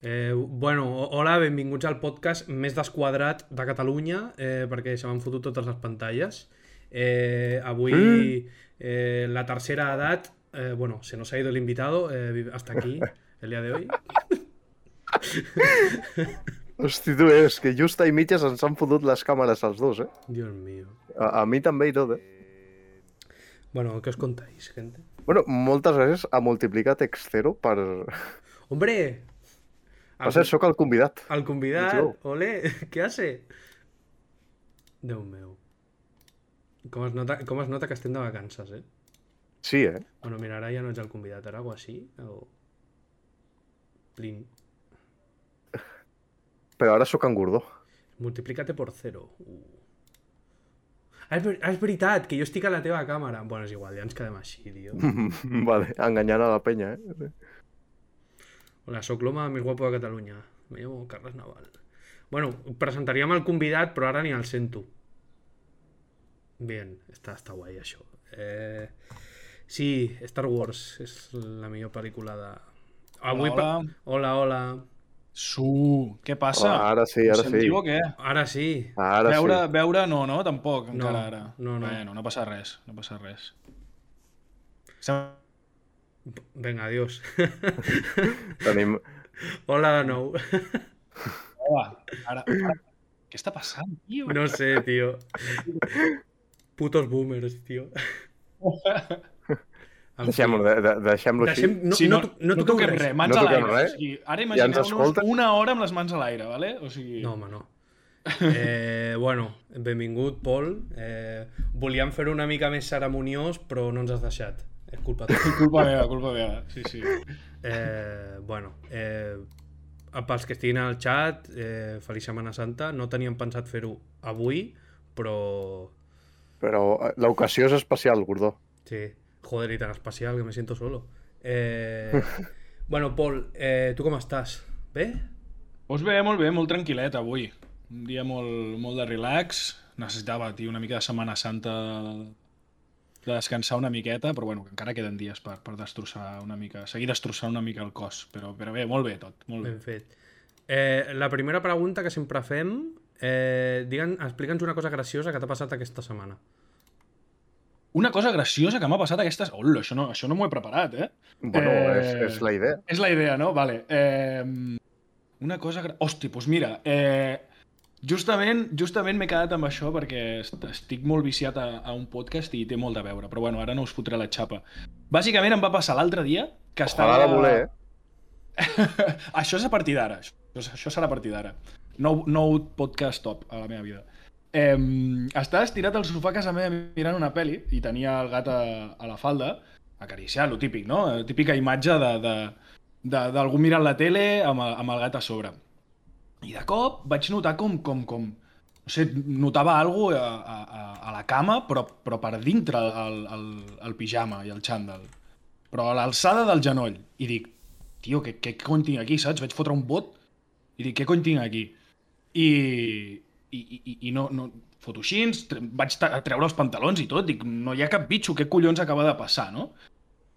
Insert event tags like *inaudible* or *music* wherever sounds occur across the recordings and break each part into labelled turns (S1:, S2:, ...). S1: Eh, bueno, ho- hola, benvinguts al podcast més desquadrat de Catalunya, eh, perquè se m'han fotut totes les pantalles. Eh, avui eh, la tercera edat, eh, bueno, se nos ha ido el invitado, eh, hasta aquí el día de hoy.
S2: Hosti, tu, eh, és que just a mitges ens han fotut les càmeres als dos, eh?
S1: Dios mío.
S2: A, a mi també i tot, eh?
S1: Bueno, ¿qué os contáis, gente?
S2: Bueno, moltes gràcies a Multiplicat X0 per...
S1: ¡Hombre!
S3: Ah,
S2: Per ser, sóc el convidat.
S1: Al convidar,
S2: Pues Yo.
S1: ole, *laughs* ¿qué hace? Déu meu. Com es nota, com es nota que estem de vacances, eh?
S2: Sí, eh?
S1: Bueno, mira, ara ja no ets el convidat, ara o així, o... Plin.
S2: Però ara sóc en
S3: *laughs*
S2: Gordó.
S1: Multiplícate por cero. Uh. Ah, és, ver- ah, és veritat, que jo estic a la teva càmera. Bueno, és igual, ja ens quedem així, tio.
S2: Mm. vale, enganyant a la penya, eh?
S1: Hola, sóc l'home més guapo de Catalunya. Me llamo Carles Naval. Bueno, presentaríem el convidat, però ara ni el sento. Bien, està, està guai això. Eh... Sí, Star Wars és la millor pel·lícula de...
S3: Hola.
S1: pa- hola, hola.
S3: Su, què passa?
S2: Ah, ara sí, ara
S3: Em
S2: sí.
S3: sentiu o què?
S1: Ara sí.
S2: Ara
S3: veure,
S2: sí.
S3: veure no, no, tampoc,
S1: No,
S3: encara ara.
S1: no, no.
S3: Bueno, no passa res, no passa res. Sem-
S1: Vinga, adiós. *laughs*
S2: Tenim...
S1: hola de nou.
S3: Hola, ara, ara. Què està passant, tio? *laughs*
S1: No sé, tío. Putos boomers, tío. En fi.
S2: Deixem-lo de, de, deixem així.
S1: Deixem... No,
S3: si
S1: no,
S3: no,
S1: toc- no,
S3: no
S1: toqueu
S3: toquem
S1: res.
S3: res, mans
S2: No
S3: a
S2: toquem
S3: l'aire.
S2: res.
S3: O sigui, ara
S2: ens
S3: imagineu-nos
S2: escolten.
S3: una hora amb les mans a l'aire, vale? O sigui...
S1: No, home, no. Eh, bueno, benvingut, Pol. Eh, volíem fer una mica més cerimoniós, però no ens has deixat. És culpa teva.
S3: Culpa meva, culpa meva. Sí, sí.
S1: Eh, bueno, eh, pels que estiguin al chat, eh, feliç Setmana Santa. No teníem pensat fer-ho avui, però...
S2: Però eh, l'ocasió és especial, Gordó.
S1: Sí. Joder, y tan espacial que me siento solo.
S2: *laughs*
S1: Eh, bueno, Paul, eh, ¿tú cómo estás? ¿Ve?
S3: Us ve molt bé, molt tranquil·let avui. Un dia molt, molt de relax. Necessitava, tio, una mica de Setmana Santa de descansar una miqueta, però bueno, que encara queden dies per, per destrossar una mica, seguir destrossant una mica el cos, però, però bé, molt bé tot, molt bé.
S1: Ben fet. Eh, la primera pregunta que siempre fem, eh, digue'n- explica'ns una cosa graciosa que t'ha passat aquesta setmana.
S3: Una cosa graciosa que m'ha passat aquestes... Hola, això no, això no m'ho he preparat, eh?
S2: Bueno,
S3: Eh.
S2: és, és la idea.
S3: És la idea, no? Vale. Eh, una cosa... Gra... Hosti, doncs mira, eh, justament justament m'he quedat amb això perquè est- estic molt viciat a, a un podcast i té molt a veure, però bueno, ara no us fotré la xapa. Bàsicament em va passar l'altre dia que estava...
S2: Ojalà de voler, eh?
S3: *laughs* això és a partir d'ara. Això, això serà a partir d'ara. No, no podcast top a la meva vida. Eh, estava estirat al sofà a casa meva mirant una pel·li i tenia el gat a, a la falda acariciar, lo típic, no? La típica imatge de- de- de- d'algú mirant la tele amb el, amb el gat a sobre. I de cop vaig notar com, com, com, no sé, notava algo a, a, a- a la cama, però, però per dintre el, el, el pijama i el xandall. Però a l'alçada del genoll. I dic, tio, què, què cony tinc aquí, saps? Vaig fotre un bot i dic, què cony tinc aquí? I, i, i, i no, no, foto així, tre vaig ta- treure els pantalons i tot, dic, no hi ha cap bitxo, què collons acaba de passar, no?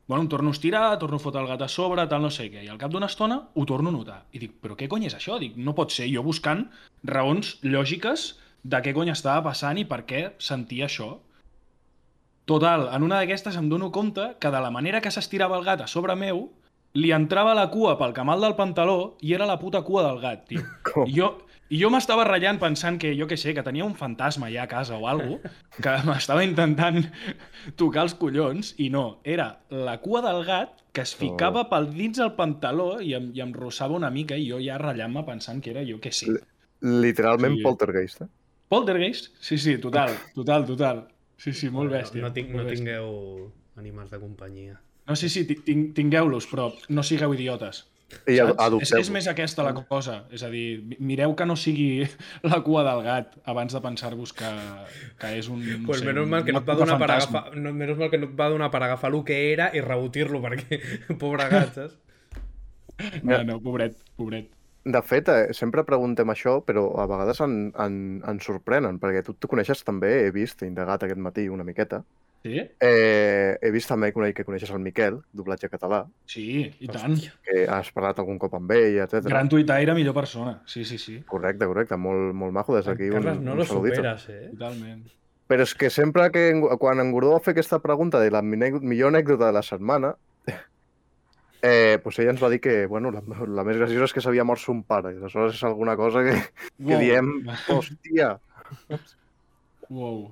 S3: Bueno, em torno a estirar, torno a fotre el gat a sobre, tal, no sé què. I al cap d'una estona ho torno a notar. I dic, però què cony és això? Dic, no pot ser. Jo buscant raons lògiques de què cony estava passant i per què sentia això. Total, en una d'aquestes em dono compte que de la manera que s'estirava el gat a sobre meu, li entrava la cua pel camal del pantaló i era la puta cua del gat, tio.
S2: Com?
S3: I jo, i jo m'estava ratllant pensant que, jo que sé, que tenia un fantasma ja a casa o alguna que *laughs* m'estava intentant tocar els collons, i no, era la cua del gat que es ficava pel dins del pantaló i em, i em rossava una mica i jo ja ratllant-me pensant que era, jo que sé,
S2: Literalment
S3: Sí.
S2: poltergeist, eh?
S3: poltergeist? Sí, sí, total, total, total. Sí, sí, molt bèstia.
S1: No, no, tinc,
S3: molt
S1: no
S3: bèstia.
S1: tingueu animals de companyia.
S3: No, sí, sí, ti- tin- tingueu-los, però no sigueu idiotes.
S2: I
S3: saps? És,
S2: adopteu
S3: és més aquesta la cosa. És a dir, mi- mireu que no sigui la cua del gat abans de pensar-vos que, que és un... No
S1: Pues
S3: sé,
S1: menos
S3: un-
S1: mal que no
S3: una
S1: et va
S3: cua
S1: donar per
S3: fantasma.
S1: agafar, no, menos mal que no et va donar per agafar el que era i rebotir-lo, perquè *laughs* pobre gat, saps?
S3: No, no, pobret, pobret.
S2: De fet, eh, sempre preguntem això, però a vegades en, en, en sorprenen, perquè tu, tu coneixes també, he vist, he indagat aquest matí una miqueta,
S3: Sí?
S2: Eh, he vist també que coneixes el Miquel, doblatge català,
S3: Sí, i tant.
S2: que has parlat algun cop amb ell, etc.
S3: Gran tuitaire, millor persona. Sí, sí, sí.
S2: Correcte, correcte, molt, molt maco des d'aquí. Pues un-
S1: Carles, no
S2: un
S1: lo
S2: saludito.
S1: superas, eh?
S3: Totalment.
S2: Però és que sempre que en, quan en Gordó va fer aquesta pregunta de la mine- millor anècdota de la setmana, *laughs* eh, doncs ella ens va dir que bueno, la, la més graciosa és que s'havia mort son pare. I aleshores és alguna cosa que, que
S1: *laughs*
S3: Wow.
S2: diem, hòstia,
S3: Wow.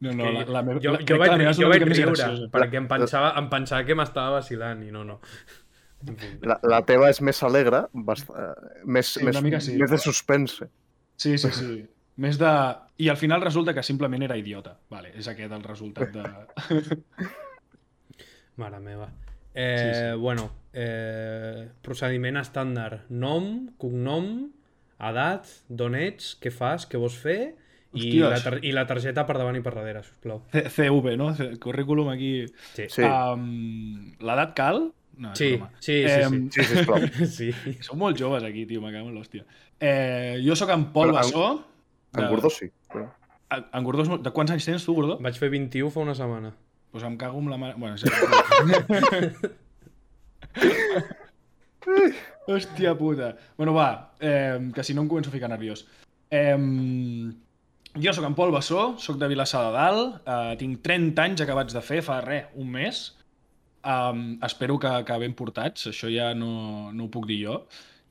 S3: No, no,
S1: Que
S3: la, la, meva-
S1: jo,
S3: la,
S1: jo,
S3: crec que
S1: vaig,
S3: la meva és
S1: jo
S3: una
S1: vaig
S3: mica més
S1: riure,
S3: graciosa.
S1: perquè em pensava, em pensava que m'estava vacilant i no, no. En fi.
S2: la, la teva és més alegre, bast... eh, més,
S3: Sí, una
S2: més,
S3: mica sí.
S2: més de suspense.
S3: Sí, sí, sí. Més de... I al final resulta que simplement era idiota. Vale, és aquest el resultat de...
S1: Mare meva. Eh,
S3: Sí,
S1: sí, sí. Bueno, eh, procediment estàndard. Nom, cognom, edat, d'on ets, què fas, què vols fer i
S3: Hòsties.
S1: la, tar i la targeta per davant i per darrere, sisplau.
S3: C- CV, no? C- Currículum aquí...
S1: Sí, sí, *laughs*
S2: Sí,
S3: Um, L'edat cal? No, és
S1: sí,
S3: broma.
S1: sí,
S3: Em,
S1: sí.
S2: sí
S3: *laughs*
S2: sisplau.
S1: sí.
S3: Som molt joves aquí, tio, me cago en l'hòstia. Eh, jo sóc en Pol
S2: Però en-
S3: Bassó.
S2: En Gordó sí.
S3: En, en Gordó és molt... De quants anys tens tu, Gordó?
S1: Vaig fer 21 fa una setmana.
S3: Doncs pues em cago amb la mare... Bueno, sí. *laughs* Hòstia puta. Bueno, va, eh, que si no em començo a ficar nerviós. Eh, jo sóc en Pol Bassó, sóc de Vilassar de Dalt, eh, tinc 30 anys acabats de fer, fa res, un mes. Um, espero que, que ben portats, això ja no, no ho puc dir jo.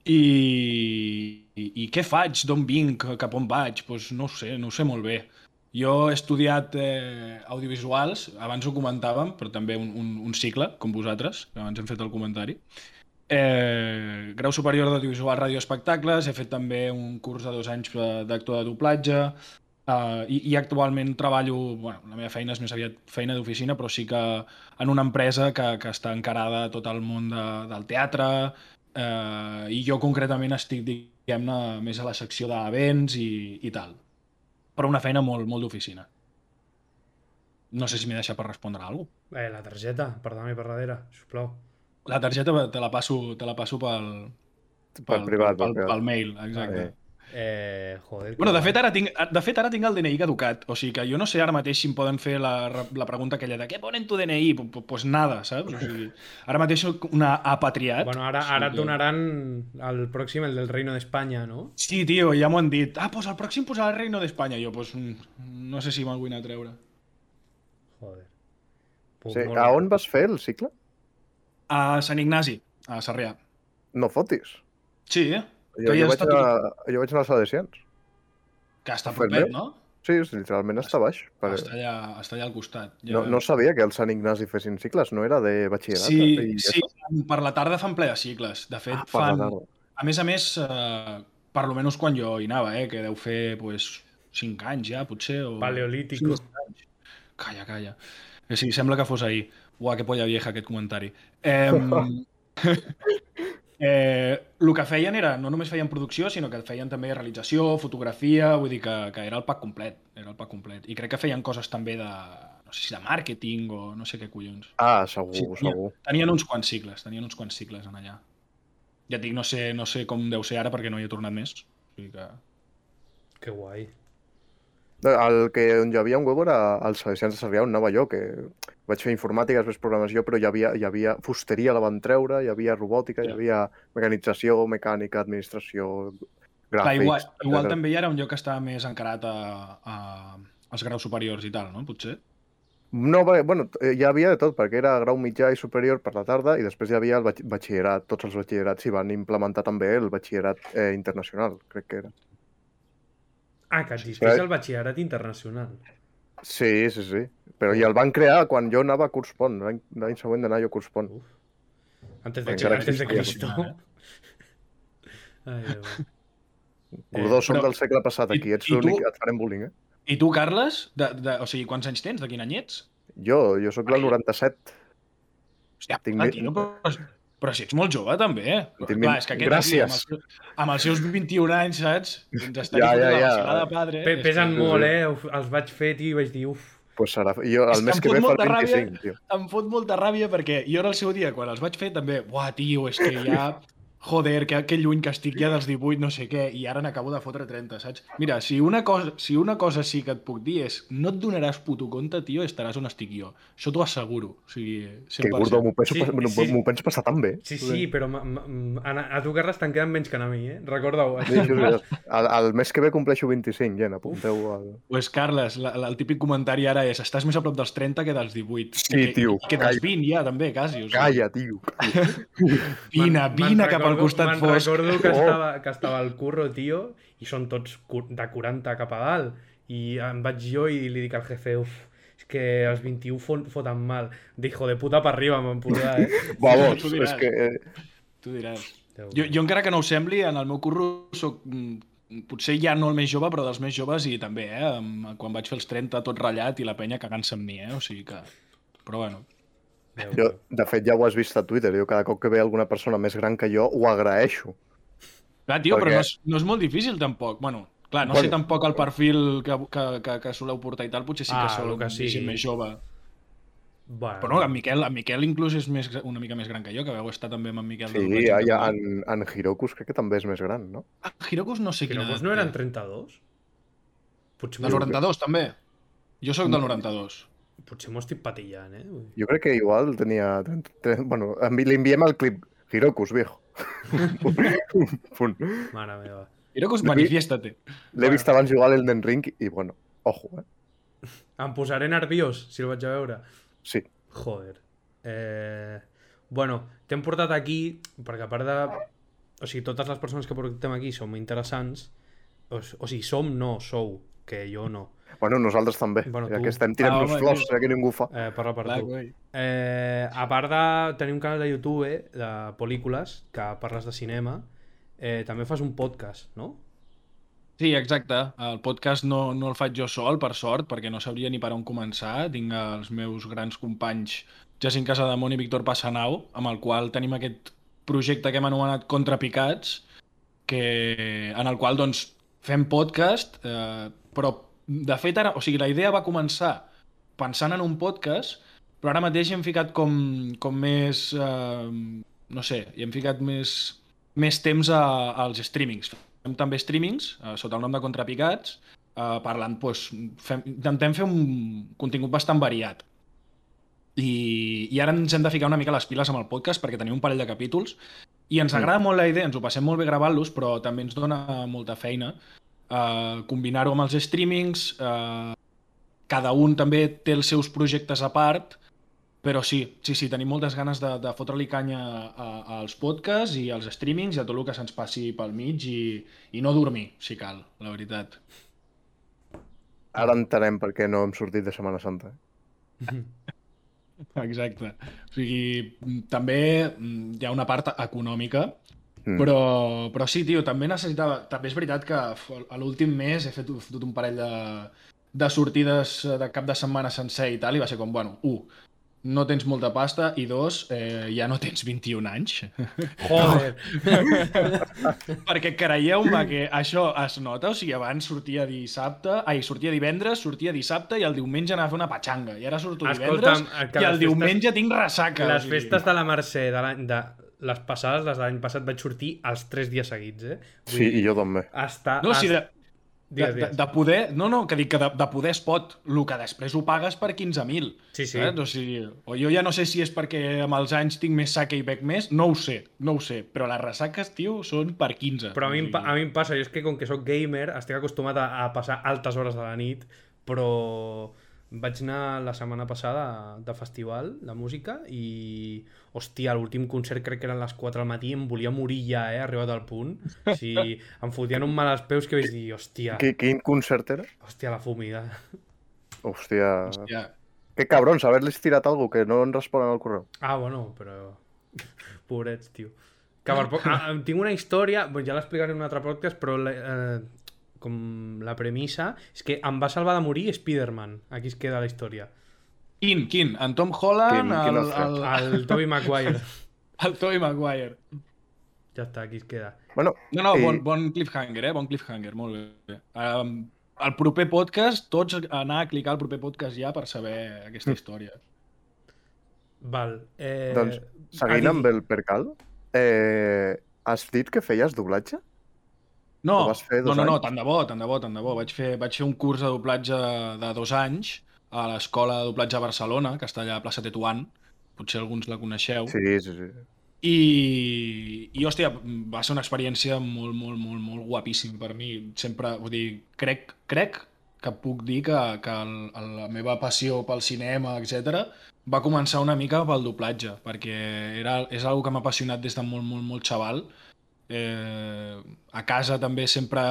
S3: I, i, i què faig? D'on vinc? Cap on vaig? Pues no ho sé, no ho sé molt bé. Jo he estudiat eh, audiovisuals, abans ho comentàvem, però també un, un, un cicle, com vosaltres, que abans hem fet el comentari. Eh, grau superior d'audiovisual, ràdio, espectacles, he fet també un curs de dos anys eh, d'actor de doblatge, eh, i, i actualment treballo, bueno, la meva feina és més aviat feina d'oficina, però sí que en una empresa que, que està encarada a tot el món de, del teatre, eh, i jo concretament estic, diguem-ne, més a la secció d'events i, i tal però una feina molt, molt d'oficina. No sé si m'he deixat per respondre a alguna cosa.
S1: Eh, la targeta, per davant i per darrere, sisplau.
S3: La targeta te la passo, te la passo pel,
S2: Per privat. per
S3: pel, pel,
S2: privat.
S3: mail, exacte.
S2: Eh.
S1: Eh, joder.
S3: Bueno, de
S1: que-
S3: fet, ara tinc, de fet, ara tinc el DNI caducat, o sigui que jo no sé ara mateix si em poden fer la, la pregunta aquella de què pon en tu DNI? Pues, pues nada, saps? O sigui, ara mateix soc una apatriat.
S1: Bueno, ara, ara et donaran el pròxim, el del Reino d'Espanya, no?
S3: Sí, tio, ja m'ho han dit. Ah, pues el pròxim posarà el Reino d'Espanya. Jo, pues, mm, no sé si me'l vull anar a treure.
S1: Joder. Puc,
S2: Sí.
S1: molt
S2: A
S1: bé.
S2: on vas fer el cicle?
S3: A Sant Ignasi, a Sarrià.
S2: No fotis.
S3: Sí, eh?
S2: Jo,
S3: ja
S2: jo, vaig
S3: està
S2: anar, jo vaig anar a les adhesions.
S3: que està
S2: Ferrer.
S3: propet, no?
S2: Sí, és- literalment està baix. Per...
S3: Està allà, està allà al costat. Ja
S2: No, no sabia que el Sant Ignasi fessin cicles, no era de batxillerat.
S3: sí,
S2: i
S3: sí, per la tarda fan ple de cicles. De fet,
S2: Ah, per la
S3: fan...
S2: tarda.
S3: A més a més, eh, per lo menys quan jo hi anava, eh, que deu fer pues, 5 anys ja, potser. O...
S1: Paleolítico.
S3: Sí, anys. Calla, calla. Eh, Sí, sembla que fos ahir. Uah, que polla vieja aquest comentari. Eh,
S2: *laughs*
S3: eh, el que feien era, no només feien producció, sinó que feien també realització, fotografia, vull dir que, que era el pack complet. Era el pack complet. I crec que feien coses també de, no sé si de màrqueting o no sé què collons.
S2: Ah, segur,
S3: Sí,
S2: sí, segur.
S3: Tenien uns quants cicles, tenien uns quants cicles en allà. Ja et dic, no sé, no sé com deu ser ara perquè no hi he tornat més. O sigui que...
S1: Que guai.
S2: El que on hi havia un huevo era als Salesians de Sarrià, on anava jo, que vaig fer informàtica, després programació, però hi havia, hi havia fusteria, la van treure, hi havia robòtica, hi
S3: Ja.
S2: havia mecanització, mecànica, administració,
S3: Clar,
S2: gràfics...
S3: igual, igual
S2: etcètera.
S3: també hi era un lloc que estava més encarat a, a, als graus superiors i tal, no? Potser.
S2: No, perquè, bueno, eh, hi havia de tot, perquè era grau mitjà i superior per la tarda i després hi havia el batx- batxillerat. Tots els batxillerats hi van implementar també el batxillerat eh, internacional, crec que era.
S1: Ah, que et fes el batxillerat internacional.
S2: Sí, sí, sí. Però i el van crear quan jo anava a curs pont. L'any l'any següent d'anar jo a curs pont.
S1: Antes de,
S2: Encara
S1: antes de Cristo.
S3: existia. eh?
S1: Ai, Déu.
S2: eh? Gordó, som
S3: Eh, però-
S2: del segle passat
S3: i-
S2: aquí. Ets
S3: i tu-
S2: l'únic que et farem bullying, eh?
S3: I tu, Carles, de, de, o sigui, quants anys tens? De quin any ets?
S2: Jo, jo sóc del
S3: Ai.
S2: 97.
S3: Hòstia,
S2: Tinc
S3: puta,
S1: Eh,
S2: mi-
S3: tio, però, però si ets molt jove, també. Però,
S2: Tinc
S3: clar,
S2: mi-
S3: és que aquest
S2: Gràcies.
S3: Aquí, amb, els, amb els seus 21 anys, saps? Ens està
S2: Ja, ja,
S3: ja, ja,
S2: ja.
S3: la de padre.
S1: Pe
S3: És
S1: pesen
S2: sí, sí.
S1: molt, eh? Uf, Els vaig fer, tio, i vaig dir, uf,
S2: Pues serà... Jo, el
S3: És que
S2: mes
S3: em
S2: que
S3: fot
S2: ve fa el
S3: molta ràbia.
S2: 25, tio.
S3: em fot molta ràbia perquè jo en el seu dia, quan els vaig fer, també, buah, tio, és que ja joder, que, que lluny que estic ja dels 18, no sé què, i ara n'acabo de fotre 30, saps? Mira, si una, cosa, si una cosa sí que et puc dir és no et donaràs puto compte, tio, estaràs on estic jo. Això t'ho asseguro. O sigui, 100%.
S2: Que gordo, m'ho penso,
S1: Sí,
S2: pas- m'ho-
S1: sí.
S2: m'ho penso passar tan
S3: *laughs*
S2: bé.
S1: Sí, sí, però ma- ma- mm, a, a tu, Carles, te'n queden menys que a mi, eh? Recorda-ho.
S2: *laughs* Sí, sí, és veritat. el, el mes que ve compleixo 25, gent, apunteu al...
S3: Pues, Carles, la, la, el típic comentari ara és estàs més a prop dels 30 que dels 18.
S2: Sí,
S3: I que,
S2: tio,
S3: I que dels 20 ja, també, quasi. O sigui,
S2: Calla, tio. *laughs*
S3: vine,
S1: Me'n- me'n
S3: vine cap al
S1: recordo-
S3: costat
S1: me'n
S3: fosc.
S1: recordo que,
S2: Oh.
S1: estava, que estava al curro, tio, i són tots cu- de 40 cap a dalt. I em vaig jo i li dic al jefe, uf, és que els 21 fon, foten mal. Dijo, de puta per arriba, me'n posar, eh?
S2: Vamos,
S3: tu diràs.
S2: és que... eh,
S3: Tu diràs.
S1: Déu.
S3: *laughs* Jo, jo encara que no ho sembli, en el meu curro soc mm, potser ja no el més jove, però dels més joves i també, eh? Amb- Quan vaig fer els 30 tot ratllat i la penya cagant-se amb mi, eh? O sigui que... Però bueno.
S1: Déu.
S2: Jo, de fet, ja ho has vist a Twitter. Jo cada cop que ve alguna persona més gran que jo, ho agraeixo.
S3: Clar, tio,
S2: Per
S3: però
S2: què?
S3: no és, no és molt difícil tampoc. Bueno, clar, no
S2: Bueno.
S3: sé tampoc el perfil que, que, que, que soleu portar i tal, potser sí que
S1: Ah,
S3: ah, sou
S1: lo que sigui. Ah.
S3: gent més jove.
S1: Bueno,
S3: Però no, en Miquel, en Miquel inclús és més, una mica més gran que jo, que veu estar també amb en Miquel.
S2: Sí,
S3: del
S2: ja,
S3: Ràdio
S2: ja,
S3: Català.
S2: en, en Hirokus crec que també és més gran, no?
S3: Ah, Hirokus no sé
S1: Però
S3: quina...
S1: vos no eren 32? Potser,
S3: Del
S1: m'ho-
S3: 92, també? Jo sóc del 92.
S1: potser m'ho estic patillant, eh? Vull dir-
S2: Jo crec que igual tenia... 30, 30, bueno, envi, li enviem el clip. Hirokus,
S3: *laughs*
S2: viejo. Un punt.
S1: Mare meva.
S3: Hirokus, manifiéstate.
S2: L'he vist abans jugar a l'Elden Ring i, bueno, ojo, eh?
S1: Em posaré nerviós, si el vaig a veure.
S2: Sí.
S1: Joder. Eh... Bueno, t'hem portat aquí perquè a part de... O sigui, totes les persones que portem aquí som interessants. O, s- o sigui, som no, sou, que jo no.
S2: Bueno, nosaltres també,
S1: Bueno,
S2: ja
S1: tu-
S2: que estem tirant-nos
S3: Ah, home,
S2: flors,
S3: tio.
S2: ja que ningú fa.
S1: Eh, parla per
S3: Clar,
S1: tu.
S3: coi.
S1: Eh, a part de tenir un canal de YouTube eh, de pel·lícules, que parles de cinema, eh, també fas un podcast, no?
S3: Sí, exacte. El podcast no, no el faig jo sol, per sort, perquè no sabria ni per on començar. Tinc els meus grans companys Jacint Casademont i Víctor Passanau, amb el qual tenim aquest projecte que hem anomenat Contrapicats, que, en el qual doncs, fem podcast, eh, però de fet ara, o sigui, la idea va començar pensant en un podcast, però ara mateix hi hem ficat com, com més, eh, no sé, hi hem ficat més, més temps a, als streamings. Fem també streamings, eh, sota el nom de Contrapicats, eh, parlant, doncs, fem, intentem fer un contingut bastant variat. I, I ara ens hem de ficar una mica les piles amb el podcast perquè tenim un parell de capítols i ens
S2: Mm.
S3: agrada molt la idea, ens ho passem molt bé gravant-los, però també ens dona molta feina eh, combinar-ho amb els streamings, eh, cada un també té els seus projectes a part, però sí, sí, sí, tenim moltes ganes de, de fotre-li canya a- als podcasts i als streamings i a tot el que se'ns passi pel mig i, i no dormir, si cal, la veritat. *laughs*
S2: Ara entenem per què no hem sortit de Setmana Santa. eh?
S3: Exacte. O sigui, mm, també mm, hi ha una part econòmica,
S2: Mm.
S3: però, però sí, tio, també necessitava... També és veritat que f- a l'últim mes he fet, he fet un parell de, de sortides eh, de cap de setmana sencer i tal, i va ser com, bueno, un, no tens molta pasta, i dos, eh, ja no tens *laughs* 21 anys. *laughs*
S1: Joder!
S3: Perquè creieu-me que això es nota, o sigui, abans sortia dissabte, ai, sortia divendres, sortia dissabte i el diumenge anava a fer una patxanga. I ara surto
S1: Escolta'm, eh, que les
S3: divendres i el
S1: festes-
S3: diumenge tinc ressaca. o
S1: les
S3: sigui.
S1: festes de la Mercè de, l'any- de les passades, les de l'any passat, vaig sortir els tres dies seguits, eh?
S2: Sí, i jo també.
S1: Està...
S3: No, o sigui, de,
S1: Digues,
S3: de,
S1: digues.
S3: de poder... No, no, que dic que de, de poder es pot. El que després ho pagues per 15.000.
S1: Sí, sí.
S3: Saps? O, sigui, o jo ja no sé si és perquè amb els anys tinc més saca i bec més. No ho sé, no ho sé. Però les ressaques, tio, són per 15.
S1: Però a mi,
S3: O
S1: em
S3: sigui,
S1: pa- a mi em passa, jo és que com que sóc gamer estic acostumat a, a passar altes hores de la nit, però vaig anar la setmana passada de festival de música i, hòstia, l'últim concert crec que eren les 4 del matí i em volia morir ja, eh, arribat al punt. O sigui, em fotien un mal als peus que vaig dir,
S3: Ah.
S1: hòstia,
S2: Qui, quin concert era?
S1: hòstia, la fumida.
S2: Hòstia...
S3: Hòstia,
S2: Que cabrons, haver-los tirat alguna que no en responen al correu.
S1: Ah, bueno, però... *laughs* Pobrets, tio. Que per poc... ah, tinc una història, bueno, ja l'explicaré en un altre podcast, però la, eh, com la premissa és que em va salvar de morir Spider-Man. Aquí es queda la història.
S3: Quin, quin? En Tom Holland,
S2: Quin, quin
S3: el,
S2: ostres.
S3: el, el,
S1: El Tobey Maguire.
S3: el Tobey Maguire.
S1: Ja està, aquí es queda.
S2: Bueno,
S3: No, no,
S2: I-
S3: bon, bon cliffhanger, eh? Bon cliffhanger, molt bé. Um, el proper podcast, tots anar a clicar al proper podcast ja per saber
S2: Hm.
S3: aquesta història.
S1: Val. Eh...
S2: Doncs,
S1: ah, digui.
S2: seguint amb el percal, eh, Has dit que feies doblatge?
S3: No,
S2: Ho vas fer
S3: no,
S2: dos
S3: no, no,
S2: anys?
S3: tant de bo, tant de bo, tant de bo. Vaig fer, vaig fer un curs de doblatge de dos anys a l'escola de doblatge a Barcelona, que està allà a plaça Tetuán, potser alguns la coneixeu.
S2: Sí, sí, sí.
S3: I, i, hòstia, va ser una experiència molt, molt, molt, molt guapíssima per mi. Sempre, vull dir, crec, crec que puc dir que, que el, el, la meva passió pel cinema, etc va començar una mica pel doblatge, perquè era, és algo que m'ha apassionat des de molt, molt, molt xaval. Eh, a casa també sempre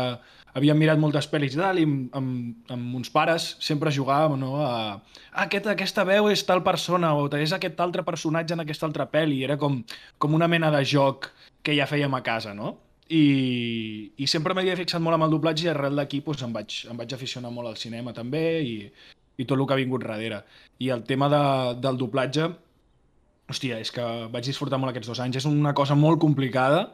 S3: havíem mirat moltes pel·lis i tal, i amb, amb, amb uns pares sempre jugàvem no, a... "Ah, Aquest, aquesta veu és tal persona, o és aquest altre personatge en aquesta altra pel·li. Era com, com una mena de joc que ja fèiem a casa, no? I, i sempre m'havia fixat molt amb el doblatge i arrel d'aquí doncs, em, vaig, em vaig aficionar molt al cinema també i, i tot el que ha vingut darrere. I el tema de, del doblatge, hòstia, és que vaig disfrutar molt aquests dos anys. És una cosa molt complicada.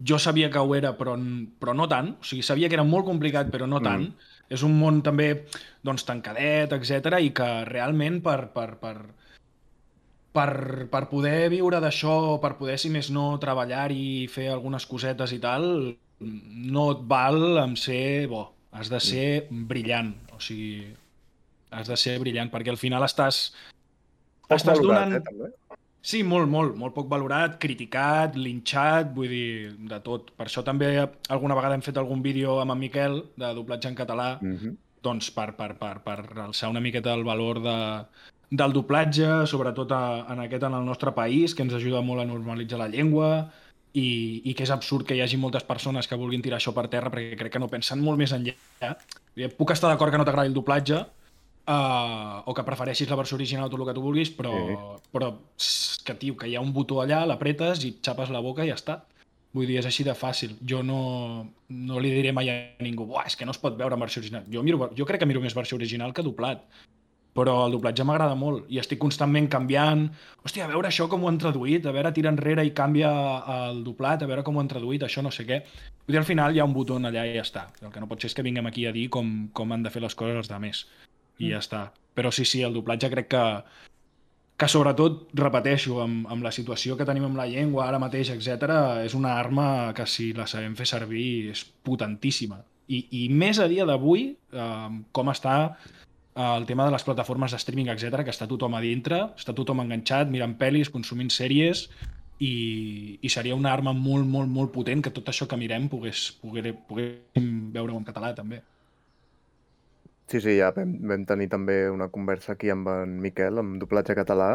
S3: Jo sabia que ho era, però, n- però no tant. O sigui, sabia que era molt complicat, però no tant. Mm. És un món també doncs, tancadet, etc i que realment per, per, per, per, per poder viure d'això, per poder, si més no, treballar-hi i fer algunes cosetes i tal, no et val amb ser bo. Has de ser brillant. O sigui, has de ser brillant, perquè al final estàs...
S2: Poc
S3: estàs
S2: valorat,
S3: donant...
S2: eh, també.
S3: Sí, molt, molt, molt poc valorat, criticat, linxat, vull dir, de tot. Per això també alguna vegada hem fet algun vídeo amb en Miquel de doblatge en català,
S2: Mhm.
S3: doncs per, per, per, per alçar una miqueta el valor de, del doblatge, sobretot a, en aquest en el nostre país, que ens ajuda molt a normalitzar la llengua i, i que és absurd que hi hagi moltes persones que vulguin tirar això per terra perquè crec que no pensen molt més enllà. Ja Puc estar d'acord que no t'agradi el doblatge uh, o que prefereixis la versió original tot el que tu vulguis, però, sí. però pss, que tio, que hi ha un botó allà, l'apretes i et xapes la boca i ja està. Vull dir, és així de fàcil. Jo no, no li diré mai a ningú Buah, és que no es pot veure en versió original. Jo, miro, jo crec que miro més versió original que doblat. Però el doblatge m'agrada molt i estic constantment canviant. Hòstia, a veure això com ho han traduït, a veure, tira enrere i canvia el doblat, a veure com ho han traduït, això no sé què. Vull dir, al final hi ha un botó allà i ja està. El que no pot ser és que vinguem aquí a dir com, com han de fer les coses els demés. I ja està. Però sí, sí, el doblatge crec que, que sobretot, repeteixo, amb, amb la situació que tenim amb la llengua ara mateix, etc, és una arma que si la sabem fer servir és potentíssima. I, i més a dia d'avui, eh, com està eh, el tema de les plataformes de streaming, etc, que està tothom a dintre, està tothom enganxat, mirant pel·lis, consumint sèries, i, i seria una arma molt, molt, molt potent que tot això que mirem pogués, pogués, poguéssim veure-ho en català, també.
S2: Sí, sí, ja vam, vam tenir també una conversa aquí amb en Miquel, amb doblatge català,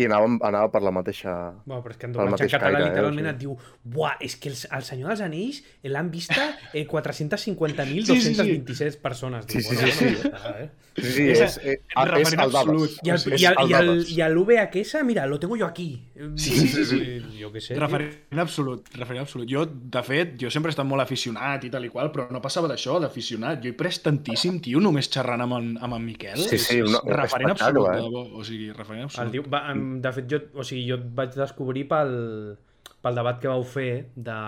S2: i anàvem, anava per la mateixa...
S1: Bueno, però és que en
S2: Pel
S1: doblatge en
S2: mateix
S1: català
S2: caire, eh,
S1: literalment
S2: o
S1: et diu Buah, és que el, el Senyor dels Anells l'han vista
S2: *laughs*
S1: eh, 450.226 persones. Diu,
S2: Sí,
S1: bueno,
S2: sí, sí,
S1: bueno, ja està, eh?
S2: Sí, sí,
S3: És
S2: és, és, és, és
S3: referent
S2: el Dades.
S3: absolut.
S1: Y al,
S2: És- és
S1: y al,
S2: el
S1: y al,
S2: Dades.
S1: y al VHS, mira, lo tengo yo aquí.
S3: Sí, sí, sí.
S1: Eh, *laughs* Yo qué sé. tío.
S3: Referent absolut, referent absolut. Jo, de fet, jo sempre he estat molt aficionat i tal i qual, però no passava d'això, d'aficionat. Jo he pres tantíssim, tio, només xerrant amb en, amb en Miquel.
S2: Sí, sí,
S3: És- és
S2: una- un
S3: referent
S2: espectacle,
S3: absolut,
S2: eh?
S3: de debò. O sigui, referent
S1: El
S3: absolut.
S1: tio, va, em- de fet, jo, o sigui, jo et vaig descobrir pel, pel debat que vau fer de,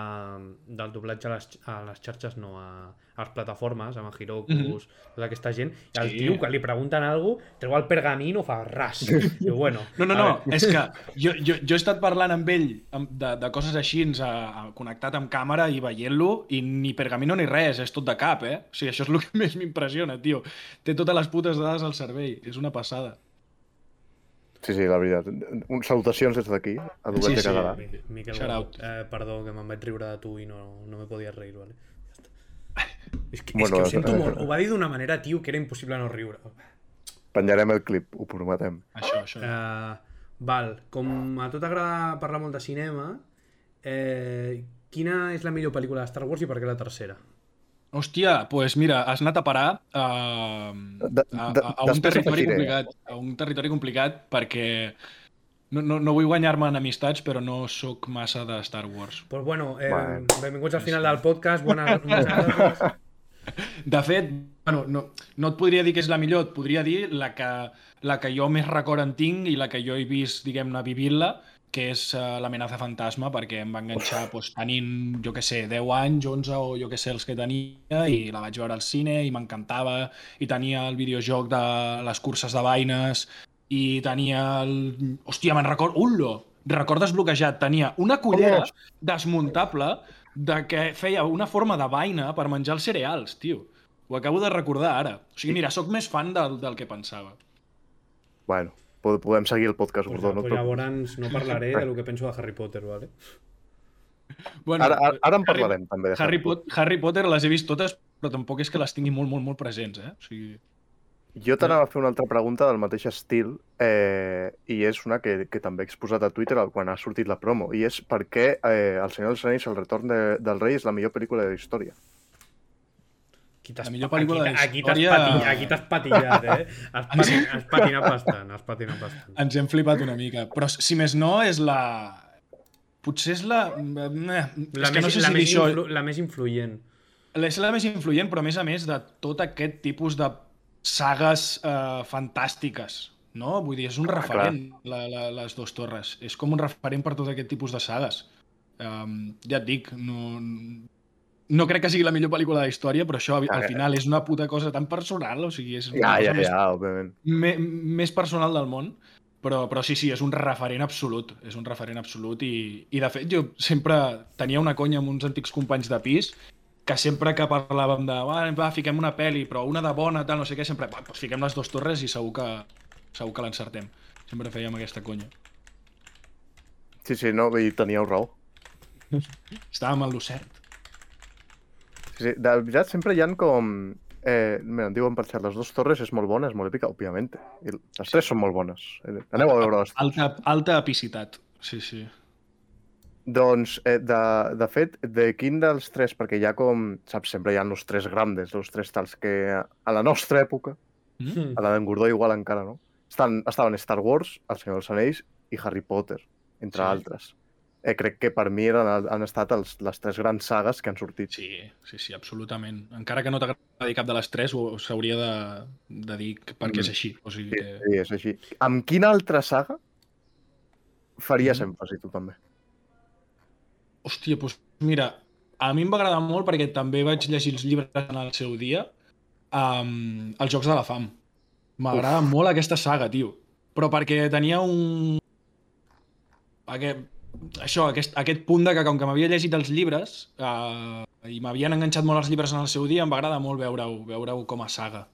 S1: del doblatge a les, a les xarxes, no, a, a les plataformes, amb en Hirokus, mm
S3: Mhm.
S1: -hmm. tota aquesta gent, i el
S3: Sí.
S1: sí. tio, que li pregunten alguna cosa, treu el pergamino, fa ras.
S3: *laughs*
S1: Diu, bueno,
S3: No, no,
S1: a
S3: no,
S1: veure.
S3: és que jo, jo, jo he estat parlant amb ell amb- de, de coses així, a, a, connectat amb càmera i veient-lo, i ni pergamino ni res, és tot de cap, eh? O sigui, això és el que *laughs* més m'impressiona, tio. Té totes les putes dades al cervell, és una passada.
S2: Sí, sí, la veritat. Un, salutacions des d'aquí, a doblatge
S3: Sí, sí.
S2: català.
S1: Mi- Pues, Miquel,
S3: Shout out.
S1: eh, perdó, que me'n vaig riure de tu i no, no me podies reir, vale? Ja està.
S3: *laughs*
S1: És que,
S2: Bueno,
S1: és que ho sento
S2: eh,
S1: molt. Ho va dir d'una manera, tio, que era impossible no riure.
S2: Penjarem el clip, ho prometem.
S3: Això, això.
S1: Eh, val, com a tu t'agrada parlar molt de cinema, eh, quina és la millor pel·lícula de Star Wars i per què la tercera? Pues
S3: Hòstia, doncs pues mira, has anat a parar a,
S2: De-
S3: a,
S2: de-
S3: a, a un
S2: després
S3: territori
S2: afegiré.
S3: complicat, a un territori complicat perquè no, no, no vull guanyar-me enemistats, però no sóc massa de Star Wars.
S1: Pues bueno, eh,
S2: Bueno.
S1: benvinguts al final del podcast, bones,
S2: *laughs*
S1: bones tardes.
S3: De fet, bueno, no, no et podria dir que és la millor, et podria dir la que, la que jo més record en tinc i la que jo he vist, diguem-ne, vivint-la, que és uh, l'amenaça fantasma, perquè em va enganxar pues, tenint, jo que sé, 10 anys, 11 o jo que sé els que tenia, i la vaig veure al cine i m'encantava, i tenia el videojoc de les curses de vaines, i tenia el... Hòstia, me'n record... Ullo! record desbloquejat, tenia una cullera
S2: Vamos.
S3: desmuntable de que feia una forma de vaina per menjar els cereals, tio. Ho acabo de recordar ara. O sigui, mira, sóc més fan del, del que pensava.
S2: Bueno, po- podem seguir el podcast,
S1: Pues,
S2: Gordó. No,
S1: pues
S2: et preocupis.
S1: llavors no parlaré de lo que penso de Harry Potter, ¿vale?
S3: Bueno,
S2: ara, ara, ara en
S3: Harry-
S2: parlarem, també. de
S3: Harry, Pot Harry Potter les he vist totes, però tampoc és que les tingui molt, molt, molt presents, eh? O sigui...
S2: Jo t'anava a fer una altra pregunta del mateix estil eh, i és una que, que també he exposat a Twitter al- quan ha sortit la promo i és per què eh, El Senyor dels Anells, El retorn de, del rei és la millor pel·lícula de la història.
S1: Aquí t'has
S3: La millor
S1: pa-
S3: pel·lícula
S1: aquí, aquí
S3: de Ah, la
S1: t'has
S3: història.
S1: patillat, aquí t'has patillat, eh?
S3: *laughs*
S1: Has, pati, has patinat bastant, has patinat bastant.
S3: Ens hem flipat una mica. Però si més no, és la... Potser és la... La
S1: La,
S3: és
S1: més,
S3: que no sé
S1: la,
S3: si dir
S1: més
S3: això...
S1: influ, la més influent.
S3: És la més influent, però a més a més de tot aquest tipus de sagues eh, fantàstiques, no? Vull dir, és
S2: Ah,
S3: un referent, la, la, les dues torres. És com un referent per tot aquest tipus de sagues. Um, ja et dic, no, no crec que sigui la millor pel·lícula de la història, però això
S2: Ah,
S3: al
S2: ja.
S3: final és una puta cosa tan personal, o sigui, és una
S2: Ja,
S3: cosa
S2: ja,
S3: més,
S2: ja, òbviament.
S3: me, més personal del món. Però, però sí, sí, és un referent absolut. És un referent absolut i, i de fet jo sempre tenia una conya amb uns antics companys de pis que sempre que parlàvem de va, va fiquem una peli, però una de bona, tal, no sé què, sempre va, doncs fiquem les dues torres i segur que, segur que l'encertem. Sempre fèiem aquesta conya.
S2: Sí, sí, no, i teníeu raó.
S3: Estàvem al Lucert.
S2: Sí, sí, de veritat, sempre hi han com... Eh, mira, em diuen per xat, les dues torres és molt bona, és molt èpica, òbviament. I les tres són molt bones. Eh, Aneu a veure les
S3: Alta, alta epicitat. Sí, sí.
S2: Doncs, eh, de, de fet, de quin dels tres, perquè ja com, saps, sempre hi ha els tres grandes, els tres tals que a la nostra època,
S1: Mm.
S2: a la d'en Gordó igual encara, no? Estan, estaven Star Wars, El Senyor dels Anells i Harry Potter, entre
S3: Sí.
S2: altres. Eh, crec que per mi eren, han estat els, les tres grans sagues que han sortit.
S3: Sí, sí, sí, absolutament. Encara que no t'agradi cap de les tres, ho- s'hauria de, de dir perquè és
S2: Mm.
S3: així. O sigui
S2: Sí,
S3: que...
S2: sí, és així. Amb quina altra saga faries
S3: Mm.
S2: èmfasi tu també?
S3: Hòstia, doncs mira, a mi em va agradar molt perquè també vaig llegir els llibres en el seu dia, um, Els Jocs de la Fam. M'agrada molt aquesta saga, tio. Però perquè tenia un... Aquest, això, aquest, aquest punt de que com que m'havia llegit els llibres uh, i m'havien enganxat molt els llibres en el seu dia, em va agradar molt veure-ho veure com a saga.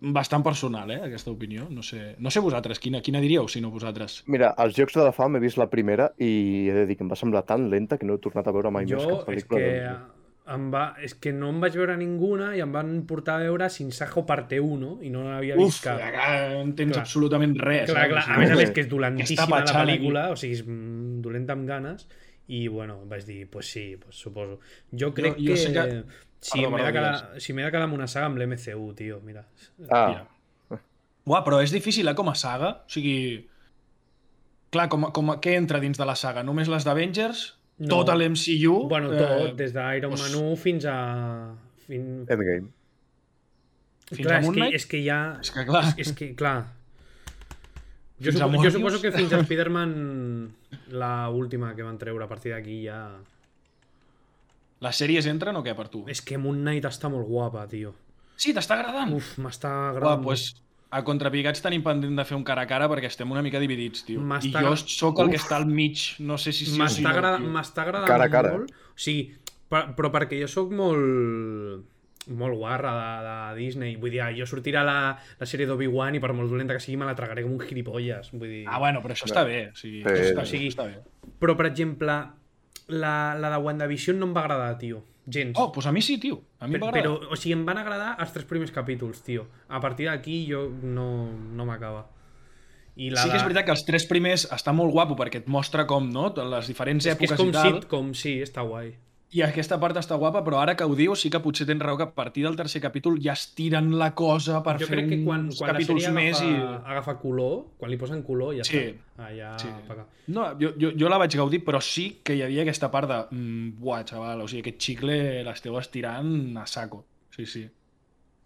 S3: Bastant personal, eh, aquesta opinió. No sé, no sé vosaltres, quina, quina diríeu, si no vosaltres?
S2: Mira, als Jocs de la Fam he vist la primera i he de dir que em va semblar tan lenta que no he tornat a veure mai més
S1: Jo
S2: cap
S1: és
S2: pel·lícula.
S1: que,
S2: de-
S1: em va, és que no em vaig veure ninguna i em van portar a veure Sinsajo parte 1 i no n'havia vist cap.
S3: ara eh, no entens
S1: Clar.
S3: absolutament res.
S1: Clar,
S3: saps?
S1: clar, a
S3: O sigui,
S1: més a més
S2: sí.
S1: que és
S3: Està
S1: dolentíssima la
S3: patxada,
S1: pel·lícula, o sigui, és mm, dolenta amb ganes, i bueno, vaig dir, pues sí, pues suposo. Jo crec
S3: jo sé
S1: que,
S3: que-
S1: si
S3: Perdó,
S1: m'he de
S3: perdó,
S1: quedar, si m'he de quedar amb una saga amb l'MCU, tio, mira.
S2: Ah,
S3: Mira. Uah, però és difícil, eh, com a saga? O sigui... Clar, com, a- com, a- què entra dins de la saga? Només les d'Avengers?
S1: No.
S3: Tot l'MCU?
S1: Bueno, tot,
S3: Eh,
S1: des d'Iron
S3: pues-
S1: Man 1 fins a... Fin...
S2: Endgame.
S3: Eh, fins
S1: clar,
S3: a
S1: és
S3: Moon
S1: que,
S3: Knight?
S1: és que ja...
S3: és que clar...
S1: És que, clar... Jo,
S3: Fins
S1: supo,
S3: a
S1: jo
S3: Morbius?
S1: suposo que fins a Spider-Man la última que van treure a partir d'aquí ja...
S3: Les sèries entren o què, per tu?
S1: És que Moon Knight està molt guapa, tio.
S3: Sí, t'està agradant?
S1: Uf, m'està
S3: Uah,
S1: agradant.
S3: pues, a Contrapigats tenim pendent de fer un cara a cara perquè estem una mica dividits, tio. I
S1: M'està
S3: jo
S1: agra-
S3: sóc el que està al mig, no sé si sí o si
S1: M'està
S3: no.
S1: agrada,
S3: tio.
S1: m'està agradant
S2: Cara a cara.
S1: molt. O sigui, per, però perquè jo sóc molt molt guarra de, de Disney. Vull dir, jo sortirà la, la sèrie d'Obi-Wan i per molt dolenta que sigui me la tragaré com un gilipolles. Vull dir...
S3: Ah, bueno, però això està bé. O sigui,
S2: Sí,
S3: això
S2: o
S3: està, bé,
S1: sigui-
S3: està bé.
S1: Però, per exemple, la, la de WandaVision no em va agradar, tio. Gens.
S3: Oh, doncs pues a mi sí, tio. A mi em va
S1: però,
S3: agradar.
S1: però, o sigui, em van agradar els tres primers capítols, tio. A partir d'aquí jo no, no m'acaba. I la
S3: Sí que és
S1: de-
S3: veritat que els tres primers està molt guapo perquè et mostra com, no?, les diferents
S1: és que
S3: èpoques
S1: és com
S3: i tal.
S1: sitcom, sí, està guai.
S3: I aquesta part està guapa, però ara que ho dius sí que potser tens raó que a partir del tercer capítol ja estiren la cosa per
S1: jo
S3: fer
S1: crec que quan,
S3: uns
S1: quan la
S3: capítols
S1: sèrie agafa,
S3: més i...
S1: agafa color, quan li posen color ja
S3: Sí.
S1: està. Ah, ja
S3: Sí.
S1: apaga.
S3: No, jo, jo, jo la vaig gaudir, però sí que hi havia aquesta part de mm, buah, xaval, o sigui, aquest xicle l'esteu estirant a saco. Sí, sí.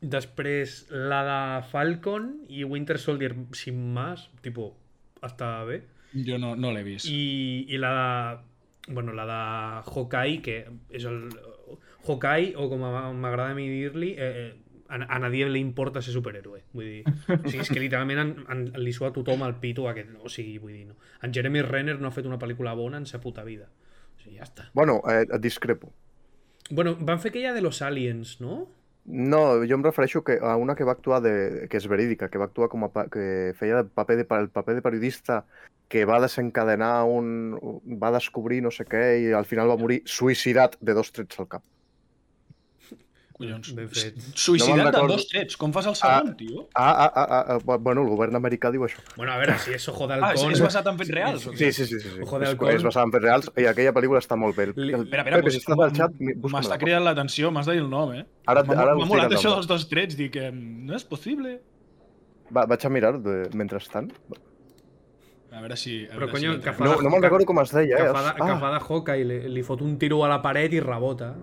S1: Després, la de Falcon i Winter Soldier, sin más, tipo, està bé.
S3: Jo no, no l'he vist. I...
S1: I, i la de, bueno, la de Hawkeye, que és el... Hawkeye, o com m'agrada a mi dir-li, eh, eh, a, a nadie li importa ser superhéroe. Vull dir, o sigui, és que literalment en, en, li sua tothom al pito aquest. O sigui, vull dir, no. En Jeremy Renner no ha fet una pel·lícula bona en sa puta vida. O sigui, ja està.
S2: Bueno, eh, discrepo.
S1: Bueno, van fer aquella de los aliens, no?
S2: No, jo em refereixo que a una que va actuar de, que és verídica, que va actuar com a pa, que feia de paper de, pa- el paper de periodista que va desencadenar un... va descobrir no sé què i al final va morir suïcidat de dos trets al cap.
S3: Collons.
S1: Ben fet.
S2: No
S3: Suïcidat
S2: me'n
S3: de
S2: recordo.
S3: dos trets. Com fas el segon, tio?
S2: Ah, ah, ah, ah, ah, bu- bueno, el govern americà diu això.
S1: Bueno, a veure, si és Ojo de
S3: Ah, és,
S1: Halcón-
S3: és basat en fets reals? o què?
S2: Sí, sí, sí. sí, sí.
S1: Ojo de
S2: és,
S1: Halcón.
S2: és basada en fets reals i aquella pel·lícula està molt bé. El,
S1: Li-
S2: el,
S3: Espera, espera,
S2: Pepe,
S3: pues,
S2: si estàs al xat, mi- busca-me
S3: m'està
S2: la.
S3: cridant l'atenció, m'has de dir el nom, eh?
S2: Ara-
S3: M'ha-
S2: ara
S3: M'ha
S2: us
S3: molat
S2: diré el
S3: això
S2: nom.
S3: dels dos trets, dic, em, no és possible.
S2: Va, vaig a mirar de, mentrestant.
S3: A veure si... A
S1: Però,
S3: veure
S1: coño,
S3: si...
S1: que fa-
S2: No, no me'n recordo com es deia, eh?
S1: que, fa de, que fa
S2: Ah,
S1: de Hawkeye, li, li fot un tiro a la paret i rebota.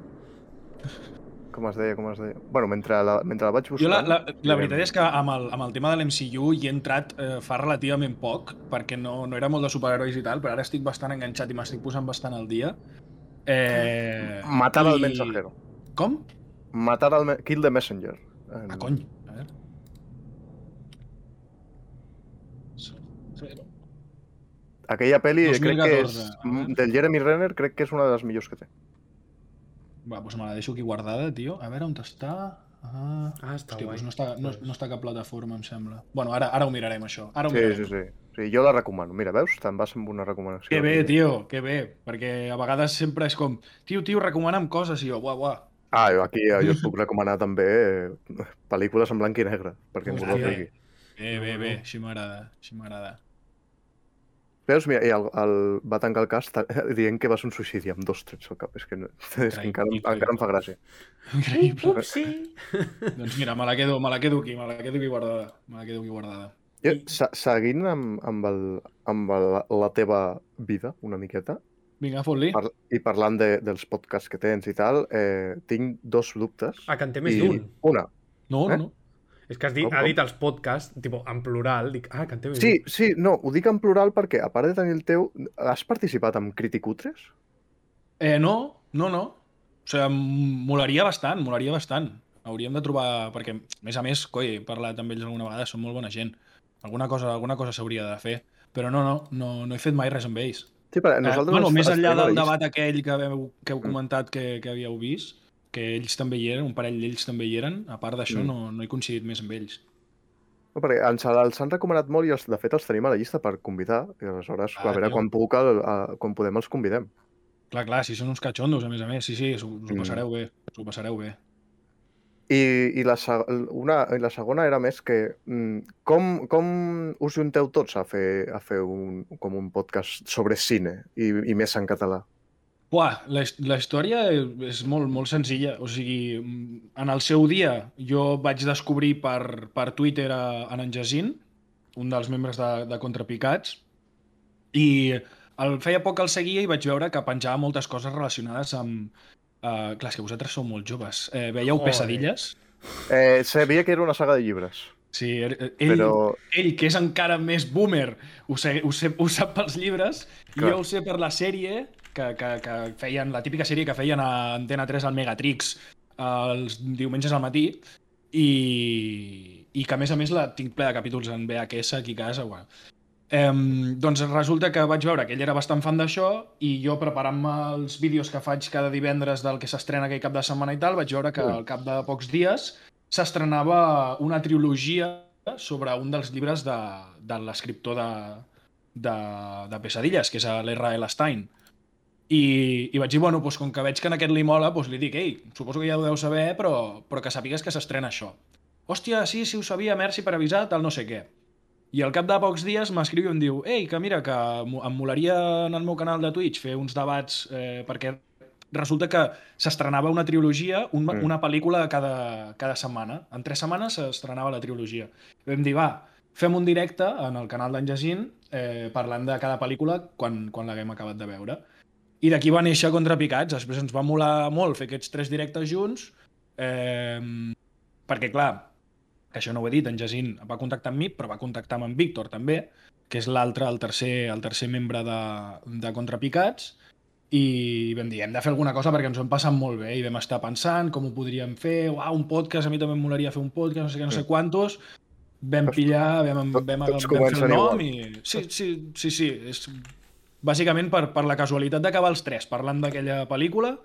S2: com es deia, com es deia. Bueno, mentre la, mentre la vaig
S3: Jo
S2: buscant...
S3: la, la, la veritat és que amb el, amb el tema de l'MCU hi he entrat eh, fa relativament poc, perquè no, no era molt de superherois i tal, però ara estic bastant enganxat i m'estic posant bastant al dia. Eh,
S2: Matar al
S3: i-
S2: mensajero.
S3: Com?
S2: Matar al... me- Kill the messenger.
S3: Ah,
S2: En-
S3: cony. A veure. Zero.
S2: Aquella pel·li
S3: 2014,
S2: crec que és...
S3: a veure.
S2: Del Jeremy Renner crec que és una de les millors que té.
S3: Va, doncs me la deixo aquí guardada, tio. A veure on està. Ah,
S1: Ah, està
S3: Hòstia,
S1: guai.
S3: doncs no, està, no, no està a cap plataforma, em sembla. Bueno, ara, ara ho mirarem, això. Ara ho
S2: Sí,
S3: mirarem.
S2: sí, sí. sí. Jo la recomano. Mira, veus? Te'n vas amb una recomanació.
S3: Que bé, tio, que bé. Perquè a vegades sempre és com, tio, tio, recomana'm coses, i jo, buah, buah.
S2: Ah, jo aquí eh, jo et
S3: *laughs*
S2: puc recomanar també eh, pel·lícules en blanc i negre, perquè ningú no
S1: Hòstia.
S2: digui.
S3: Bé, bé,
S1: No,
S3: bé,
S1: no.
S3: així m'agrada, així m'agrada.
S2: Veus, mira, i el, el, va tancar el cas ta- dient que va ser un suïcidi amb dos trets al cap. És que, no, *laughs* és que encara,
S3: Increïble.
S2: encara em fa gràcia.
S3: Increïble.
S1: Upsi!
S3: doncs mira, me la quedo, me la quedo aquí, me la quedo aquí guardada. Me la quedo aquí guardada.
S2: Jo, se, seguint amb, amb, el, amb el, la teva vida una miqueta
S3: Vinga, fot-li.
S2: par i parlant de, dels podcasts que tens i tal, eh, tinc dos dubtes.
S1: Ah, que en té més
S2: I
S1: d'un.
S2: Una.
S3: No,
S2: eh?
S3: no, no.
S1: És que has dit,
S2: Com,
S1: ha
S2: com?
S1: dit els podcasts, tipo, en plural, dic, ah, que en té més
S2: Sí,
S1: d'un.
S2: sí, no, ho dic en plural perquè, a part de tenir el teu, has participat amb Criticutres?
S3: Eh, no, no, no. O sigui, em molaria bastant, molaria bastant. Hauríem de trobar, perquè, a més a més, coi, he parlat amb ells alguna vegada, són molt bona gent. Alguna cosa alguna cosa s'hauria de fer. Però no, no, no, no he fet mai res amb ells.
S2: Sí, però
S3: Eh,
S2: nosaltres...
S3: bueno,
S2: ens-
S3: més
S2: ens tenim
S3: enllà
S2: a la
S3: del
S2: llista.
S3: debat aquell que, heu, que heu
S2: Mm.
S3: comentat que, que havíeu vist, que ells també hi eren, un parell d'ells també hi eren, a part d'això
S2: Mm.
S3: no, no he coincidit més amb ells.
S2: No, perquè ens, els han recomanat molt i els, de fet els tenim a la llista per convidar i aleshores
S3: Ah,
S2: a veure
S3: tio.
S2: quan, puc, el, a, quan podem els convidem.
S3: Clar, clar, si són uns catxondos, a més a més, sí, sí, us, ho- us ho
S2: Mm.
S3: passareu bé, us ho passareu bé.
S2: I, i la, seg- una, i la segona era més que mm, com, com us junteu tots a fer, a fer un, com un podcast sobre cine i, i més en català?
S3: Buah, la, his- la història és molt, molt senzilla. O sigui, mm, en el seu dia jo vaig descobrir per, per Twitter a, en en Jacint, un dels membres de, de Contrapicats, i el, feia poc que el seguia i vaig veure que penjava moltes coses relacionades amb... Uh, clar, és que vosaltres sou molt joves. Eh, veieu
S1: Joder.
S3: Pesadilles?
S2: Eh, sabia que era una saga de llibres,
S3: Sí, er- er- ell,
S2: però...
S3: ell, que és encara més boomer, ho, sé, ho, sé, ho sap pels llibres, i
S2: Clar.
S3: jo ho sé per la sèrie que, que, que feien, la típica sèrie que feien a Antena 3 al Megatrix els diumenges al matí, i, i que a més a més la tinc ple de capítols en VHS aquí a casa. Bueno. Um, doncs resulta que vaig veure que ell era bastant fan d'això i jo preparant-me els vídeos que faig cada divendres del que s'estrena aquell cap de setmana i tal, vaig veure que
S2: Mm.
S3: al cap de pocs dies s'estrenava una trilogia sobre un dels llibres de, de l'escriptor de, de, de Pesadilles, que és l'R.L. Stein. I, I vaig dir, bueno, doncs, com que veig que en aquest li mola, doncs li dic, ei, suposo que ja ho deu saber, però, però que sàpigues que s'estrena això. Hòstia, sí, sí, ho sabia, merci per avisar, tal no sé què. I al cap de pocs dies m'escriu i em diu «Ei, que mira, que mo- em molaria en el meu canal de Twitch fer uns debats eh, perquè resulta que s'estrenava una trilogia, un,
S2: Mm.
S3: mm. una pel·lícula cada, cada setmana. En tres setmanes s'estrenava la trilogia. I vam dir «Va, fem un directe en el canal d'en Jacint eh, parlant de cada pel·lícula quan, quan l'haguem acabat de veure». I d'aquí va néixer Contrapicats. Després ens va molar molt fer aquests tres directes junts eh, perquè, clar, que això no ho he dit, en Jacint va contactar amb mi, però va contactar amb en Víctor també, que és l'altre, el tercer, el tercer membre de, de Contrapicats, i vam dir, hem de fer alguna cosa perquè ens ho hem passat molt bé i vam estar pensant com ho podríem fer, uau, un podcast, a mi també em molaria fer un podcast, no sé què, no sé quantos vam pillar, vam,
S2: Mm. Tots-
S3: vam,
S2: tots
S3: vam, vam fer
S2: comencen
S3: el nom
S2: igual.
S3: i... Sí, sí, sí, sí, és bàsicament per, per la casualitat d'acabar els tres parlant d'aquella pel·lícula,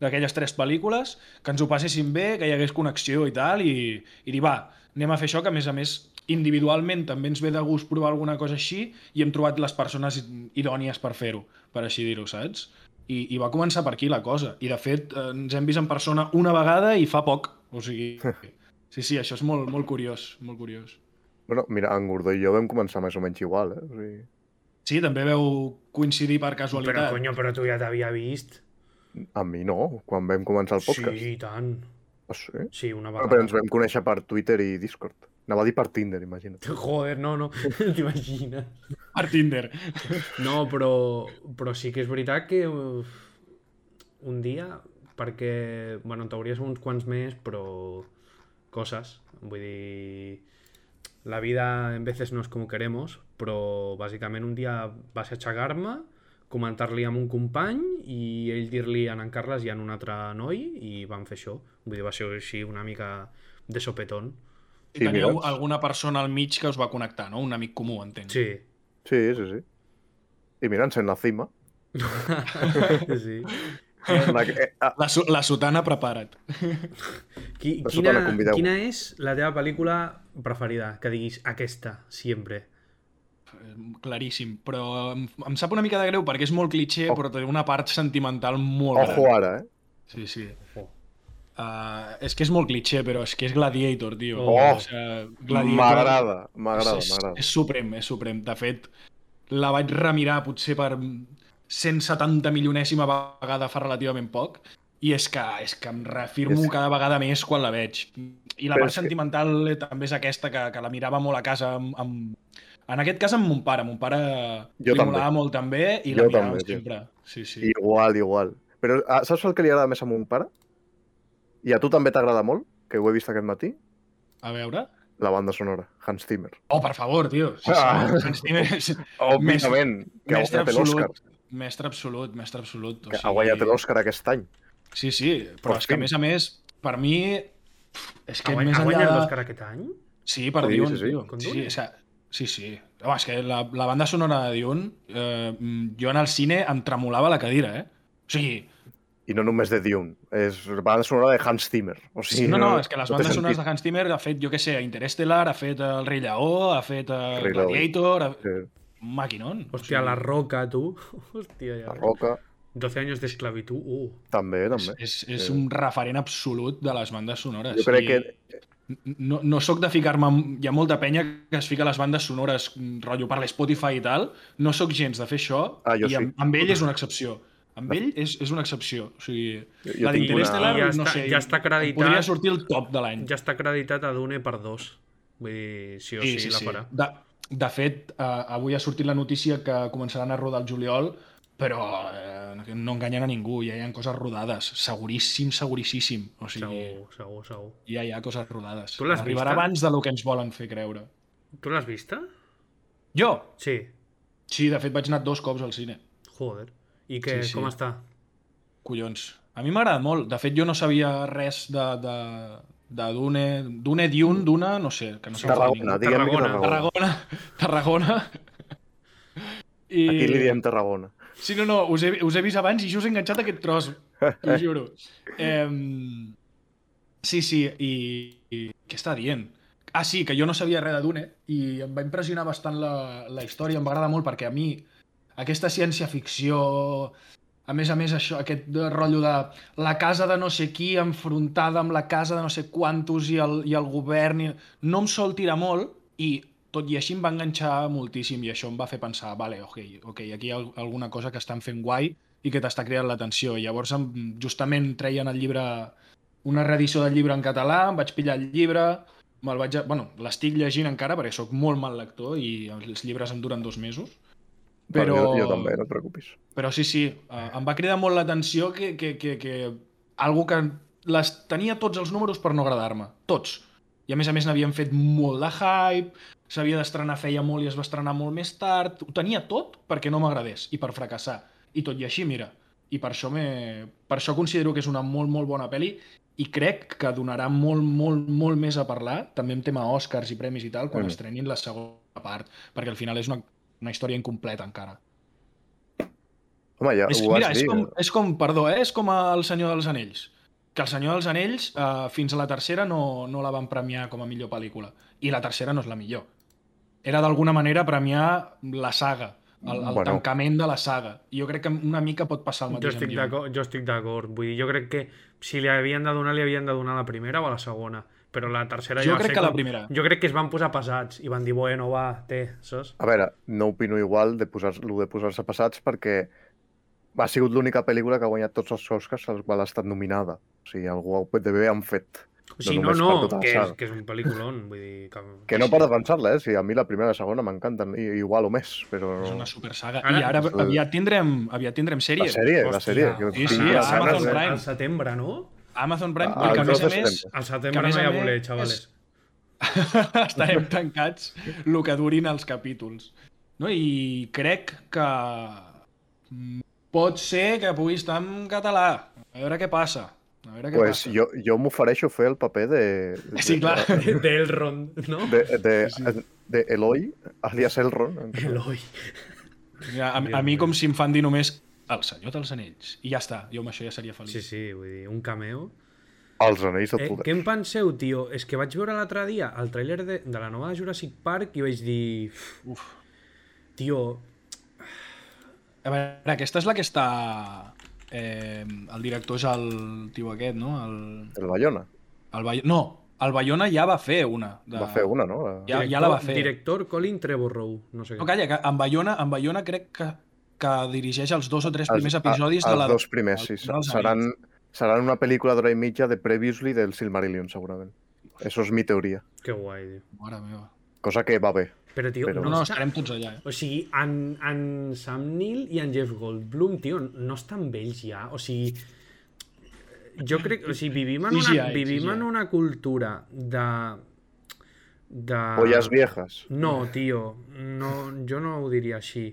S3: d'aquelles tres pel·lícules, que ens ho passessin bé, que hi hagués connexió i tal, i, i dir, va, anem a fer això, que a més a més individualment també ens ve de gust provar alguna cosa així i hem trobat les persones idònies per fer-ho, per així dir-ho, saps? I, I va començar per aquí la cosa. I de fet eh, ens hem vist en persona una vegada i fa poc. O sigui, sí, sí, això és molt, molt curiós, molt curiós.
S2: Bueno, mira, en Gordó i jo vam començar més o menys igual, eh? O sigui...
S3: Sí, també veu coincidir per casualitat.
S1: Però, coño, però tu ja t'havia vist.
S2: A mi no, quan vam començar el podcast.
S1: Sí, i tant.
S2: Ah, sí?
S1: Sí, una
S2: Bueno,
S1: vegada.
S2: però ens vam conèixer per Twitter i Discord. Anava a dir per Tinder, imagina't.
S1: Joder, no, *laughs* no, t'imagines.
S3: Per Tinder.
S1: No, però, però sí que és veritat que uf, un dia, perquè, bueno, en teoria són uns quants més, però coses, vull dir, la vida en veces no és com queremos, però bàsicament un dia vas aixecar-me, comentar-li amb un company i ell dir-li a en Carles i a un altre noi i van fer això. Vull dir, va ser així una mica de sopetón.
S3: I
S2: Sí,
S3: teníeu
S2: mira.
S3: alguna persona al mig que us va connectar, no? Un amic comú, entenc.
S1: Sí.
S2: Sí, sí, sí. I mira, ens en la
S3: *laughs*
S2: cima.
S1: sí.
S2: En aqu- eh, ah,
S3: La, su- la sotana, prepara't.
S1: Qui, quina,
S2: Per sota la convideu.
S1: quina és la teva pel·lícula preferida? Que diguis aquesta, sempre.
S3: Claríssim. Però em, em sap una mica de greu perquè és molt cliché,
S2: Oh.
S3: però té una part sentimental molt
S2: ojo
S3: gran.
S2: ara, eh?
S3: Sí, sí.
S1: Oh.
S3: Uh, és que és molt cliché, però és que és Gladiator, tio.
S1: Oh.
S3: O sigui,
S2: M'agrada, m'agrada,
S3: És, és,
S2: m'agrada.
S3: és suprem, és suprem. De fet, la vaig remirar potser per 170 milionèsima vegada fa relativament poc i és que, és que em reafirmo
S2: És-
S3: cada vegada més quan la veig. I la
S2: Però
S3: part
S2: és que-
S3: sentimental eh, també és aquesta, que, que la mirava molt a casa amb, amb... En aquest cas amb mon pare. Mon pare
S2: Jo
S3: li
S2: també.
S3: molava molt també i
S2: Jo
S3: la miràvem
S2: també, tio.
S3: sempre. Sí, sí.
S2: Igual, igual. Però ah, saps el que li agrada més a mon pare? I a tu també t'agrada molt, que ho he vist aquest matí?
S3: A veure...
S2: La banda sonora, Hans Zimmer.
S3: Oh, per favor, tio. Sí, sí.
S2: Ah.
S3: Hans Zimmer és
S2: Òbviament, que ha
S3: mestre
S2: guanyat l'Òscar.
S3: Oh, absolut. Mestre absolut, mestre absolut. O
S2: Que ha guanyat l'Òscar aquest any.
S3: Sí, sí, però
S2: Per
S3: és que a
S2: fi.
S3: més a més, per mi, és
S1: Que
S3: que
S1: ha guany-
S3: més
S1: ha guanyat
S3: enllà...
S1: l'Òscar aquest any?
S3: Sí, per
S2: Sí,
S3: Dune,
S2: sí, sí.
S3: tio.
S1: Con
S3: Sí,
S1: Dune.
S3: sí, o sea, sí, sí. Home, és que la, la banda sonora de Dune, eh, mm, jo en el cine em tremolava la cadira, eh? O sigui,
S2: I no només de Dune, és la banda sonora de Hans Zimmer. O sigui,
S3: sí, no, no, és que les
S2: no té
S3: bandes sonores de
S2: sentit.
S3: Hans Zimmer ha fet, jo què sé, Interestelar, ha fet eh, El Rei Lleó, ha fet eh,
S2: Rei Lleó.
S3: Gladiator... Ha...
S2: Sí,
S3: Un maquinon. o
S1: Hòstia,
S3: sigui,
S1: La Roca, tu. *laughs* Hòstia, ja.
S2: La Roca,
S1: 12 anys d'esclavitud. Uh.
S2: també, també.
S3: És, és un referent absolut de les bandes sonores.
S2: Jo crec
S3: I-
S2: que...
S3: no, no sóc de ficar-me... en- Hi ha molta penya que es fica les bandes sonores, mm, rotllo per l'Spotify i tal. No sóc gens de fer això.
S2: Ah, jo
S3: I amb,
S2: sí.
S3: amb ell és una excepció. Amb ell és, és una excepció. O sigui,
S2: Jo- jo
S3: la
S2: tinc
S3: d'Interestelar,
S1: una- I ja
S3: no
S1: està-
S3: sé,
S1: ja està acreditat.
S3: Podria sortir el top de l'any.
S1: Ja està acreditat a Dune per dos. Vull dir, sí o sí, la farà.
S3: De, de fet, eh, avui ha sortit la notícia que començaran a rodar el juliol, però eh, no enganyen a ningú, ja hi ha coses rodades, seguríssim, seguríssim. O sigui,
S1: Segur, segur, segur.
S3: ja hi ha coses rodades.
S1: Tu l'has eh?
S3: Arribarà
S1: vista?
S3: abans del que ens volen fer creure.
S1: Tu l'has vista?
S3: Jo,
S1: Sí.
S3: Sí, de fet vaig anar dos cops al cine.
S1: Joder. I què,
S3: Sí, sí.
S1: com està?
S3: Collons. A mi m'agrada molt. De fet, jo no sabia res de, de, de Dune... Dune, Dune, Duna, no sé. Que no sé
S2: Tarragona, diguem que
S1: Tarragona.
S2: Tarragona.
S3: Tarragona. Tarragona. I...
S2: Aquí li diem Tarragona.
S3: Sí, no, no, us he, us he vist abans i just he enganxat aquest tros.
S2: *laughs*
S3: T'ho juro. Eh, sí, sí, i, i... Què està dient? Ah, sí, que jo no sabia res de Dune i em va impressionar bastant la, la història, em va agradar molt perquè a mi aquesta ciència-ficció, a més a més això, aquest de- rotllo de la casa de no sé qui enfrontada amb la casa de no sé quantos i el, i el govern, i... no em sol tirar molt i tot i així em va enganxar moltíssim i això em va fer pensar, vale, ok, okay aquí hi ha al- alguna cosa que estan fent guai i que t'està cridant l'atenció. I Llavors em, justament treien el llibre, una reedició del llibre en català, em vaig pillar el llibre, me'l vaig... A... Bueno, l'estic llegint encara perquè sóc molt mal lector i els llibres em duren dos mesos.
S2: Però...
S3: Però-
S2: Jo, jo també, no et preocupis.
S3: Però sí, sí, eh, em va cridar molt l'atenció que, que, que, que algo que les tenia tots els números per no agradar-me, tots. I a més a més n'havien fet molt de hype, s'havia d'estrenar feia molt i es va estrenar molt més tard, ho tenia tot perquè no m'agradés i per fracassar. I tot i així, mira, i per això, me... per això considero que és una molt, molt bona pel·li i crec que donarà molt, molt, molt més a parlar, també en tema Oscars i premis i tal, quan
S2: Mm.
S3: mm. estrenin la segona part, perquè al final és una, una història incompleta encara.
S2: Home, ja
S3: És,
S2: ho vas
S3: mira, és
S2: dir.
S3: com, és com, perdó, eh? és com El Senyor dels Anells. Que El Senyor dels Anells, eh, fins a la tercera, no, no la van premiar com a millor pel·lícula. I la tercera no és la millor. Era d'alguna manera premiar la saga, el, el
S2: Bueno.
S3: bueno. tancament de la saga. I jo crec que una mica pot passar el
S1: Jo
S3: mateix. amb
S1: estic
S3: Dune.
S1: d'acord, jo estic d'acord. Vull dir, jo crec que si li havien de donar, li havien de donar la primera o la segona. Però la tercera ja
S3: Jo
S1: va
S3: crec
S1: ser
S3: que la
S1: com-
S3: primera.
S1: Jo crec que es van posar pesats i van dir, bueno, va, té, saps?
S2: A veure, no opino igual de posar lo de posar-se passats perquè ha sigut l'única pel·lícula que ha guanyat tots els Oscars al qual ha estat nominada. O sigui, algú ho de bé han fet.
S1: O sigui, no,
S2: només
S1: no,
S2: per tota la
S1: que és,
S2: saga.
S1: que és un pel·liculón, vull dir... Que...
S2: Que no per defensar-la, eh? Si a mi la primera i la segona m'encanten, i- igual o més, però...
S3: És una supersaga.
S1: Ara-
S3: I ara aviat tindrem, aviat tindrem
S2: La
S3: sèrie.
S2: sèrie, la sèrie.
S1: Hòstia,
S2: que
S3: sí, sí,
S2: tinc les
S1: al-
S3: Amazon
S2: ganes, eh?
S3: Prime.
S1: Al setembre, no?
S3: Amazon Prime,
S2: Ah,
S3: i que a
S2: el
S3: més a
S2: 12 de
S3: més
S1: Al
S2: setembre.
S3: Que a
S1: setembre
S3: més
S1: no hi
S3: a
S1: ha
S3: més-
S1: voler, xavales.
S3: *laughs* estarem tancats el que durin els capítols. No? I crec que mm, pot ser que pugui estar en català. A veure què passa. A veure què
S2: Pues
S3: passa.
S2: jo, jo m'ofereixo fer el paper de... de
S3: Sí, clar.
S1: D'Elrond, no?
S2: De, de, de, de Eloi, alias Elron.
S3: Eh,
S1: Eloi.
S3: Mira, a, a mi com si em fan dir només el senyor dels anells. I ja està. Jo amb això ja seria feliç.
S1: Sí, sí, vull dir, un cameo.
S2: Els anells de
S1: Eh,
S2: poder.
S1: què en penseu, tio? És que vaig veure l'altre dia el tràiler de, de la nova de Jurassic Park i vaig dir... "Uf,
S3: Uf.
S1: Tio,
S3: A veure, aquesta és la que està... Eh, el director és el tio aquest, no? El,
S2: El Bayona.
S3: el Bay... No, el Bayona ja va fer una. De...
S2: Va fer una, no? La...
S3: Ja,
S1: director,
S3: ja la va fer.
S1: director Colin Trevorrow, no sé què.
S3: No, calla, que en Bayona, en Bayona crec que, que dirigeix els dos o tres primers
S2: Els-
S3: episodis
S2: a-
S3: de la...
S2: Els dos primers, sí.
S3: del- dels
S2: Seran,
S3: anells.
S2: seran una pel·lícula d'hora i mitja de Previously del Silmarillion, segurament. Això és mi teoria.
S1: Que guai, tio.
S3: Mare meva.
S2: Cosa que va bé.
S1: Però, tio,
S2: Però-
S3: No, no,
S1: està-
S3: estarem tots allà, eh?
S1: O sigui, en, en Sam Neill i en Jeff Goldblum, tio, no estan vells ja. O sigui, jo crec... O sigui, vivim en una,
S3: CGI,
S1: vivim
S3: CGI.
S1: en una cultura de... de...
S2: Ollas viejas.
S1: No, tio, no, jo no ho diria així.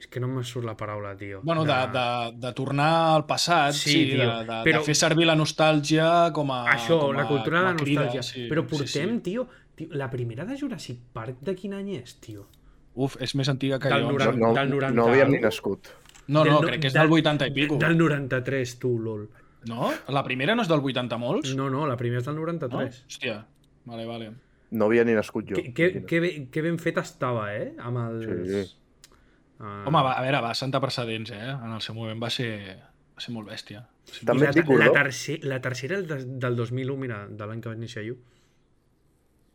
S1: És que no me surt la paraula, tio.
S3: Bueno, de, de, de tornar al passat,
S1: Sí,
S3: sí, sí
S1: tio,
S3: de, de,
S1: però-
S3: de fer servir la nostàlgia com a...
S1: Això,
S3: com a,
S1: la cultura de la
S3: com a crida,
S1: nostàlgia.
S3: sí,
S1: Però
S3: sí,
S1: portem, tio, tio, la primera de Jurassic Park de quin any és, tio?
S3: Sí. Uf, és més antiga que
S1: Del
S3: jo.
S2: No,
S1: 90.
S2: no,
S1: Del
S2: no havíem ni
S1: 90.
S2: nascut.
S3: No, no,
S1: Del
S3: crec que és del 80 i pico.
S1: Del 93, tu, lol.
S3: No? La primera no és del 80 molts?
S1: No, no, la primera és del
S3: no?
S1: 93.
S3: Hòstia, vale, vale.
S2: No havia ni nascut Ah, jo.
S1: Que, que, que, ben, que ben fet estava, eh? Amb els...
S2: Sí, sí.
S1: Ah.
S3: Home, va, a veure, va, sentar precedents, eh? En el seu moment va ser, va ser molt bèstia.
S1: I
S2: També
S1: la,
S2: et dic,
S1: la,
S2: Gordó,
S1: tercer, la tercera el de- del 2001, mira, de l'any que vaig néixer jo.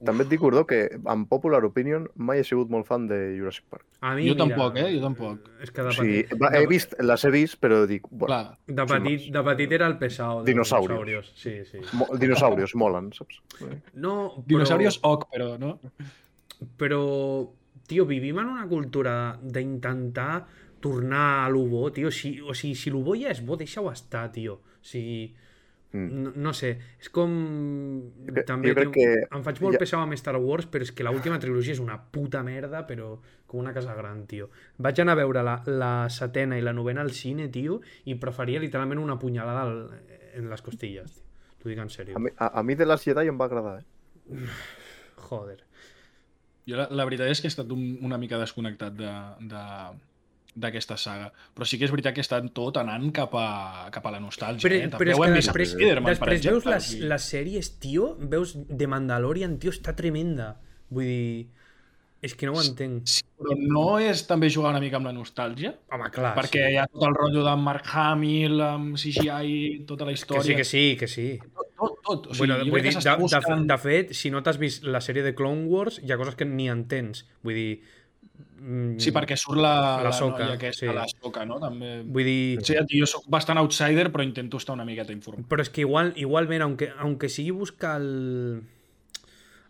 S2: també et dic, Gordó, que en Popular Opinion mai he sigut molt fan de Jurassic Park.
S1: A mi,
S3: Jo
S1: mira,
S3: tampoc, eh? Jo tampoc.
S1: És que
S2: O
S1: de
S2: sigui,
S1: petit,
S2: va, he vist, les he vist, però dic, bueno,
S3: Clar,
S1: de, petit, de petit era el pesado. de
S2: Dinosaurios.
S1: dinosaurios. Sí, sí.
S2: mo- dinosaurios molen, saps?
S1: No, però,
S3: Dinosaurios oc, però, no?
S1: Però, tio, vivim en una cultura d'intentar tornar a lo bo, tio. Si, o sigui, si lo bo ja és bo, deixa-ho estar, tio. O sigui,
S2: Mm.
S1: no, no sé, és com...
S2: cre-
S1: També
S2: jo
S1: tio,
S2: crec que-
S1: em faig molt
S2: ja-
S1: pesada amb Star Wars, però és que l'última trilogia és una puta merda, però com una casa gran, tio. Vaig anar a veure la, la setena i la novena al cine, tio, i preferia literalment una punyalada al, en les costilles, tio. T'ho dic en
S2: A
S1: sèrio.
S2: mi, a, a mi de les Jedi em va agradar, eh?
S1: Joder.
S3: Jo la, la veritat és que he estat un, una mica desconnectat de, de, d'aquesta saga. Però sí que és veritat que està tot anant cap a, cap a la nostàlgia.
S1: Però-
S3: eh?
S1: però és
S3: També ho
S1: que
S3: hem vist
S1: després-
S3: amb Spider-Man,
S1: Després
S3: per
S1: veus
S3: exemple.
S1: les, les sèries, tio, veus The Mandalorian, tio, està tremenda. Vull dir... És que no ho entenc.
S3: Sí, però no és també jugar una mica amb la nostàlgia?
S1: Home, clar,
S3: perquè
S1: Ah, sí.
S3: hi ha tot el rotllo de Mark Hamill, amb CGI, tota
S1: Que
S3: la
S1: sí,
S3: història.
S1: que sí, que sí.
S3: Tot, tot, tot. O sigui,
S1: bueno,
S3: jo
S1: vull
S3: crec
S1: dir,
S3: que
S1: de,
S3: s'està
S1: de,
S3: buscant...
S1: de fet, si no t'has vist la sèrie de Clone Wars, hi ha coses que ni entens. Vull dir... mm,
S3: Sí, perquè surt la, la,
S1: Soka,
S3: noia aquesta,
S1: sí.
S3: la Soca, no? També...
S1: Vull dir...
S3: Sí, jo soc bastant outsider, però intento estar una miqueta informat.
S1: Però és que igual, igualment, aunque, aunque sigui buscar el,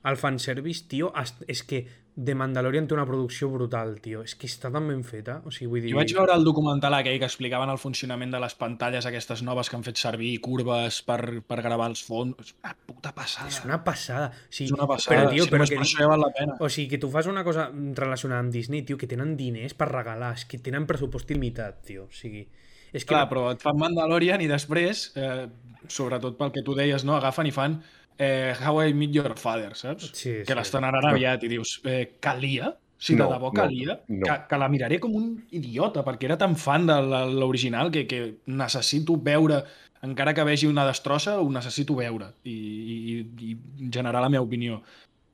S1: el fanservice, tio, es- és que The Mandalorian té una producció brutal, tio. És que està tan ben feta. O sigui, vull dir...
S3: Jo vaig veure el documental aquell que explicaven el funcionament de les pantalles aquestes noves que han fet servir i curves per, per gravar els fons. És una puta passada.
S1: És una passada. O sigui,
S3: És una passada.
S1: Però, tio,
S3: si
S1: però
S3: només
S1: que,
S3: per això ja val la pena.
S1: o sigui, que tu fas una cosa relacionada amb Disney, tio, que tenen diners per regalar, és que tenen pressupost il·limitat, tio. O sigui, És que
S3: Clar, però et fan Mandalorian i després, eh, sobretot pel que tu deies, no, agafen i fan eh, How I Meet Your Father, saps?
S1: Sí,
S3: que
S1: sí.
S3: l'estrenaran aviat i dius, eh, calia? Si
S2: No,
S3: de debò
S2: no,
S3: calia?
S2: no.
S3: Que, que la miraré com un idiota, perquè era tan fan de la- l'original que, que necessito veure, encara que vegi una destrossa, ho necessito veure i, i, i generar la meva opinió.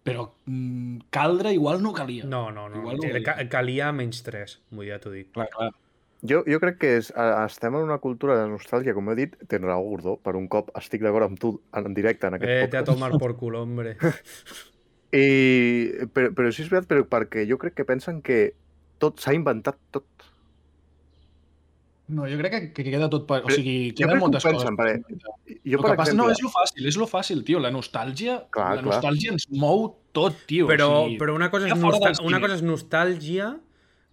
S3: Però mm, caldre igual no calia.
S1: No, no, no.
S3: Igual
S1: no
S3: no ho
S1: ca-
S3: dic.
S1: calia menys 3, vull dir, ja t'ho dic.
S3: Clar, clar.
S2: Jo, jo crec que és, a- estem en una cultura de nostàlgia, com he dit, tens raó, Gordó, per un cop estic d'acord amb tu en, en directe en aquest
S1: Eh, te a
S2: podcast.
S1: tomar por culo,
S3: *laughs*
S1: hombre.
S2: I, però, però sí és veritat, però perquè jo crec que pensen que tot s'ha inventat tot.
S3: No, jo crec que, que queda tot... Per... O
S2: Però
S3: sigui,
S2: jo crec
S3: queden
S2: que ho
S3: moltes
S2: pensen,
S3: coses.
S2: perquè-
S3: Jo,
S2: Jo,
S3: el que passa, no, és lo fàcil, és lo fàcil, tio. La nostàlgia,
S2: Clar,
S3: la
S2: clar.
S3: nostàlgia ens mou tot, tio.
S1: Però,
S3: o sigui,
S1: però una, cosa és
S3: ja fora
S1: nostal-
S3: dels
S1: una
S3: límits.
S1: cosa és nostàlgia,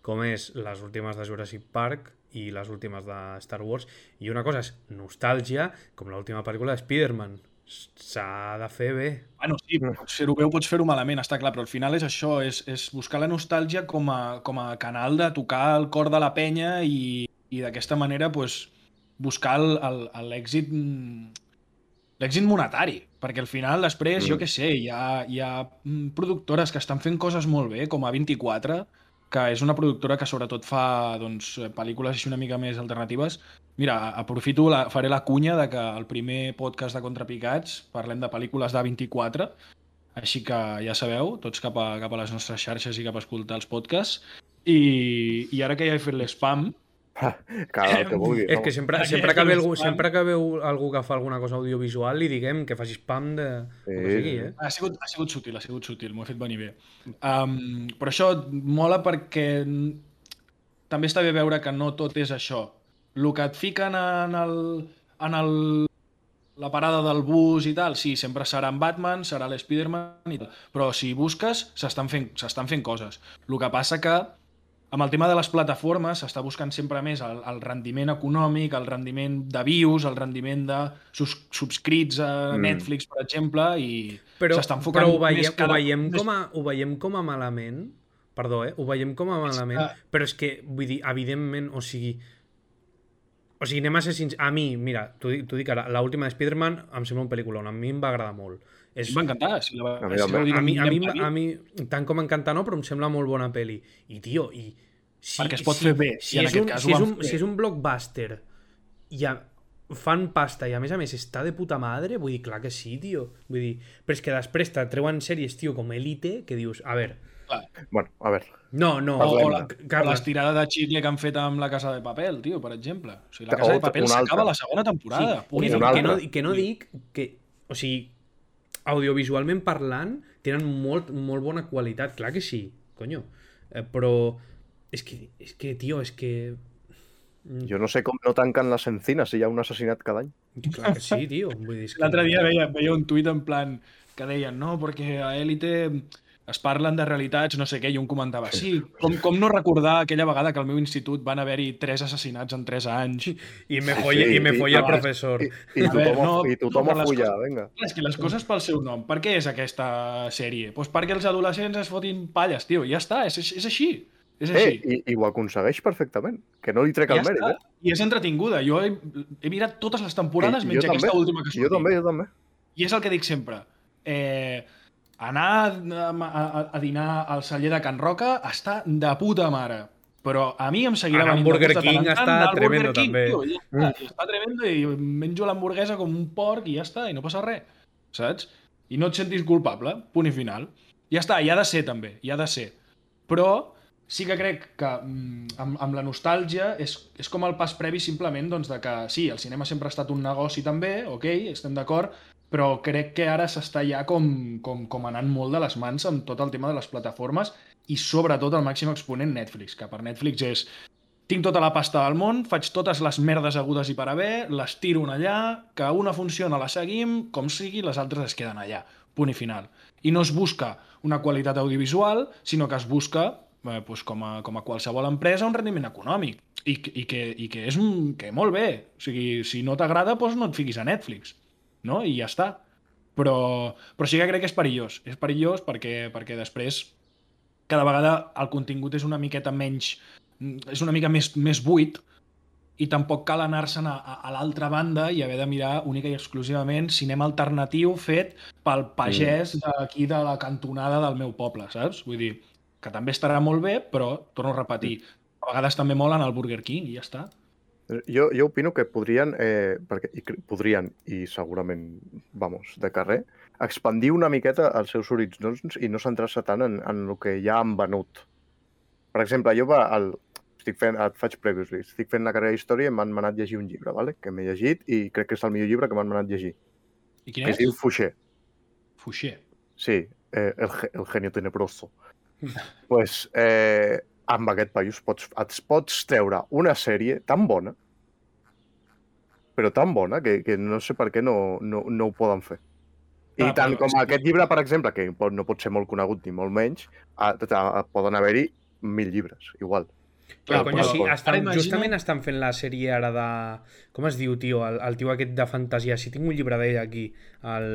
S1: com és les últimes de Jurassic Park i les últimes de Star Wars, i una cosa és nostàlgia, com l'última pel·lícula de Spider-Man. S- S'ha de fer bé.
S3: Bueno, sí, pots fer-ho bé o pots fer-ho malament, està clar, però al final és això, és, és buscar la nostàlgia com a, com a canal de tocar el cor de la penya i, i d'aquesta manera pues, buscar el- el- el- l'èxit mm, l'èxit monetari, perquè al final després,
S2: Mm.
S3: jo que sé, hi ha, hi ha mm, productores que estan fent coses molt bé, com a 24, que és una productora que sobretot fa doncs, pel·lícules així una mica més alternatives. Mira, aprofito, la, faré la cunya de que el primer podcast de Contrapicats parlem de pel·lícules d'A24, així que ja sabeu, tots cap a, cap a les nostres xarxes i cap a escoltar els podcasts. I, i ara que ja he fet l'espam,
S2: Clar,
S1: *laughs*
S2: el que vulgui.
S1: És que
S2: vamos.
S1: sempre,
S3: Aquí
S1: sempre,
S3: és
S1: que ve
S3: el
S1: algú,
S3: spam.
S1: sempre que veu algú que fa alguna cosa audiovisual li diguem que faci spam de... Sí, que
S2: Sí,
S1: sigui,
S2: sí.
S1: eh?
S3: Ha sigut, ha sigut sutil, ha sigut sutil, m'ho he fet venir bé. Um, però això mola perquè n- també està bé veure que no tot és això. El que et fiquen en, el, en el, la parada del bus i tal, sí, sempre serà en Batman, serà l'Spiderman i tal. Però si busques, s'estan fent, s'estan fent coses. El que passa que amb el tema de les plataformes s'està buscant sempre més el, el rendiment econòmic, el rendiment de views, el rendiment de sus, subscrits a
S2: Mm.
S3: Netflix, per exemple, i
S1: Però,
S3: s'està enfocant
S1: però ho,
S3: més
S1: veiem,
S3: cada-
S1: ho, veiem
S3: més-
S1: com a, ho veiem com a malament, perdó, eh? ho veiem com a malament,
S3: que-
S1: però és que, vull dir, evidentment, o sigui, o sigui, anem a ser sincers. A mi, mira, t'ho dic, t'ho dic ara, l'última de Spider-Man em sembla un pel·lícula, a mi em va agradar molt. És,
S3: Em va encantar. Si la,
S2: A mi
S3: si
S2: també.
S3: vau dir
S1: a,
S3: que
S1: mi, a, mi,
S3: anirem
S1: a mi, tant com m'encanta no, però em sembla molt bona peli. I, tio, i... Si,
S3: Perquè es pot fer bé, i en
S1: és
S3: aquest
S1: un,
S3: cas ho
S1: si és
S3: van
S1: un,
S3: fer.
S1: si és un blockbuster i a, fan pasta i a més a més està de puta madre, vull dir, clar que sí, tio. Vull dir, però és que després te treuen sèries, tio, com Elite, que dius, a veure,
S2: Bueno, a veure.
S1: no, no,
S2: Parlem-ne.
S1: o la-
S3: a
S1: Carles,
S3: l'estirada de xicle que han fet amb la Casa de Papel, tio, per exemple. O sigui, la
S2: Que-
S3: Casa
S2: o
S3: de Papel
S2: una
S3: s'acaba
S2: altra.
S3: la segona temporada.
S1: Sí,
S3: punt
S1: que,
S3: i
S2: un
S1: no,
S2: altre.
S1: que, no, que no dic que... O sigui, audiovisualment parlant, tenen molt, molt bona qualitat. Clar que sí, conyo. Eh, però és que, és que, tio, és que... Mm,
S2: Jo no sé com no tanquen les encines si hi ha un assassinat cada any.
S1: Clar que sí, tio. Vull dir, és que...
S3: L'altre dia veia, veia un tuit en plan que deien, no, perquè a Élite es parlen de realitats, no sé què, i un comentava, sí, com, com no recordar aquella vegada que al meu institut van haver-hi tres assassinats en tres anys.
S1: I me folla,
S2: Sí,
S1: i me
S2: i-
S1: folla
S2: i-
S1: el professor.
S2: I, i
S3: A veure,
S2: tothom,
S3: no,
S2: no, i tothom
S3: no,
S2: a
S3: per les
S2: follar,
S3: coses-
S2: vinga.
S3: Clar, és que les coses pel seu nom. Per què és aquesta sèrie? Doncs perquè els adolescents es fotin palles, tio. Ja està, és, és així. És
S2: Eh,
S3: així.
S2: i, i ho aconsegueix perfectament. Que no li trec el
S3: ja
S2: mèrit,
S3: està,
S2: eh?
S3: I és entretinguda. Jo he, he mirat totes les temporades
S2: I-
S3: menys
S2: jo
S3: aquesta
S2: també,
S3: última que
S2: Jo també, jo també.
S3: I és el que dic sempre. Eh, anar a, a, a dinar al celler de Can Roca està de puta mare. Però a mi em seguirà
S1: Anar al
S3: venint
S1: Burger
S3: de gust de tant en
S1: King
S3: tant,
S1: està
S3: anar al Burger
S1: tremendo,
S3: King,
S1: també.
S3: Tio, ja està, ja està tremendo i menjo l'hamburguesa com un porc i ja està, i no passa res, saps? I no et sentis culpable, punt i final. Ja està, hi ha de ser també, hi ha de ser. Però sí que crec que mm, amb, amb la nostàlgia és, és com el pas previ simplement doncs, de que sí, el cinema sempre ha estat un negoci també, ok, estem d'acord, però crec que ara s'està ja com, com, com anant molt de les mans amb tot el tema de les plataformes i sobretot el màxim exponent Netflix, que per Netflix és tinc tota la pasta del món, faig totes les merdes agudes i per haver, les tiro en allà, que una funciona la seguim, com sigui, les altres es queden allà. Punt i final. I no es busca una qualitat audiovisual, sinó que es busca, eh, doncs com, a, com a qualsevol empresa, un rendiment econòmic. I, que- i, que, i que és un, que molt bé. O sigui, si no t'agrada, doncs no et fiquis a Netflix. No? I ja està. Però, però sí que crec que és perillós. És perillós perquè, perquè després cada vegada el contingut és una miqueta menys és una mica més, més buit i tampoc cal anar-se'n a, a, a l'altra banda i haver de mirar única i exclusivament cinema alternatiu fet pel pagès d'aquí de la cantonada del meu poble, saps? Vull dir, que també estarà molt bé, però, torno a repetir, a vegades també molen el Burger King i ja està.
S2: Jo, jo opino que podrien, eh, perquè i, cre- podrien, i segurament, vamos, de carrer, expandir una miqueta els seus horitzons i no centrar-se tant en, en el que ja han venut. Per exemple, jo va, el, estic fent, et faig previously, estic fent la carrera d'història i m'han manat llegir un llibre, vale? que m'he llegit i crec que és el millor llibre que m'han manat llegir,
S3: I quin
S2: que es
S3: és?
S2: diu Fuixer.
S3: Fuixer.
S2: Sí, eh, el, ge- el genio tenebroso. pues, eh, amb aquest país pots, et pots treure una sèrie tan bona, però tan bona, que, que no sé per què no, no, no ho poden fer. I
S3: Clar,
S2: tant
S3: però
S2: com
S3: és que-
S2: aquest llibre, per exemple, que pot- no pot ser molt conegut ni molt menys, a, a, a, poden haver-hi mil llibres, igual.
S1: Però,
S3: Clar,
S1: conya,
S3: però-
S1: sí, estan,
S3: Ara imagina't-
S1: justament estan fent la sèrie ara de... Com es diu, tio? El, el tio aquest de fantasia. Si tinc un llibre d'ell aquí. El...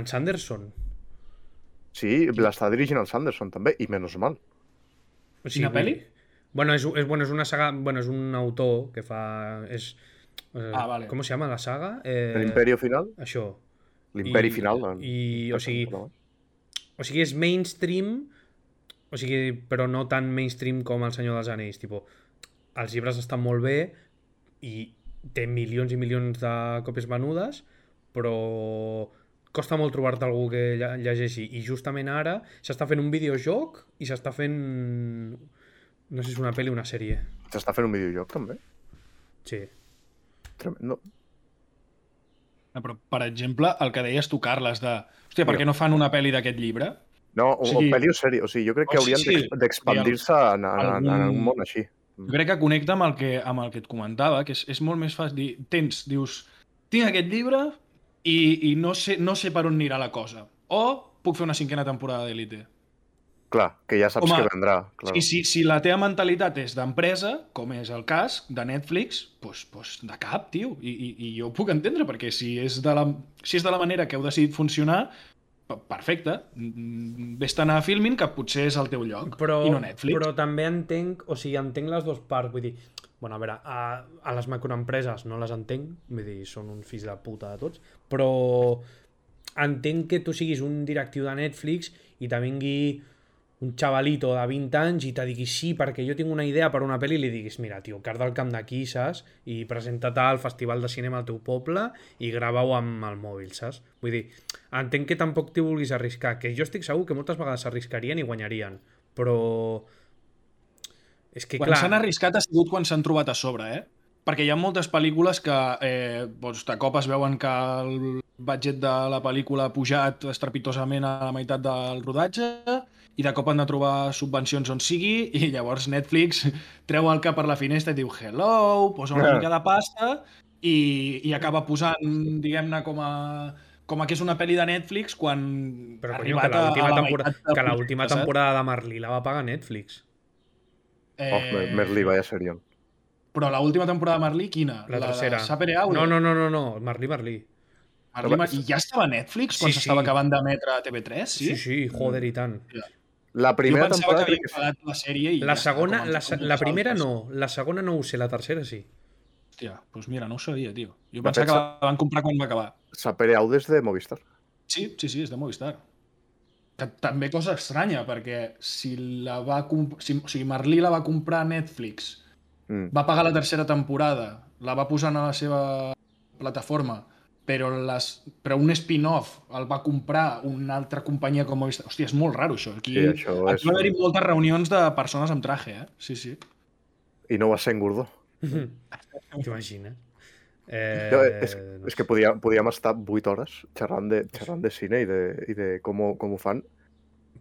S1: En Sanderson.
S2: Sí, l'està dirigint el Sanderson també, i menys mal.
S1: O
S3: Quina
S1: vull
S3: peli?
S1: dir- Bueno és, és, bueno, és una saga... Bueno, és un autor que fa... És, eh,
S3: Ah, vale.
S1: Com se llama la saga? Eh,
S2: L'Imperi Final?
S1: Això.
S2: L'imperi
S1: i-
S2: final. doncs, en-
S1: i, o sigui,
S2: en- en-
S1: O sigui, és mainstream, o sigui, però no tan mainstream com El Senyor dels Anells. Tipo, els llibres estan molt bé i té milions i milions de còpies venudes, però costa molt trobar-te algú que lle- llegeixi. I justament ara s'està fent un videojoc i s'està fent... No sé si és una pel·li o una sèrie.
S2: S'està fent un videojoc, també.
S1: Sí.
S2: Tremendo.
S3: No, però, per exemple, el que deies tu, Carles, de... Hòstia, per què no fan una pel·li d'aquest llibre?
S2: No, o,
S3: O
S2: o
S3: sigui-
S2: pel·li o sèrie. O sigui, jo crec
S3: O
S2: que
S3: sí,
S2: haurien
S3: sí.
S2: d'ex- d'expandir-se en, en, en, en
S3: Algun-
S2: un món així.
S3: Jo crec que connecta amb el que, amb el que et comentava, que és, és molt més fàcil dir, tens, dius, tinc aquest llibre i, i no, sé, no sé per on anirà la cosa. O puc fer una cinquena temporada d'Elite.
S2: Clar, que ja saps
S3: Home,
S2: que vendrà. Clar.
S3: I si, si la teva mentalitat és d'empresa, com és el cas de Netflix, doncs, doncs de cap, tio. I, i, I jo ho puc entendre, perquè si és de la, si és de la manera que heu decidit funcionar, pe- perfecte. Mm, Ves-te a anar a Filmin, que potser és el teu lloc,
S1: però,
S3: i no Netflix.
S1: però també entenc, o sigui, entenc les dues parts, vull dir, bueno, a veure, a, a les macroempreses no les entenc, vull dir, són uns fills de puta de tots, però entenc que tu siguis un directiu de Netflix i te vingui un xavalito de 20 anys i te digui sí, perquè jo tinc una idea per una pel·li i li diguis, mira, tio, carda el camp d'aquí, saps? I presenta't al Festival de Cinema al teu poble i grava-ho amb el mòbil, saps? Vull dir, entenc que tampoc t'hi vulguis arriscar, que jo estic segur que moltes vegades s'arriscarien i guanyarien, però... És que,
S3: Quan s'han
S1: clar...
S3: arriscat ha sigut quan s'han trobat a sobre, eh? Perquè hi ha moltes pel·lícules que eh, doncs, de cop es veuen que el budget de la pel·lícula ha pujat estrepitosament a la meitat del rodatge i de cop han de trobar subvencions on sigui i *laughs* llavors Netflix treu el cap per la finestra i diu hello, posa una
S2: Ah.
S3: mica de pasta i, i acaba posant, diguem-ne, com a com a que és una pel·li de Netflix quan
S1: Però,
S3: ha
S1: conyo, que
S3: a- a
S1: l'última
S3: la
S1: temporada,
S3: meitat del
S1: que l'última
S3: projecte, saps?
S1: temporada de Merlí la va pagar Netflix.
S3: Eh,
S2: Oh, Mer- Merlí, vaya serión.
S3: Però l'última temporada de Merlí, quina?
S1: La, tercera.
S3: de Sapere Aude?
S1: No, no, no, no, no, Merlí, Merlí.
S3: Merlí, Mer- I ja estava a Netflix quan
S1: Sí,
S3: s'estava
S1: sí.
S3: acabant d'emetre a TV3, sí?
S1: Sí, sí, joder, i tant.
S2: La primera
S3: jo pensava
S2: temporada
S3: que havien
S2: crec que...
S3: pagat la sèrie i
S1: La
S3: ja està,
S1: segona,
S3: com han
S1: la,
S3: fet amb
S1: la
S3: moltes
S1: primera
S3: altres.
S1: no, la segona no ho sé, la tercera sí. *laughs*
S3: Hòstia, doncs mira, no ho sabia, tio. Jo
S2: De
S3: pensava
S2: fet,
S3: que la van comprar quan va acabar.
S2: Sapere Audes de Movistar.
S3: Sí, sí, sí, és de Movistar. Que també cosa estranya, perquè si la va comp- si, o sigui, Merlí la va comprar a Netflix,
S2: Mm.
S3: va pagar la tercera temporada, la va posar a la seva plataforma, però, les, però un spin-off el va comprar una altra companyia com Movistar. Hòstia, és molt raro això. Aquí,
S2: Sí, això és-
S3: aquí va haver-hi moltes reunions de persones amb traje, eh? Sí, sí.
S2: I no va ser en Gordó.
S1: T'imagines? Eh,
S2: Jo, és,
S1: no
S2: és
S1: sé.
S2: que podíem, podíem estar 8 hores xerrant de, xerrant de cine i de, i de com, ho, com ho fan.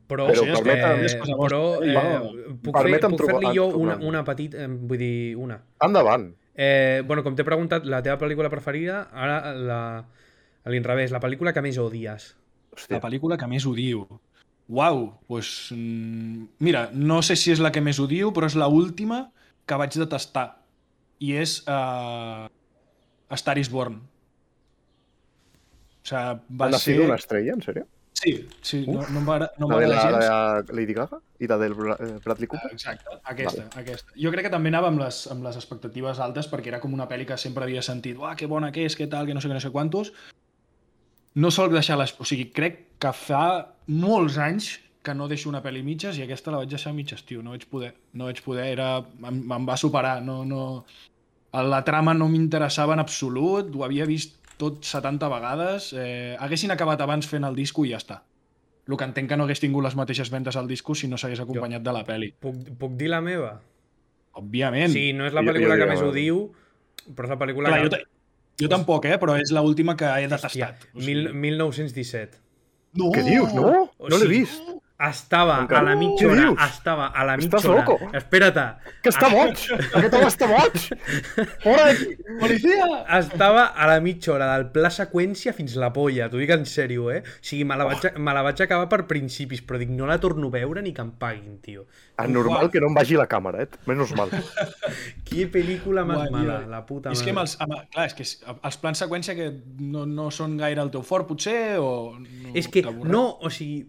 S1: Però,
S2: Però
S1: eh,
S2: permetem-
S1: eh, però
S3: Eh,
S1: eh, puc, fer,
S2: permetem
S1: puc
S2: trobar-
S1: fer-li jo una,
S2: trobar-ho.
S1: una petita... eh, Vull dir, una.
S2: Endavant!
S1: Eh, bueno, com t'he preguntat, la teva pel·lícula preferida, ara la, a l'inrevés, la pel·lícula que més odies.
S3: La
S2: Hòstia,
S3: pel·lícula que més odio. Uau, pues, mm, mira, no sé si és la que més odio, però és la última que vaig detestar. I és uh, Star is Born. O sigui, va
S2: ha
S3: ser...
S2: sido una estrella, en sèrio?
S3: Sí, sí, no, no em va, agra- no em va
S2: La de la,
S3: agradar gens.
S2: la de Lady Gaga i la del Bra- eh, Bradley Cooper.
S3: Exacte, aquesta, aquesta. Jo crec que també anava amb les, amb les expectatives altes perquè era com una pel·li que sempre havia sentit uah, que bona que és, que tal, que no sé què, no sé quantos. No sol deixar les... O sigui, crec que fa molts anys que no deixo una pel·li mitges i aquesta la vaig deixar a mitges, tio. No vaig poder, no vaig poder, era... Em, em va superar, no... no... La trama no m'interessava en absolut, ho havia vist tot 70 vegades. Eh, haguessin acabat abans fent el disco i ja està. El que entenc que no hagués tingut les mateixes ventes al disco si no s'hagués acompanyat de la pel·li.
S1: Puc, puc dir la meva?
S3: Òbviament.
S1: Sí, no és la
S2: Jo- jo
S1: pel·lícula
S2: diré
S1: que
S2: la
S1: més ho
S2: meva.
S1: diu, però és la pel·lícula
S3: Clar,
S1: que...
S3: jo, ta- jo tampoc, eh? Però és l'última que he detestat.
S1: Hòstia, mil, 1917.
S3: No!
S2: Què dius? No?
S3: uh,
S1: O
S2: No l'he
S1: sigui,
S2: vist.
S1: Estava
S2: Encara-
S1: a la mitja
S2: Què
S1: hora,
S2: dius?
S1: estava a la mitja
S2: Estàs
S1: hora.
S2: loco?
S1: Espera't.
S2: Que està boig! Aquest home està boig! Fora d'aquí!
S3: Policia!
S1: Estava a la mitja hora del pla seqüència fins la polla, t'ho dic en sèrio, eh? O sigui, me la, vaig, me la vaig acabar per principis, però dic, no la torno a veure ni que em paguin, tio.
S2: Anormal Ah, que no em vagi la càmera, eh? Menys mal.
S1: Qui pel·lícula més
S3: Guai,
S1: mala,
S3: tio.
S1: la puta
S3: És que amb
S1: mare.
S3: els, amb, clar, és que és- els plans seqüència que no, no són gaire el teu fort, potser, o... No,
S1: És que,
S3: t'avorreix.
S1: no, o sigui,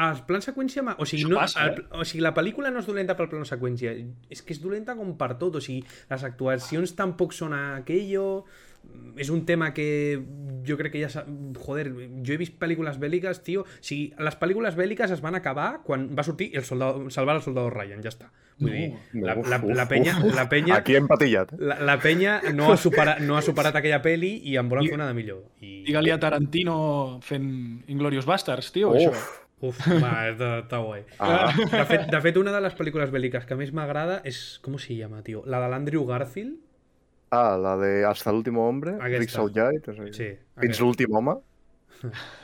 S1: els plans seqüència... ma- O sigui,
S3: Això
S1: no,
S3: passa,
S1: el, o sigui, la pel·lícula no és dolenta pel plan seqüència, és que és dolenta com per tot, o sigui, les actuacions tampoc són aquello... mm, És un tema que jo crec que ja... s'ha- Joder, jo he vist pel·lícules bèl·liques, tio... O sigui, les pel·lícules bèl·liques es van acabar quan va sortir el soldado, salvar el soldado Ryan, ja està. Vull
S3: No.
S1: dir, la,
S2: Uf,
S1: la,
S2: uf,
S1: la penya...
S2: uf, uf.
S1: La penya
S2: Aquí hem patillat. eh?
S1: la, la penya no ha, superat, no ha superat aquella peli i en volen fer una de millor. I...
S3: Digue-li a Tarantino fent Inglorious Bastards, tio,
S2: Uf.
S3: això. *laughs*
S1: Uf, va, està, està guai.
S2: Ah,
S1: De fet, de fet, una de les pel·lícules bèl·liques que més m'agrada és... Com se llama, tio? La de l'Andrew Garfield?
S2: ah, la de Hasta l'últim hombre,
S1: Aquesta.
S2: Rick eh, Saujai, sí,
S1: Sí.
S2: Fins
S1: aquesta.
S2: l'últim home,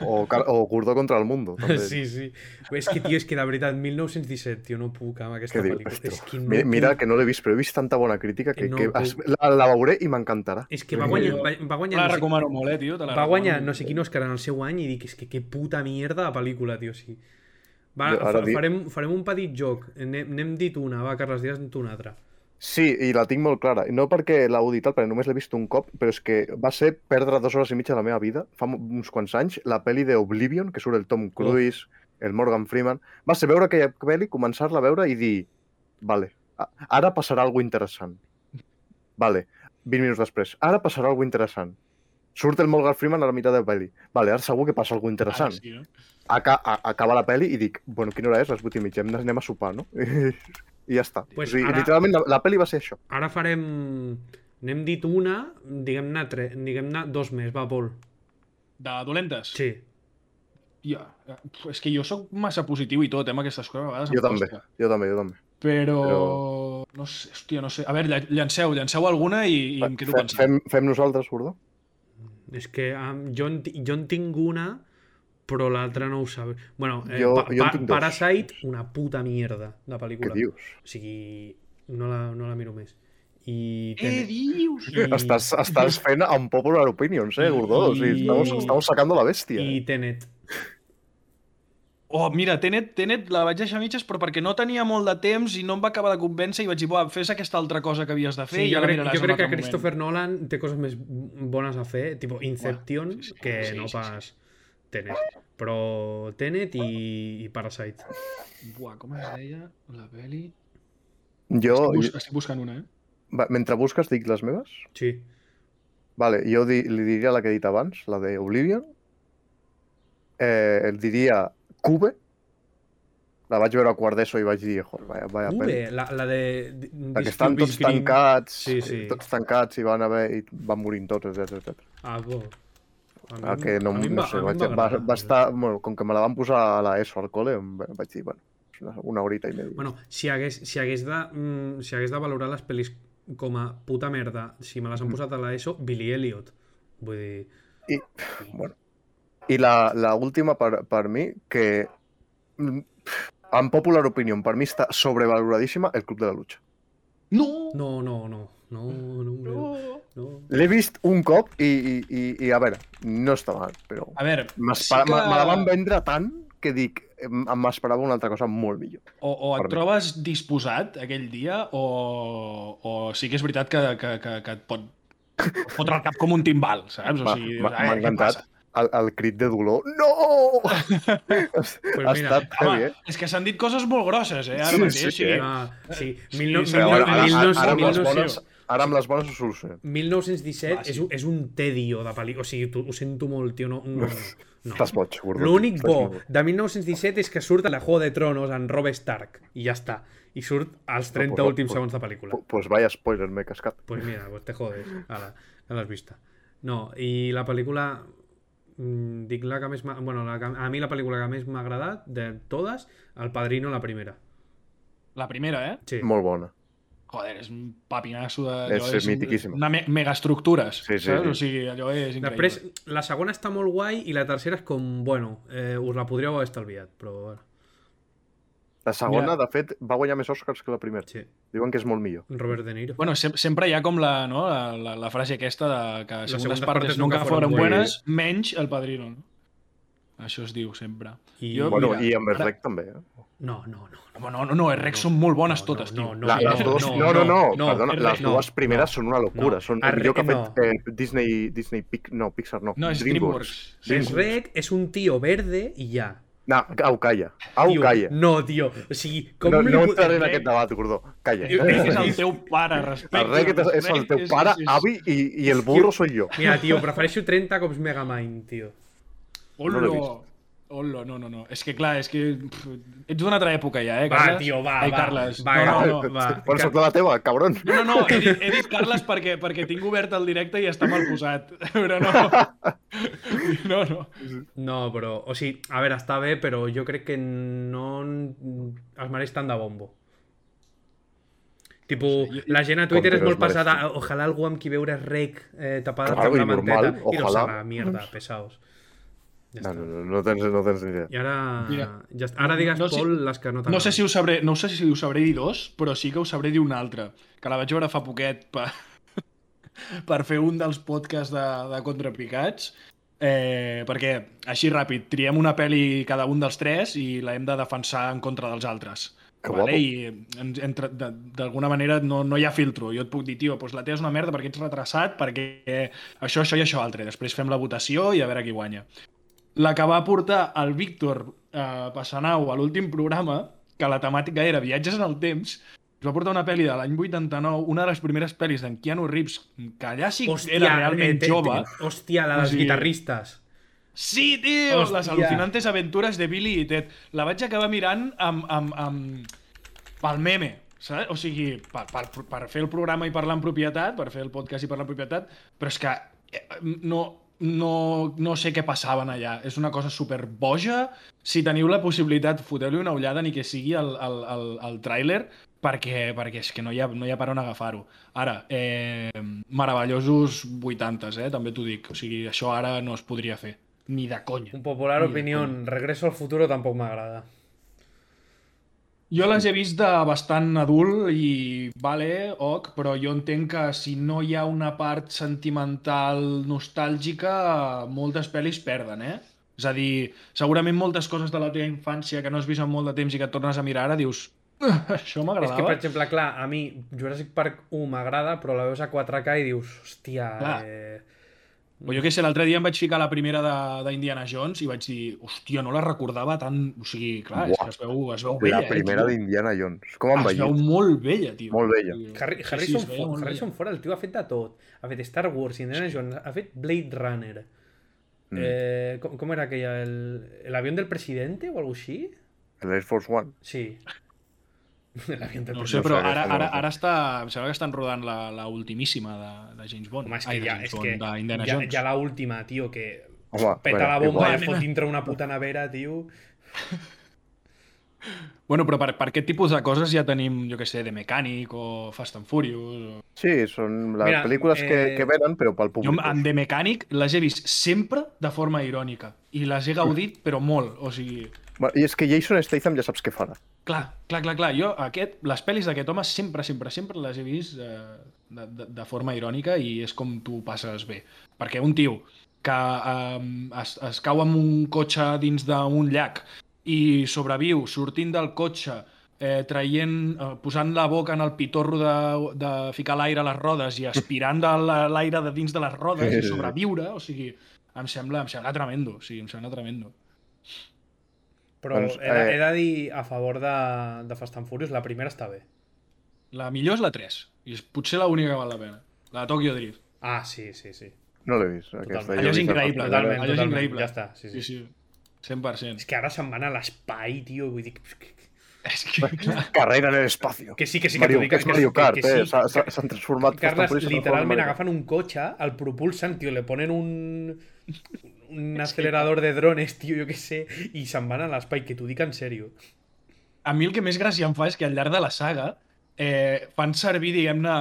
S2: o, Car- o Gordó contra el mundo. També.
S1: *laughs* *laughs* Sí, sí. És que, tio, és que de veritat, 1917, tio, no puc amb aquesta
S2: Què dius?
S1: pel·lícula.
S2: Hòstia,
S1: És que no
S2: mira,
S1: puc.
S2: mira que no l'he vist, però he vist tanta bona crítica que,
S1: No
S2: que
S1: puc.
S2: es- la, la veuré i m'encantarà.
S1: És que va guanyar, va, va
S3: Te
S1: guanyar
S3: la
S1: no sé-
S3: recomano molt, eh, tio? Te la
S1: va guanyar
S3: recomano.
S1: no sé quin Òscar en el seu any i dic, és que que puta mierda de pel·lícula, tio, sí. Va,
S2: Jo ara
S1: fa,
S2: dic-
S1: farem, farem un petit joc. N'hem n'hem dit una, va, Carles, diràs tu una altra.
S2: Sí, i la tinc molt clara. No perquè l'ha auditat, perquè només l'he vist un cop, però és que va ser perdre dues hores i mitja de la meva vida, fa mo- uns quants anys, la pel·li de Oblivion, que surt el Tom Cruise, el Morgan Freeman, va ser veure aquella pel·li, començar-la a veure i dir, vale, a- ara passarà alguna interessant. Vale, 20 minuts després, ara passarà alguna interessant. Surt el Morgan Freeman a la meitat de la pel·li. Vale, ara segur que passa alguna
S3: Ara
S2: interessant.
S3: sí, eh? no?
S2: Aca a- acaba la pel·li i dic, bueno, quina hora és? Les 8 i mitja, hem d'anar- anem a sopar, no? *laughs* I ja està.
S1: Pues
S2: o sigui,
S1: ara-
S2: literalment la, la pel·li va ser això.
S1: Ara farem... N'hem dit una, diguem-ne tre... diguem dos més, va, Pol.
S3: De dolentes?
S1: Sí.
S3: Ja. Uf, És que jo sóc massa positiu i tot, eh, amb aquestes coses. A
S1: Ah,
S3: vegades em
S2: Jo també,
S3: costa.
S2: jo també, jo també.
S3: Però...
S2: Però-
S3: No sé, hòstia, no sé. A veure, lla- llanceu, llanceu alguna i, i em quedo
S2: Fe-
S3: pensant.
S2: fem, fem nosaltres, Gordó?
S1: És que um, jo, en, ti- jo en tinc una, però l'altra no ho sabré. Bueno, eh,
S2: Jo-
S1: pa,
S2: jo en
S1: pa,
S2: tinc dos.
S1: Parasite, una puta mierda, la
S2: Què
S1: pel·lícula.
S2: dius?
S1: O sigui, no la, no la miro més. I...
S3: Què dius?
S1: I-
S2: Estàs, estàs fent un popular opinions, eh, Gordó? O sigui,
S1: I-
S2: estamos, estamos sacando la bestia.
S1: I
S2: eh?
S1: Tenet.
S3: Oh, mira, Tenet, Tenet la vaig deixar a mitges, però perquè no tenia molt de temps i no em va acabar de convèncer i vaig dir, buah, fes aquesta altra cosa que havies de fer
S1: Sí,
S3: i
S1: jo,
S3: ja la
S1: crec,
S3: miraràs
S1: jo
S3: en
S1: crec que
S3: altre
S1: Christopher Nolan té coses més bones a fer, tipo Inception,
S3: sí, sí,
S1: que
S3: sí,
S1: no
S3: sí,
S1: pas Tenet. Però Tenet i, i Parasite.
S3: moment. Buah, com es deia la peli?
S2: Jo,
S3: Estic, bus
S2: jo-
S3: estic buscant una, eh?
S2: va, mentre busques, dic les meves?
S1: Sí.
S2: Vale, jo di li diria la que he dit abans, la de Oblivion. Eh, el diria Cube. La vaig veure a quart d'ESO i vaig dir, joder, vaya, vaya pel·li.
S1: Ube, la, la de... de-
S2: Perquè
S1: Disturbing
S2: estan tots
S1: Screen.
S2: tancats, eh,
S1: Sí, sí.
S2: tots tancats i van haver i van morint tots, etc etc.
S1: Ah, bo. A mi-
S2: Ah, que no,
S1: a mi em
S2: no
S1: va-
S2: sé,
S1: a mi em
S2: vaig, va,
S1: agradar. eh.
S2: va estar, bueno, com que me la van posar a la ESO al col·le, em va- vaig dir, bueno, és una, una horita i media.
S1: Bueno, si hagués, si hagués, de, mm, si hagués de valorar les pel·lis com a puta merda, si me les
S2: Mm.
S1: han posat a l'ESO, Billy Elliot. Pues, Vull dir...
S2: I, bueno. I la, la última per, per mi, que mm, en popular opinion, per mi està sobrevaloradíssima, el Club de la Lucha.
S3: No!
S1: No, no, no. No, no, no. no.
S2: L'he vist un cop i, i, i, i, a veure, no està mal, però
S3: A veure, sí
S2: m'espera-
S3: que...
S2: me, me la van vendre tant que dic, em- em- m'esperava una altra cosa molt millor.
S3: o, o et
S2: per mi.
S3: trobes disposat aquell dia o, o sí que és veritat que, que, que, que et pot fotre el cap com un timbal, saps? O
S2: M'ha-
S3: sigui,
S2: m'ha-
S3: dius, "Eh,
S2: M'ha
S3: què
S2: encantat.
S3: passa?"
S2: el, el crit de dolor. No! *laughs* pues
S1: Pues
S2: ha
S1: mira,
S2: estat
S1: eh,
S2: heavy, eh?
S3: És que s'han dit coses molt grosses, eh? Ara
S2: Sí,
S3: mateix,
S2: sí,
S3: o sigui,
S2: eh?
S1: Ah, sí,
S3: Sí,
S1: mil no-
S3: sí,
S1: mil
S2: Però
S1: no-
S2: ara, ara,
S1: mil
S2: ara,
S1: no-
S2: ara, amb
S1: mil
S2: les
S1: no-
S2: bones, ara amb les bones ho solucionem.
S1: 1917
S3: Va, Ah, sí.
S1: és, un- és un tedio de pel·lícula. O sigui, tu, ho sento molt, tio. No, no,
S2: *laughs*
S1: no.
S2: Estàs boig, Gordó.
S1: L'únic
S2: Estàs
S1: bo
S2: molt
S1: de 1917 és que surt a la Juego de Tronos en Rob Stark i ja està. I surt als 30
S2: No, pues,
S1: últims
S2: pues,
S1: segons de pel·lícula.
S2: Pu- Pues vaya spoiler, m'he cascat.
S1: Pues mira, pues te jodes. Ala, ja l'has vista. No, i la pel·lícula... mm, Dic la que més... m'ha- Bueno, la que... a mi la pel·lícula que més m'ha agradat de totes, El Padrino, la primera.
S3: la primera, eh?
S1: Sí.
S2: Molt bona.
S3: Joder, és un papinasso de...
S2: És mitiquíssima.
S3: Una me megaestructures,
S2: Sí, sí,
S3: saps?
S2: sí.
S3: O sigui, allò és increïble.
S1: Després, la segona està molt guai i la tercera és com, bueno, eh, us la podríeu haver estalviat, però bueno,
S2: La segona,
S3: Mira.
S2: de fet, va guanyar més Oscars que la primera.
S1: sí.
S2: Diuen que és molt millor.
S1: Robert De Niro.
S3: Bueno, sem sempre hi ha com la, no? la, la, la frase aquesta de que segundes,
S1: segundes
S3: segundes
S1: partes
S3: partes,
S1: nunca
S3: nunca foren
S1: fueron
S3: buenas, menys el padrino. No? Això es diu sempre.
S1: I...
S3: jo-
S2: Bueno,
S3: mira,
S2: i amb el
S3: ara-
S2: rec també, eh?
S1: No, no, no.
S3: Home, no, no, no, els recs són molt bones totes,
S1: no,
S3: tio.
S1: no,
S2: La,
S1: no,
S2: les dues, no, no, no, perdona,
S3: és
S2: les
S3: rec, no,
S2: dues primeres són una locura,
S1: no.
S2: són
S1: El
S2: el millor que ha
S1: rec,
S2: fet eh, Disney, Disney Pic, no, Pixar no,
S3: No, és DreamWorks. Sí,
S1: Es
S2: *laughs*
S1: Rec es un tío verde y ya.
S2: No, au, calla, au,
S1: Tio,
S2: calla.
S1: No, tío. O sigui, com
S2: No,
S1: li Eh?
S2: no
S1: pot-
S2: entraré en
S3: rec-
S2: aquest debat, Gordó, calla.
S3: El rec és el teu pare, respecte.
S2: El rec és, és el teu pare, avi, i, i el burro soy jo.
S1: Mira, tio, prefereixo 30 cops Megamind, tio.
S2: No l'he
S3: Ollo,
S2: vist.
S3: ollo, no, no, no. És que clar, és que pff, ets d'una altra època ja, eh,
S1: Va,
S3: Carles?
S1: tio, va,
S3: Ai,
S1: va,
S3: Carles.
S1: va,
S3: no, no, no.
S1: Carles. va.
S2: Bueno, soc de la teva, cabron.
S3: No, no, he dit, he dit Carles perquè, perquè tinc obert el directe i està mal posat. *laughs* Però no.
S2: *laughs*
S3: No, no.
S1: No, però... O sigui, a veure, està bé, però jo crec que no en- es mereix tant de bombo. Tipo, la gent a Twitter
S2: Com
S1: és
S2: que no
S1: molt
S2: es mereix
S1: pesada.
S2: tant.
S1: Ojalá algú amb qui veure rec eh, tapada
S2: Claro,
S1: amb la
S2: i normal,
S1: manteta. I no
S2: ojalá.
S1: serà, mierda, pesaos. Ja
S2: No,
S1: està.
S2: no, no, no tens, no tens ni idea.
S1: I ara...
S3: Mira,
S1: ja està. Ara digues,
S3: no sé-
S1: Pol, les que no t'agraden.
S3: No sé si us sabré, no sé si us sabré dir dos, però sí que us sabré dir una altra, que la vaig veure fa poquet per, *laughs* per fer un dels podcasts de, de Contrapicats, eh, perquè així ràpid, triem una pel·li cada un dels tres i la hem de defensar en contra dels altres.
S2: Que guapo.
S3: I en- entre- de- d'alguna manera no, no hi ha filtro. Jo et puc dir, tio, doncs la teva és una merda perquè ets retrasat, perquè això, això i això altre. Després fem la votació i a veure qui guanya la que va portar el Víctor eh, Passanau a l'últim programa, que la temàtica era viatges en el temps, ens va portar una pel·li de l'any 89, una de les primeres pel·lis d'en Keanu Reeves, que allà sí que
S1: Hòstia,
S3: era realment
S1: eh, té-
S3: jove.
S1: té- Hòstia, la dels
S3: O sigui-
S1: guitarristes.
S3: Sí, tio!
S1: Hòstia.
S3: Les al·lucinantes aventures de Billy i Ted. La vaig acabar mirant amb... amb, amb... pel meme, saps? O sigui, per, per, per fer el programa i parlar en propietat, per fer el podcast i parlar en propietat, però és que eh, no, no, no sé què passaven allà. És una cosa super boja. Si teniu la possibilitat, foteu-li una ullada ni que sigui el, el, el, el tràiler, perquè, perquè és que no hi ha, no hi ha per on agafar-ho. Ara, eh, meravellosos 80s, eh? també t'ho dic. O sigui, això ara no es podria fer. Ni de conya.
S1: Un popular
S3: Mira,
S1: opinión. Regreso al futuro tampoc m'agrada.
S3: Jo les he vist de bastant adult i vale, ok, però jo entenc que si no hi ha una part sentimental nostàlgica, moltes pel·lis perden, eh? És a dir, segurament moltes coses de la teva infància que no has vist en molt de temps i que et tornes a mirar ara dius "Eh, això
S1: És que, per
S3: m'agradava.
S1: exemple, clar, a mi Jurassic Park 1 m'agrada, però la veus a 4K i dius, hòstia...
S3: Clar.
S1: Eh...
S3: O jo què sé, l'altre dia em vaig ficar a la primera de- d'Indiana Jones i vaig dir, hòstia, no la recordava tant... O sigui, clar, és
S2: Buah.
S3: que es veu, es veu
S2: La
S3: vella,
S2: primera
S3: eh,
S2: d'Indiana Jones.
S1: Ah,
S2: Com
S3: tio.
S2: han
S3: Es veu
S2: vellit?
S3: molt vella, tio.
S2: Molt vella.
S1: Harry,
S3: Sí, sí,
S1: Harrison,
S3: es veia
S1: Ford,
S3: molt
S1: Harrison Ford, el tio ha fet de tot. Ha fet Star Wars, Indiana Jones, ha fet Blade Runner.
S2: Mm.
S1: Eh, com, com era aquella? El, el avión del presidente o algo així?
S2: L'Air Force One.
S1: Sí. *laughs* El avión del
S3: No ho sé,
S1: presidente.
S2: No
S3: però
S2: sé,
S3: ara,
S2: no ho
S3: ara,
S2: sé.
S3: ara està, em sembla que estan rodant la, la ultimíssima de, de James Bond.
S1: Home, és
S3: Ai,
S1: que
S3: de
S1: ja,
S3: James
S1: és
S3: Bond,
S1: que
S3: d'Indiana
S1: ja,
S3: Jones.
S1: ja l'última, tio, que
S2: Home,
S1: Pues peta
S2: bueno,
S1: la bomba
S2: igual.
S1: i fot dintre una puta nevera, tio.
S3: Bueno, però per, per aquest tipus de coses ja tenim, jo què sé, de Mechanic o Fast and Furious. O...
S2: Sí, són les
S1: Mira,
S2: pel·lícules que,
S1: eh,
S2: que venen, però pel
S3: Jo
S2: públic.
S3: amb- amb The Mechanic les he vist sempre de forma irònica i les he gaudit, però molt. O sigui,
S2: Bueno, I és que Jason Statham ja saps què farà.
S3: clar, clar, clar, clar. Jo aquest, les pel·lis d'aquest home sempre, sempre, sempre les he vist eh, de, de, de forma irònica i és com tu ho passes bé. Perquè un tio que um, es, es cau amb un cotxe dins d'un llac i sobreviu sortint del cotxe eh, traient, eh, posant la boca en el pitorro de, de ficar l'aire a les rodes i aspirant de la- l'aire de dins de les rodes
S2: Sí,
S3: i
S2: sí, sí.
S3: sobreviure, o sigui, em sembla, em sembla tremendo, o sigui, em sembla tremendo.
S1: Però
S2: Doncs,
S1: he, de,
S2: eh,
S1: he de dir a favor de, de Fast and Furious, la primera està bé.
S3: La millor és la 3, i és potser l'única que val la pena, la de Tokyo Drift.
S1: Ah, sí, sí, sí.
S2: No l'he vist. Aquesta,
S1: Totalment.
S2: jo
S3: Allò
S2: he vist
S3: és
S2: la
S3: increïble,
S2: tercera.
S1: totalment,
S3: allò és
S1: totalment,
S3: increïble.
S1: ja està, sí, sí.
S3: sí,
S1: *laughs*
S3: 100%.
S1: És que ara se'n van a l'espai, tio, vull dir... que-
S3: És que, clar,
S2: Carrera en el espacio.
S1: Que sí, que sí, que
S2: Mario,
S1: t'ho dic.
S2: que és Mario
S1: que,
S2: Kart, eh?
S1: sí,
S2: S'ha- s'ha- S'han transformat... Fast and
S1: Carles,
S2: Furious, s'ha transformat en
S1: literalment
S2: Mario Kart.
S1: agafan un cotxe, el propulsen, tío, le ponen un, *laughs* un acelerador de drones, tío, yo qué sé, y se'n van a l'espai, que t'ho dic en serio.
S3: a mi el que més gràcia em fa és que al llarg de la saga eh, fan servir, diguem-ne,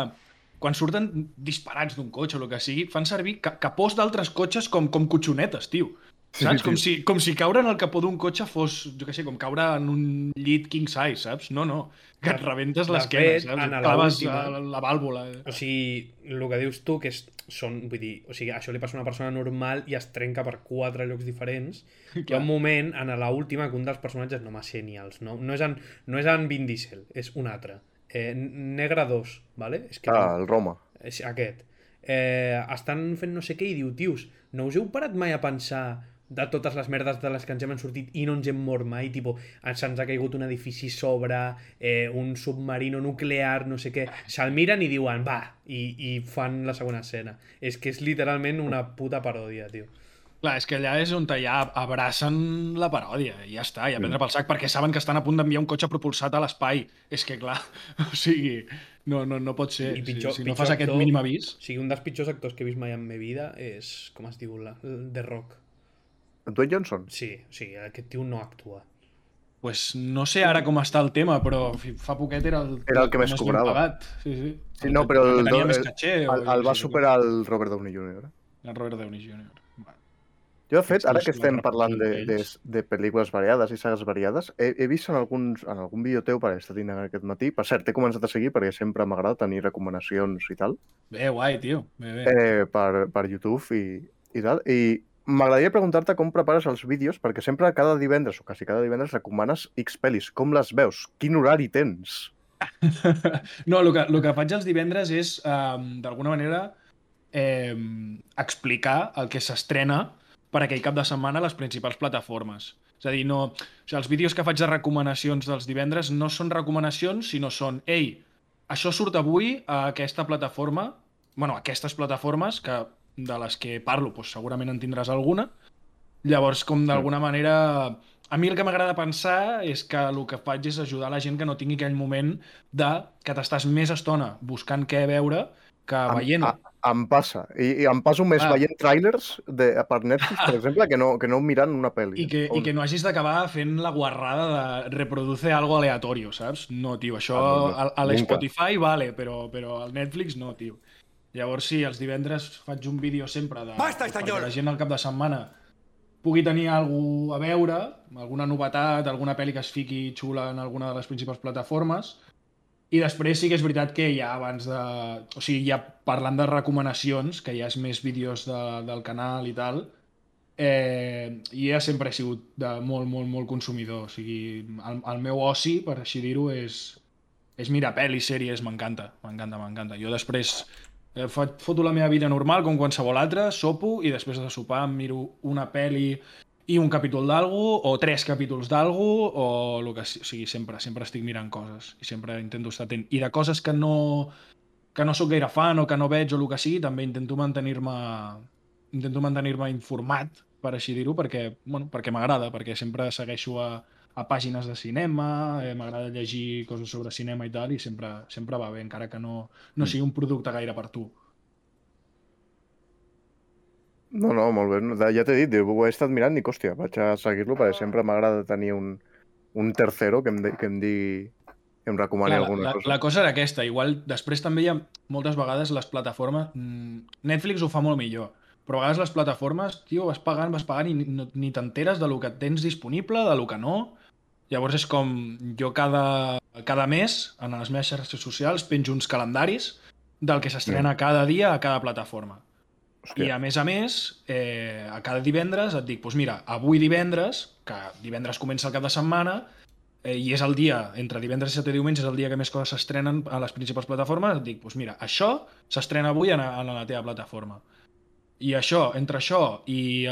S3: quan surten disparats d'un cotxe o el que sigui, fan servir ca capós d'altres cotxes com, com cotxonetes, tio.
S2: Sí, tio.
S3: Saps? com, si, com si caure en el capó d'un cotxe fos, jo què sé, com caure en un llit king size, saps? No, no. Que et rebentes
S1: De
S3: l'esquena,
S1: fet,
S3: saps?
S1: en la
S3: Et Claves
S1: última-
S3: la, la vàlvula. eh.
S1: O sigui, el que dius tu, que és, són, vull dir, o sigui, això li passa a una persona normal i es trenca per quatre llocs diferents. Hi ha un moment, en la última, que un dels personatges, no me sé ni els noms, no és en, no és en Vin Diesel, és un altre. Eh, Negre 2, ¿vale? És que
S2: Ah, el Roma.
S1: és aquest. Eh, estan fent no sé què i diu, tios, no us heu parat mai a pensar de totes les merdes de les que ens hem sortit i no ens hem mort mai, tipo, ens- se'ns ha caigut un edifici sobre, eh, un submarino nuclear, no sé què, se'l miren i diuen, va, i, i fan la segona escena. És que és literalment una puta paròdia, tio.
S3: Clar, és que allà és on ja abracen la paròdia i ja està, i a
S2: Mm.
S3: prendre pel sac, perquè saben que estan a punt d'enviar un cotxe propulsat a l'espai. És que, clar, *laughs* o sigui, no, no, no pot ser.
S1: I pitjor-
S3: si, si no
S1: pitjor
S3: fas aquest
S1: actor-
S3: mínim avís...
S1: O sigui, un dels pitjors actors que he vist mai en mi vida és, com es diu, la, The Rock.
S2: Dwayne Johnson?
S1: Sí, o sigui, aquest tio no actua.
S3: Pues no sé ara com està el tema, però en fi, fa poquet era el,
S2: Era el que més
S3: més ben
S2: cobrava.
S3: Pagat. Sí, sí.
S2: Sí, no, però
S3: el,
S2: el,
S3: que tenia més
S2: el-
S3: caché, o
S2: el,
S3: jo
S2: el
S3: què
S2: va
S3: sé,
S2: superar el Robert Downey ¿eh? Jr.
S3: El Robert Downey Jr. Va.
S2: Jo, de fet, ara
S3: Sí,
S2: que
S3: sí,
S2: estem
S3: la
S2: parlant de,
S3: repercussió
S2: de,
S3: d'ells.
S2: de pel·lícules variades i sagues variades, he, he vist en, alguns, en algun vídeo teu per estar dinant aquest matí. Per cert, t'he començat a seguir perquè sempre m'agrada tenir recomanacions i tal
S3: Bé, guai, tio. Bé, bé.
S2: eh, per, per YouTube i, i tal. I m'agradaria preguntar-te com prepares els vídeos perquè sempre cada divendres o quasi cada divendres recomanes X pel·lis. Com les veus? Quin horari tens?
S3: No, el que, el que faig els divendres és, um, d'alguna manera, eh, explicar el que s'estrena per aquell cap de setmana a les principals plataformes. És a dir, no, o sigui, els vídeos que faig de recomanacions dels divendres no són recomanacions, sinó són, ei, això surt avui a aquesta plataforma, bueno, a aquestes plataformes que de les que parlo, doncs segurament en tindràs alguna. Llavors, com d'alguna manera... A mi el que m'agrada pensar és que el que faig és ajudar la gent que no tingui aquell moment de que t'estàs més estona buscant què veure que
S2: Em-
S3: veient.
S2: a- Em passa. I, i em passo més
S3: Ah.
S2: veient trailers de, per Netflix,
S3: *laughs*
S2: per exemple, que no, que no mirant una pel·li.
S3: I que, I que no hagis d'acabar fent la guarrada de reproduce algo aleatorio, saps? No, tio, això
S2: Ah, no, no.
S3: a, a
S2: Nunca.
S3: l'Spotify vale, però, però al Netflix no, tio. Llavors sí, els divendres faig un vídeo sempre de,
S4: Basta,
S3: perquè
S4: senyor!
S3: la gent al cap de setmana pugui tenir alguna a veure, alguna novetat, alguna pel·li que es fiqui xula en alguna de les principals plataformes. I després sí que és veritat que ja abans de... O sigui, ja parlant de recomanacions, que ja és més vídeos de, del canal i tal, eh, ja sempre he sigut de molt, molt, molt consumidor. O sigui, el, el meu oci, per així dir-ho, és, és mirar pel·lis, sèries, m'encanta, m'encanta, m'encanta. Jo després eh, fa- foto la meva vida normal, com qualsevol altra, sopo i després de sopar em miro una pel·li i un capítol d'algú, o tres capítols d'algú, o el que si- o sigui, sempre, sempre estic mirant coses i sempre intento estar atent. I de coses que no, que no sóc gaire fan o que no veig o el que sigui, també intento mantenir-me intento mantenir-me informat, per així dir-ho, perquè, bueno, perquè m'agrada, perquè sempre segueixo a, a pàgines de cinema, eh, m'agrada llegir coses sobre cinema i tal, i sempre, sempre va bé, encara que no,
S2: Mm.
S3: no sigui un producte gaire per tu.
S2: No, no, molt bé. No, Ja t'he dit, diu, ho he estat mirant i, hòstia, vaig a seguir-lo
S3: Ah.
S2: perquè sempre m'agrada tenir un, un tercero que em, de, que em digui que em recomani
S3: Clar, la,
S2: alguna
S3: la,
S2: cosa.
S3: la cosa era aquesta. Igual després també hi ha moltes vegades les plataformes... mm, Netflix ho fa molt millor, però a vegades les plataformes, tio, vas pagant, vas pagant i ni, no- ni t'enteres de lo que tens disponible, de lo que no. Llavors és com jo cada, cada mes en les meves xarxes socials penjo uns calendaris del que s'estrena cada dia a cada plataforma. I
S2: Hòstia,
S3: a més a més, eh, a cada divendres et dic, doncs mira, avui divendres, que divendres comença el cap de setmana, eh, i és el dia, entre divendres i setè i diumenge, és el dia que més coses s'estrenen a les principals plataformes, et dic, doncs mira, això s'estrena avui en, en la teva plataforma. I això, entre això i eh,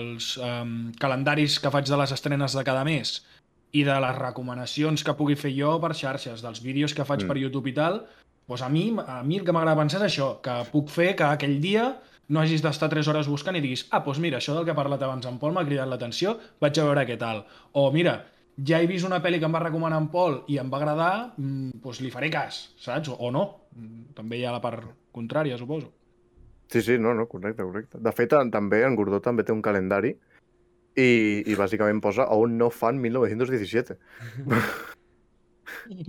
S3: els em, calendaris que faig de les estrenes de cada mes i de les recomanacions que pugui fer jo per xarxes, dels vídeos que faig
S2: Mm.
S3: per YouTube i tal, doncs a mi, a mi el que m'agrada pensar és això, que puc fer que aquell dia no hagis d'estar 3 hores buscant i diguis ah, doncs mira, això del que ha parlat abans en Pol m'ha cridat l'atenció, vaig a veure què tal. O mira, ja he vist una pel·li que em va recomanar en Pol i em va agradar, mm, doncs li faré cas, saps? O, o no. Mm, També hi ha la part contrària, suposo.
S2: Sí, sí, no, no, correcte, correcte. De fet, en- també en Gordó també té un calendari i, i bàsicament posa on no fan 1917.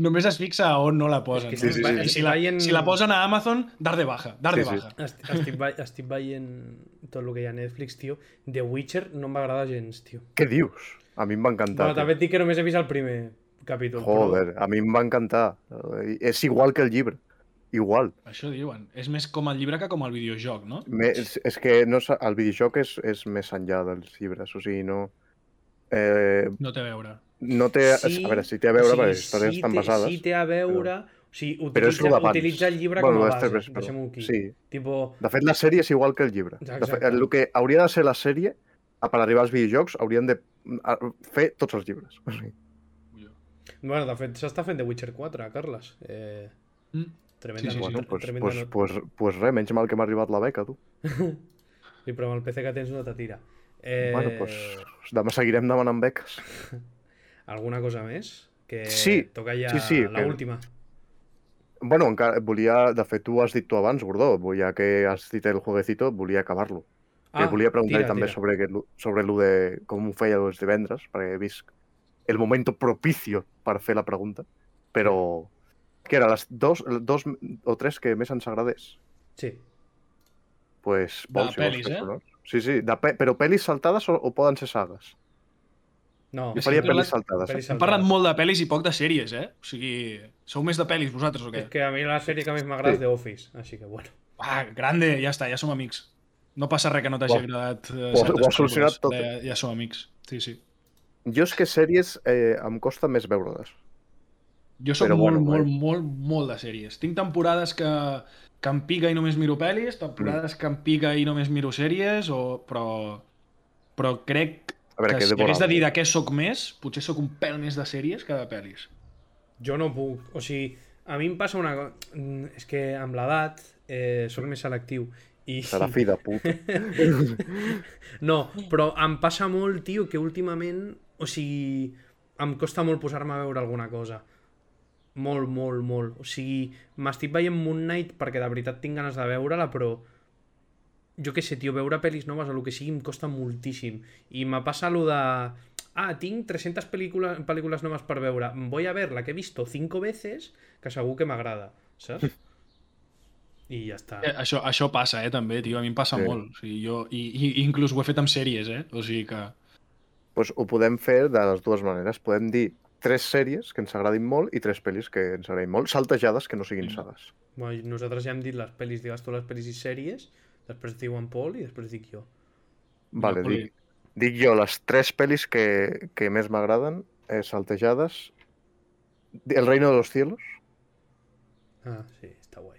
S3: Només es fixa on no la posen.
S1: És
S2: que
S3: no?
S2: sí, sí, sí.
S3: I si, la,
S1: Veient-
S3: si la posen a Amazon, dar de baja, dar de
S2: Sí, sí.
S3: baja.
S1: Est- Estic, ve- estic veient tot el que hi ha a Netflix, tio. The Witcher no m'agrada gens, tio.
S2: Què dius? A mi em va encantar.
S1: Bueno,
S2: tio.
S1: també et dic que només he vist el primer capítol. però-
S2: Joder, a mi em va encantar. Eh, És igual que el llibre. Igual.
S3: Això diuen. És més com el llibre que com el videojoc, no?
S2: Me, és, és que no, s'ha- el videojoc és, és més enllà dels llibres, o sigui, no... Eh,
S3: No té a veure.
S2: no té...
S1: Sí,
S2: a veure, si té a veure,
S1: o sigui,
S2: perquè les històries estan
S1: té-
S2: basades.
S1: Sí té a veure... O sigui, utilitza,
S2: Però és lo d'abans.
S1: utilitza el llibre
S2: Bueno,
S1: com a
S2: les
S1: base.
S2: tres, però-
S1: Deixem-ho aquí.
S2: Sí.
S1: Tipo,
S2: De fet, la sèrie és igual que el llibre. De fet,
S1: Exacte.
S2: el que hauria de ser la sèrie, a- per arribar als videojocs, haurien de mm, a- fer tots els llibres. O sigui,
S1: bueno, de fet, s'està fent The Witcher 4, Carles. Eh,
S3: Mm.
S1: tremenda
S3: Sí, sí, sí.
S1: nota,
S2: bueno, pues,
S1: tremenda
S2: pues,
S1: nota.
S2: pues, pues res, menys mal que m'ha arribat la beca, tu.
S1: Sí, però amb el PC que tens no te tira. Eh,
S2: Bueno, pues demà seguirem demanant beques.
S1: Alguna cosa més? Que
S2: Sí,
S1: toca ja
S2: sí, sí, que-
S1: l'última.
S2: Bueno, encara volia... De fet, tu has dit tu abans, Gordó, volia que has dit el jueguecito, volia acabar-lo. Ah, volia preguntar
S1: tira,
S2: també
S1: tira.
S2: sobre aquest- sobre lo de com ho feia els divendres, perquè he vist el moment propicio per fer la pregunta, però que era les dos, dos o tres que més ens agradés.
S1: Sí.
S2: Pues,
S3: De
S2: Pol, si vols
S3: pel·lis,
S2: fer
S3: eh?
S2: honor. Sí, sí, de pe però pel·lis saltades o, o poden ser sagues?
S1: No,
S2: Jo
S3: És que
S2: faria
S3: hem parlat-
S2: pel·lis saltades. eh?
S1: pel·lis
S3: Hem parlat molt de pel·lis i poc de sèries, eh? O sigui, sou més de pel·lis vosaltres o què?
S1: És que a mi la sèrie que més m'agrada
S2: Sí.
S1: és The Office, així que bueno.
S3: Ah, grande, ja està, ja som amics. No passa res que no t'hagi
S2: Ho-
S3: agradat eh,
S2: ho-
S3: certes
S2: ho has solucionat
S3: pel·lícules.
S2: tot.
S3: Ja, ja som amics, sí, sí.
S2: Jo és que sèries eh, em costa més veure-les.
S3: Jo soc
S2: Però
S3: molt,
S2: bueno,
S3: molt,
S2: bueno.
S3: molt, molt de sèries. Tinc temporades que, que em pica i només miro pel·lis,
S2: Mm.
S3: temporades que em pica i només miro sèries, o... però, però crec
S2: A veure,
S3: que
S2: que
S3: si
S2: devorar.
S3: hagués de dir de què sóc més, potser sóc un pèl més de sèries que de pel·lis.
S1: Jo no puc, o sigui, a mi em passa una cosa... És que amb l'edat eh, sóc més selectiu i...
S2: Serà fill de
S3: *laughs*
S2: puta.
S1: No, però em passa molt, tio, que últimament, o sigui, em costa molt posar-me a veure alguna cosa. Molt, molt, molt. O sigui, m'estic veient Moon Knight perquè de veritat tinc ganes de veure-la, però jo què sé, tio, veure pel·lis noves o el que sigui em costa moltíssim. I me passa lo de... Ah, tinc 300 películas, películas noves per veure. Voy a ver la que he visto cinco veces, que segur que m'agrada, saps? I ja està.
S3: Eh, Això, això passa, eh, també, tio, a mi em passa
S2: Ah. Sí.
S3: sí. molt. O sigui, jo, i, i, inclús ho he fet amb sèries, eh? O sigui que...
S2: pues ho podem fer de les dues maneres. Podem dir tres sèries que ens agradin molt i tres pel·lis que ens agradin molt, saltejades que no siguin
S3: Sí.
S2: sagues.
S1: Bueno, i nosaltres ja hem dit les pel·lis, digues tu les pel·lis i sèries, després diu en Pol i després dic jo.
S2: Vale,
S3: Napoli.
S2: dic, dic jo les tres pel·lis que, que més m'agraden, eh, saltejades. El reino de los cielos.
S1: Ah, sí, està guai.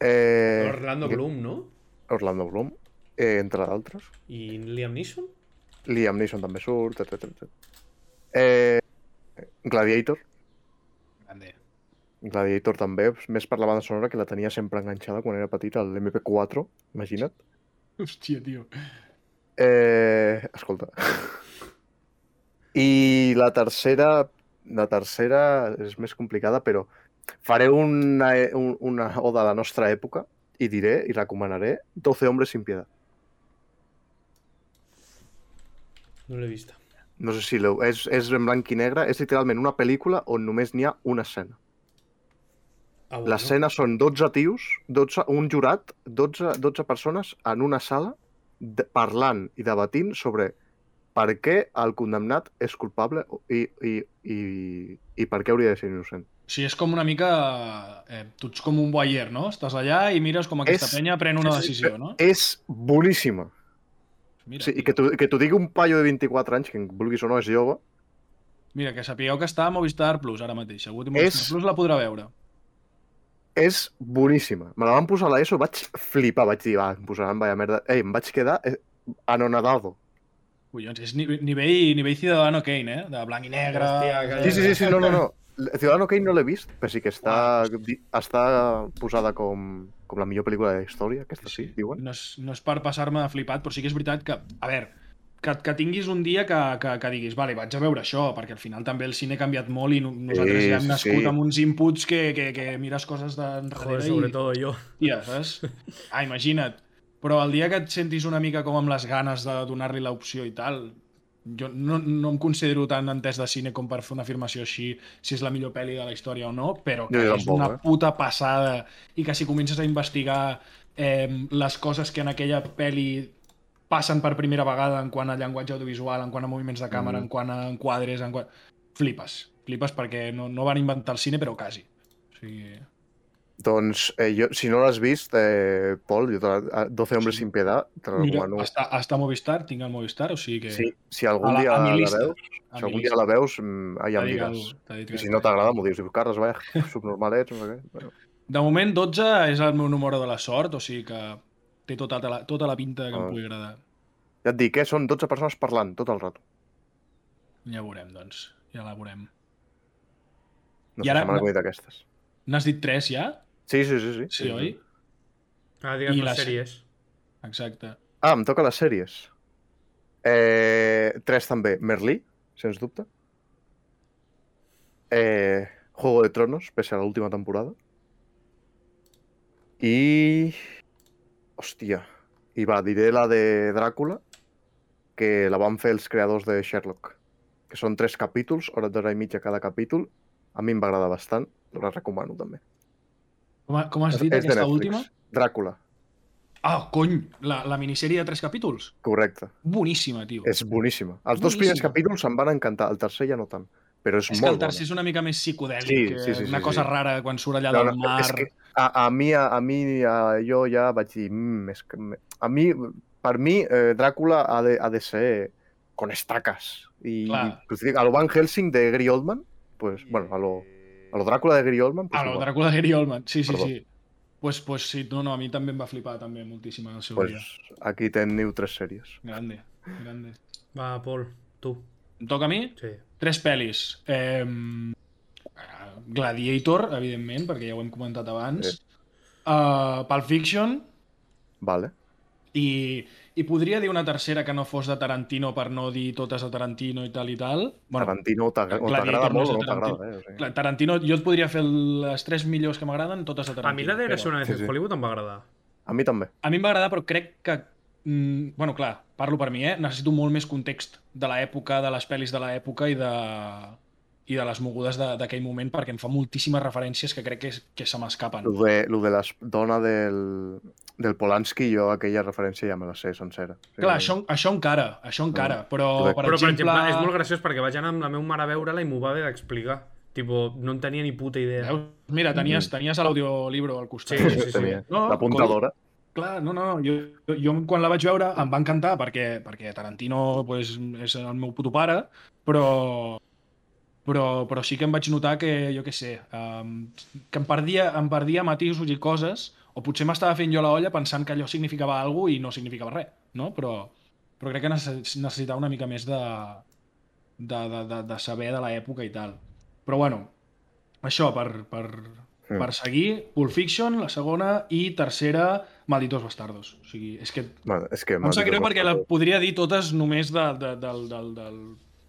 S2: Eh,
S1: Orlando
S2: Gui-
S1: Bloom, no?
S2: Orlando Bloom, eh, entre d'altres.
S1: I Liam Neeson?
S2: Liam Neeson també surt, etc. etc. Eh, Gladiator.
S3: Grande.
S2: Gladiator també, més per la banda sonora que la tenia sempre enganxada quan era petita, el MP4, imagina't.
S3: Hòstia, tio.
S2: Eh, escolta. I la tercera, la tercera és més complicada, però faré una, e- un- una oda a la nostra època i diré i recomanaré 12 homes sin piedad.
S1: No l'he vista.
S2: No sé si l'heu... És, és en blanc i negre, és literalment una pel·lícula on només n'hi ha una escena.
S1: Ah,
S2: L'escena són 12 tios, 12, un jurat, 12, 12 persones en una sala de, parlant i debatint sobre per què el condemnat és culpable i, i, i, i per què hauria de ser innocent.
S3: O sigui, és com una mica... Eh, tu ets com un voyeur, no? Estàs allà i mires com aquesta
S2: És-
S3: penya pren una
S2: sí, sí,
S3: decisió, no?
S2: És boníssima.
S3: Mira,
S2: Sí, I que t'ho que t'ho digui un paio de 24 anys, que vulguis o no és jove,
S3: mira, que sapigueu que està a Movistar Plus ara mateix. Segur que
S2: És-
S3: Movistar Plus la podrà veure.
S2: és boníssima. Me la van posar a l'ESO, vaig flipar, vaig dir, va, em posaran vaya merda. Ei, em vaig quedar eh, anonadado.
S3: Collons, és ni- nivell, nivell Ciudadano Kane, eh? De blanc i negre...
S1: Hòstia, calla.
S2: Sí, sí, sí, sí no, no, no. Ciudadano Kane no l'he vist, però sí que està, di- està posada com, com la millor pel·lícula de la història, aquesta Ah, sí, diuen.
S3: No és, no és per passar-me de flipat, però sí que és veritat que, a veure, que, que tinguis un dia que, que, que diguis, vale, vaig a veure això, perquè al final també el cine ha canviat molt i no, nosaltres
S2: Sí,
S3: ja hem nascut
S2: sí.
S3: amb uns inputs que, que, que mires coses
S1: Joder,
S3: d'enrere i...
S1: sobretot jo.
S3: Hòstia, saps? Ah, imagina't. Però el dia que et sentis una mica com amb les ganes de donar-li l'opció i tal, jo no, no em considero tan entès de cine com per fer una afirmació així si és la millor pel·li de la història o no, però que
S2: Jo
S3: és
S2: tampoc,
S3: una
S2: eh?
S3: puta passada i que si comences a investigar eh, les coses que en aquella pel·li passen per primera vegada en quant a llenguatge audiovisual, en quant a moviments de càmera,
S2: Mm.
S3: en quant a enquadres, en quant... Flipes. Flipes perquè no, no van inventar el cine, però quasi. O sigui...
S2: Doncs, eh, jo, si no l'has vist, eh, Pol, jo te la, 12 homes
S3: Sí.
S2: sin piedad, te la
S3: Mira,
S2: recomano.
S3: està, està a Movistar, tinc el Movistar, o sigui que...
S2: Sí, si algun
S3: A la-
S2: dia
S3: a mi
S2: la
S3: llista,
S2: veus, si
S3: a mi
S2: algun
S3: llista.
S2: dia la veus, mm, ah, ja
S3: T'ha
S2: em
S3: dit
S2: diràs.
S3: algú, t'ha dit
S2: I
S3: que-
S2: si no t'agrada, m'ho dius, diu, Carles,
S3: *laughs*
S2: vaya, subnormal ets, no sé què. Bueno,
S3: De moment, 12 és el meu número de la sort, o sigui que té tota la, tota la pinta
S2: Ah.
S3: que em pugui agradar.
S2: ja et dic, eh, són 12 persones parlant tot el rato.
S3: Ja ho veurem, doncs. Ja la veurem.
S2: No
S3: I
S2: sé,
S3: ara-
S2: se m'han acudit aquestes.
S3: N'has dit 3 ja?
S2: Sí, sí, sí. Sí,
S3: Sí, oi?
S1: Ah, digues
S3: I
S1: les
S3: les-
S1: sèries.
S3: Exacte.
S2: Ah, em toca les sèries. Eh, tres també. Merlí, sens dubte. Eh, Juego de Tronos, pese a l'última temporada. I... Hòstia. I va, diré la de Dràcula, que la van fer els creadors de Sherlock. Que són tres capítols, hora d'hora i mitja cada capítol. A mi em va agradar bastant, la recomano també.
S3: Com, ha- com has dit,
S2: És de
S3: aquesta
S2: Netflix.
S3: última?
S2: Dràcula,
S3: Ah, cony! La, la minissèrie de 3 capítols?
S2: correcte.
S3: Boníssima, tio.
S2: És boníssima. Els dos primers
S3: Boníssima.
S2: capítols em van encantar, el tercer ja no tant. Però és,
S3: És que
S2: molt
S3: el tercer és una mica més psicodèlic,
S2: Sí,
S3: que
S2: sí, sí, sí,
S3: una
S2: sí.
S3: cosa rara quan surt allà
S2: bona.
S3: del mar.
S2: és que a, a mi, a, a mi a, jo ja vaig dir... "Mm, és que me- a mi, per mi, eh, Dràcula ha de, ha de ser con estacas. I,
S3: Clar.
S2: i a lo Van Helsing de Gary Oldman, pues, bueno, a lo, a lo Dràcula de Gary Oldman, pues,
S3: Ah, no,
S2: igual.
S3: Dràcula de Gary Oldman. Sí, sí,
S2: Perdó.
S3: sí. Pues, pues sí, no, no, a mi també em va flipar també moltíssim en el seu dia.
S2: pues, aquí teniu tres sèries.
S3: Grande, grande.
S1: Va, Pol, tu.
S3: Em toca a mi?
S1: Sí.
S3: Tres pel·lis. Eh, Gladiator, evidentment, perquè ja ho hem comentat abans. Uh, Pulp Fiction.
S2: Vale.
S3: I, I podria dir una tercera que no fos de Tarantino per no dir totes de Tarantino i tal i tal.
S2: Bueno, Tarantino o t'agra- o
S3: Gladiator
S2: t'agrada
S3: no és
S2: molt o
S3: de
S2: no t'agrada.
S3: Tarantino.
S2: Eh? O sigui,
S3: clar, Tarantino, jo et podria fer les tres millors que m'agraden, totes de
S1: A
S3: Tarantino.
S1: mi la de
S3: però-
S1: Érase una vez
S2: Sí,
S1: en
S2: sí.
S1: Hollywood em va agradar.
S2: a mi també.
S3: A mi em va agradar, però crec que... Mm, bueno, clar, parlo per mi, eh? Necessito molt més context de l'època, de les pel·lis de l'època i de i de les mogudes de- d'aquell moment perquè em fa moltíssimes referències que crec que, es- que se m'escapen.
S2: Lo de, lo de la dona del, del Polanski, jo aquella referència ja me la sé sencera. O sigui,
S3: Clar, això, això encara, això encara,
S1: Però,
S2: Correcte.
S3: però, per,
S1: per
S3: exemple...
S1: exemple, és molt graciós perquè vaig anar amb la meva mare a veure-la i m'ho va haver d'explicar. Tipo, no en tenia ni puta idea.
S3: Veus? Mira, tenies, tenies l'audiolibro al costat.
S1: Sí, Mm. sí, sí.
S2: Tenia
S3: No,
S2: L'apuntadora.
S3: Clar, no, no, no, jo, jo- jo quan la vaig veure em va encantar perquè, perquè Tarantino pues, és el meu puto pare, però, però, però sí que em vaig notar que, jo què sé, um, que em perdia, em perdia matisos i coses, o potser m'estava fent jo la olla pensant que allò significava alguna cosa i no significava res, no? Però, però crec que necess- necessitava una mica més de, de, de, de, de saber de l'època i tal. Però bueno, això, per, per,
S2: Mm.
S3: per seguir, Pulp Fiction, la segona, i tercera, Malditos Bastardos. O sigui, és que
S2: Bueno, és que...
S3: em sap greu perquè la podria dir totes només de, de, del, del, del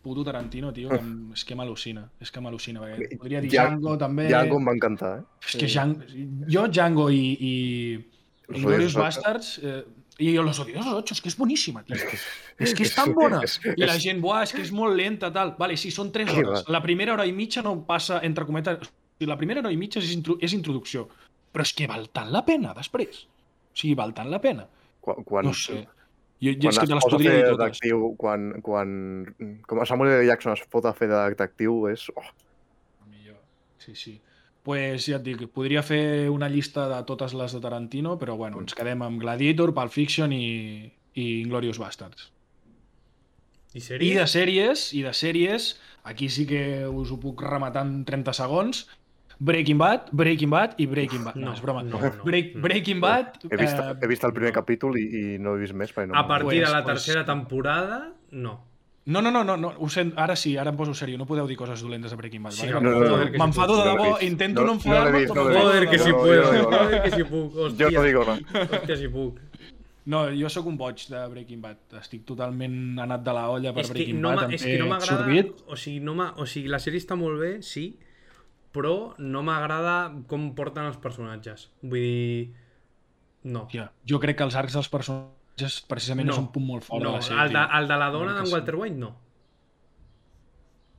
S3: puto Tarantino, tio, que em, és que m'al·lucina. És que m'al·lucina. perquè Podria dir
S2: Ja-
S3: Django, també.
S2: Django em va encantar, eh?
S3: És que Django... Jo, Django i... i...
S2: Los Odiosos
S3: Inglourious
S2: Ocho.
S3: Bastards... Eh, i Los Odiosos 8, és que és boníssima, tio. És que és
S2: *laughs* és-
S3: tan bona.
S2: és-
S3: I la gent, buah, és que és molt lenta, tal. Vale, sí, són 3
S2: Sí,
S3: hores.
S2: va.
S3: La primera hora i mitja no passa, entre cometes... o sigui, La primera hora i mitja és, intro, és introducció. Però és que val tant la pena, després. O sigui, val tant la pena.
S2: Quan, quan,
S3: No sé. Jo, jo
S2: quan
S3: és que te
S2: es
S3: les
S2: posa a
S3: podria
S2: fer
S3: dir
S2: de
S3: totes.
S2: detectiu, quan, quan... Com a Samuel L. Jackson es pot fer de detectiu, és... Oh,
S3: Millor. Sí, sí. Pues ja et dic, podria fer una llista de totes les de Tarantino, però bueno, ens quedem amb Gladiator, Pulp Fiction i, i Inglorious Bastards.
S1: I
S3: I de
S1: sèries?
S3: sèries, i de sèries, aquí sí que us ho puc rematar en 30 segons. Breaking Bad, Breaking Bad i Breaking Bad. No,
S1: No,
S3: és broma.
S1: no, no,
S3: Break,
S1: no.
S3: Breaking Bad...
S2: He vist,
S3: eh,
S2: he vist el primer capítol i, i no he vist més. perquè No,
S1: A partir
S3: Pues,
S1: de la
S3: pues-
S1: tercera temporada, no.
S3: No, no, no, no, no, ho sent, ara sí, ara em poso seriós, no podeu dir coses dolentes de Breaking Bad.
S1: Sí,
S3: vale?
S1: no,
S2: no, no, no.
S3: M'enfado de
S2: No l'he
S3: debò,
S2: vist.
S3: intento
S2: No-
S3: no,
S2: no
S3: enfadar-me,
S2: l'he vist,
S3: però...
S2: no l'he vist.
S1: Joder, que si
S2: no,
S1: puedo.
S2: no, no.
S1: Joder, que si puc. Hòstia.
S2: Jo no digo res.
S1: Joder, que si puc.
S3: No, jo sóc un boig de Breaking Bad. Estic totalment anat de la olla per
S1: És que
S3: Breaking
S1: no,
S3: Bad.
S1: m'ha-
S3: em
S1: és
S3: té
S1: que no
S2: Eh,
S1: m'agrada...
S3: sorbit.
S1: O sigui, no m'ha- o sigui, la sèrie està molt bé, sí, però no m'agrada com porten els personatges. Vull dir... No.
S3: Hòstia, jo crec que els arcs dels personatges precisament no. és un punt molt fort
S1: no,
S3: de la sèrie.
S1: El de,
S3: tio.
S1: el de la dona
S3: Una
S1: d'en
S3: mica
S1: Walter White, no.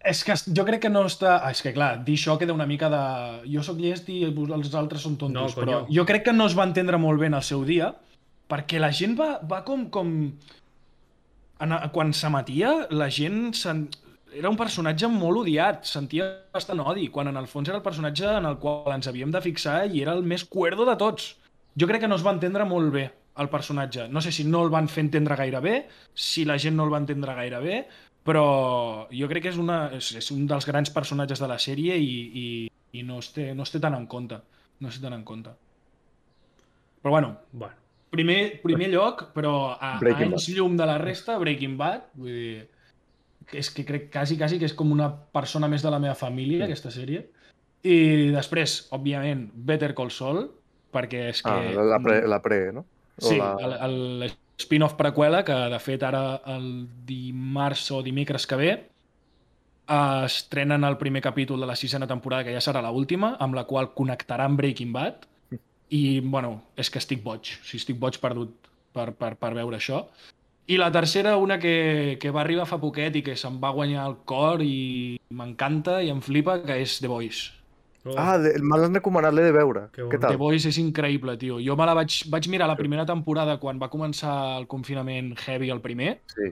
S3: És que es- jo crec que no està... Ah, és que clar, dir això queda una mica de... Jo sóc llest i vos- els altres són
S1: No,
S3: tontos,
S1: coño.
S3: però jo crec que no es va entendre molt bé en el seu dia, perquè la gent va, va com... com... En, quan s'emetia, la gent sen... era un personatge molt odiat, sentia bastant odi, quan en el fons era el personatge en el qual ens havíem de fixar i era el més cuerdo de tots. Jo crec que no es va entendre molt bé el personatge. No sé si no el van fer entendre gaire bé, si la gent no el va entendre gaire bé, però jo crec que és, una, és, és un dels grans personatges de la sèrie i, i, i no, es té, no es té tan en compte. No es té tan en compte. Però bueno,
S1: Bueno.
S3: primer, primer lloc, però a, a
S2: Breaking
S3: anys
S2: Bad.
S3: llum de la resta, Breaking Bad, vull dir... que És que crec quasi, quasi que és com una persona més de la meva família, aquesta sèrie. I després, òbviament, Better Call Saul, perquè és que...
S2: Ah, la, la, pre, la pre, no? O
S3: Sí,
S2: la...
S3: el, el spin-off preqüela, que de fet ara el dimarts o dimecres que ve eh, estrenen el primer capítol de la sisena temporada, que ja serà l'última, amb la qual connectaran Breaking Bad. I, bueno, és que estic boig. O sigui, estic boig perdut per, per, per veure això. I la tercera, una que, que va arribar fa poquet i que se'm va guanyar el cor i m'encanta i em flipa, que és The Voice.
S1: Oh,
S2: Ah, de, me l'han recomanat, l'he de veure.
S1: Que bon.
S2: Què
S3: The
S2: tal?
S3: Voice és increïble, tio. Jo me la vaig, vaig mirar la primera temporada quan va començar el confinament heavy el primer.
S2: Sí.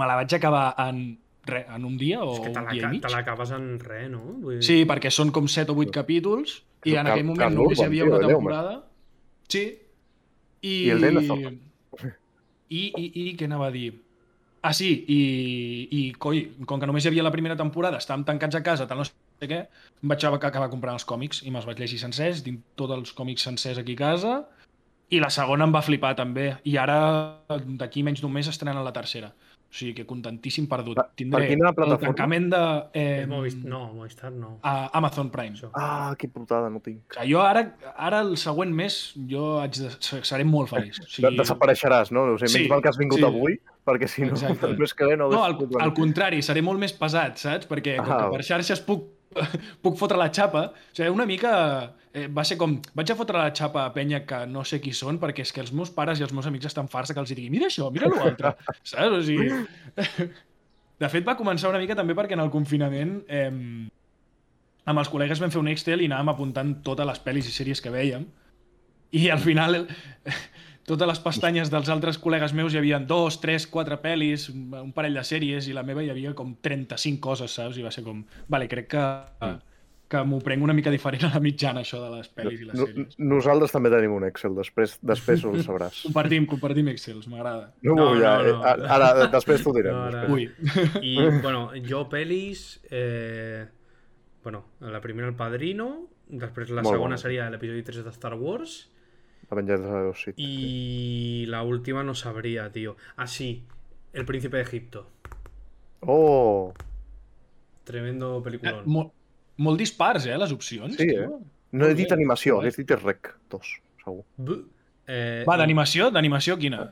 S3: Me la vaig acabar en, re, en un dia o
S1: és que te
S3: un dia i
S1: l'aca-
S3: mig.
S1: te l'acabes en res, no? Vull dir...
S3: Sí, perquè són com 7 o 8 capítols i
S2: És un
S3: en
S2: Car-
S3: aquell moment
S2: Carl
S3: només hi
S2: Urban,
S3: havia
S2: tio,
S3: una
S2: de Déu,
S3: temporada. Sí. I,
S2: I el Denethor.
S3: I, i, I què anava a dir? Ah, sí, i, i coi, com que només hi havia la primera temporada, estàvem tancats a casa, tal no sé què, em vaig acabar- acabar comprant els còmics i me'ls vaig llegir sencers, tinc tots els còmics sencers aquí a casa, i la segona em va flipar també, i ara d'aquí menys d'un mes estrenen la tercera. O sigui que contentíssim perdut.
S2: Per- per
S3: Tindré
S2: quina
S3: el
S2: plataforma?
S3: tancament de eh,
S2: em,
S1: És Movistar, no, Movistar no.
S3: a Amazon Prime.
S1: Això.
S2: Ah, que putada, no tinc.
S3: Que jo ara, ara el següent mes, jo haig de, se- seré molt feliç. O
S2: Sí.
S3: sigui,
S2: Desapareixeràs, no? O sigui,
S3: Sí,
S2: menys mal que has vingut
S3: sí.
S2: sí. avui, perquè si *laughs* no,
S3: Exacte.
S2: el mes que ve no...
S3: no,
S2: hagués
S3: al,
S2: pogut venir.
S3: al contrari, seré molt més pesat, saps? Perquè com
S2: Ah.
S3: que per xarxes puc, *laughs* puc fotre la xapa. O sigui, una mica... Eh, va ser com... Vaig a fotre la xapa a penya que no sé qui són, perquè és que els meus pares i els meus amics estan farts de que els digui mira això, mira l'altre, saps? O sigui... *laughs* De fet, va començar una mica també perquè en el confinament... Eh, amb els col·legues vam fer un Excel i anàvem apuntant totes les pel·lis i sèries que veiem. I al final, el- totes les pestanyes dels altres col·legues meus hi havia dos, tres, quatre pel·lis, un un parell de sèries, i la meva hi havia com 35 coses, saps? I va ser com... Vale, crec que, que m'ho prenc una mica diferent a la mitjana, això de les pel·lis i les
S2: No-
S3: sèries.
S2: Nosaltres també tenim un Excel, després, després
S3: *laughs*
S2: ho sabràs.
S3: Compartim, compartim Excels, m'agrada.
S2: No,
S1: No,
S2: no, ja,
S1: no, no.
S2: no. Ara, després t'ho direm.
S1: No, ara-
S2: després.
S3: Ui,
S1: Y bueno, yo pelis... eh, bueno, la primera El Padrino, después la
S2: Molt
S1: segunda
S2: bona.
S1: sería el episodio 3 de Star Wars
S2: La venjança de los Sith.
S1: y la última no sabría, tío. Así, El Príncipe de Egipto.
S2: Oh!
S1: Tremendo peliculón.
S3: *laughs* molt, molt dispars, eh, les opcions.
S2: Sí,
S3: tio.
S2: No he dit
S3: Molt bé.
S2: animació, he dit rec, dos, segur.
S1: B- eh,
S3: Va, d'animació, d'animació quina?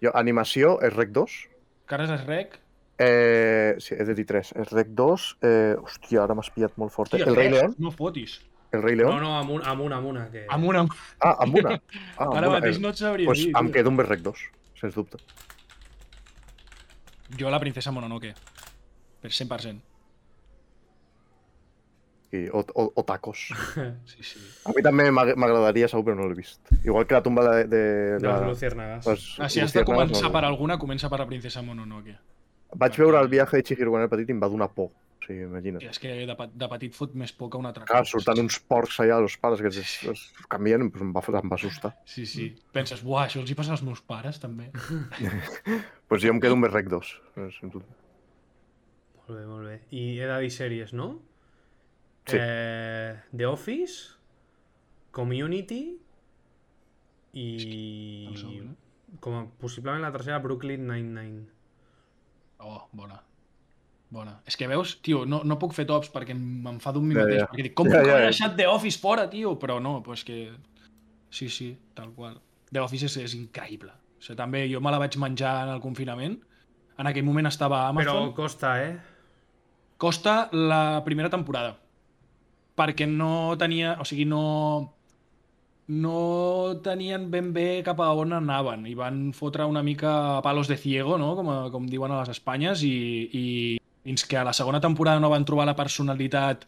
S2: Jo, animació és rec 2.
S3: Cares es rec?
S2: Eh, sí, he de dir 3. És rec 2. Eh, hòstia, ara m'has pillat molt fort. eh?
S3: Hòstia,
S2: el Rei
S3: res,
S2: León?
S3: No fotis.
S2: El Rei
S1: No,
S2: León?
S1: no, Amuna, Amuna, Amuna. Que...
S3: Amb una... Amb
S2: Ah, amb una. Ah, amb
S3: Ara
S2: una.
S3: mateix
S2: Eh,
S3: no et sabria
S2: pues
S3: dir.
S2: em
S3: tio.
S2: quedo amb el rec 2, sens dubte.
S3: Jo la princesa Mononoke. Per 100%.
S2: I, o, o, o tacos.
S3: Sí, sí.
S2: A mi també m'ag- m'agradaria segur, però no l'he vist. Igual que la tumba de... de,
S1: de
S2: la-
S1: las luciérnagas.
S2: les
S3: Ah, si has de
S2: luciernagas,
S3: començar
S2: no.
S3: per alguna, comença per la princesa Mononoke.
S2: Vaig veure el viatge de Chihiro quan era petit i em va donar por. O sigui, imagina't.
S3: Hòstia, és que de, pe- de petit fot més por que una altra
S2: Clar, surten uns porcs allà, els pares que es, es canvien, doncs em va, em va assustar.
S3: Sí, sí. Penses, buah, això els hi passa als meus pares, també.
S2: Doncs pues jo em quedo amb el rec 2. sens dubte.
S1: Molt bé, molt bé. I he de dir sèries, no?
S2: Sí.
S1: Eh, The Office, Community i...
S3: Em sona.
S1: Com a, possiblement la tercera, Brooklyn Nine-Nine.
S3: Oh, bona. Bona. És que veus, tio, no, no puc fer tops perquè em- m'enfado amb mi
S2: Ja,
S3: mateix.
S2: ja.
S3: Perquè dic, com
S2: Ja,
S3: puc
S2: ja,
S3: haver
S2: ja.
S3: deixat The Office fora, tio? Però no, però és que... Sí, sí, tal qual. The Office és, és increïble. O sigui, també jo me la vaig menjar en el confinament. En aquell moment estava a
S1: Però
S3: Amazon. Però...
S1: costa, eh?
S3: Costa la primera temporada. Perquè no tenia... O sigui, no no tenien ben bé cap a on anaven i van fotre una mica palos de ciego, no? com, a, com diuen a les Espanyes, i, i fins que a la segona temporada no van trobar la personalitat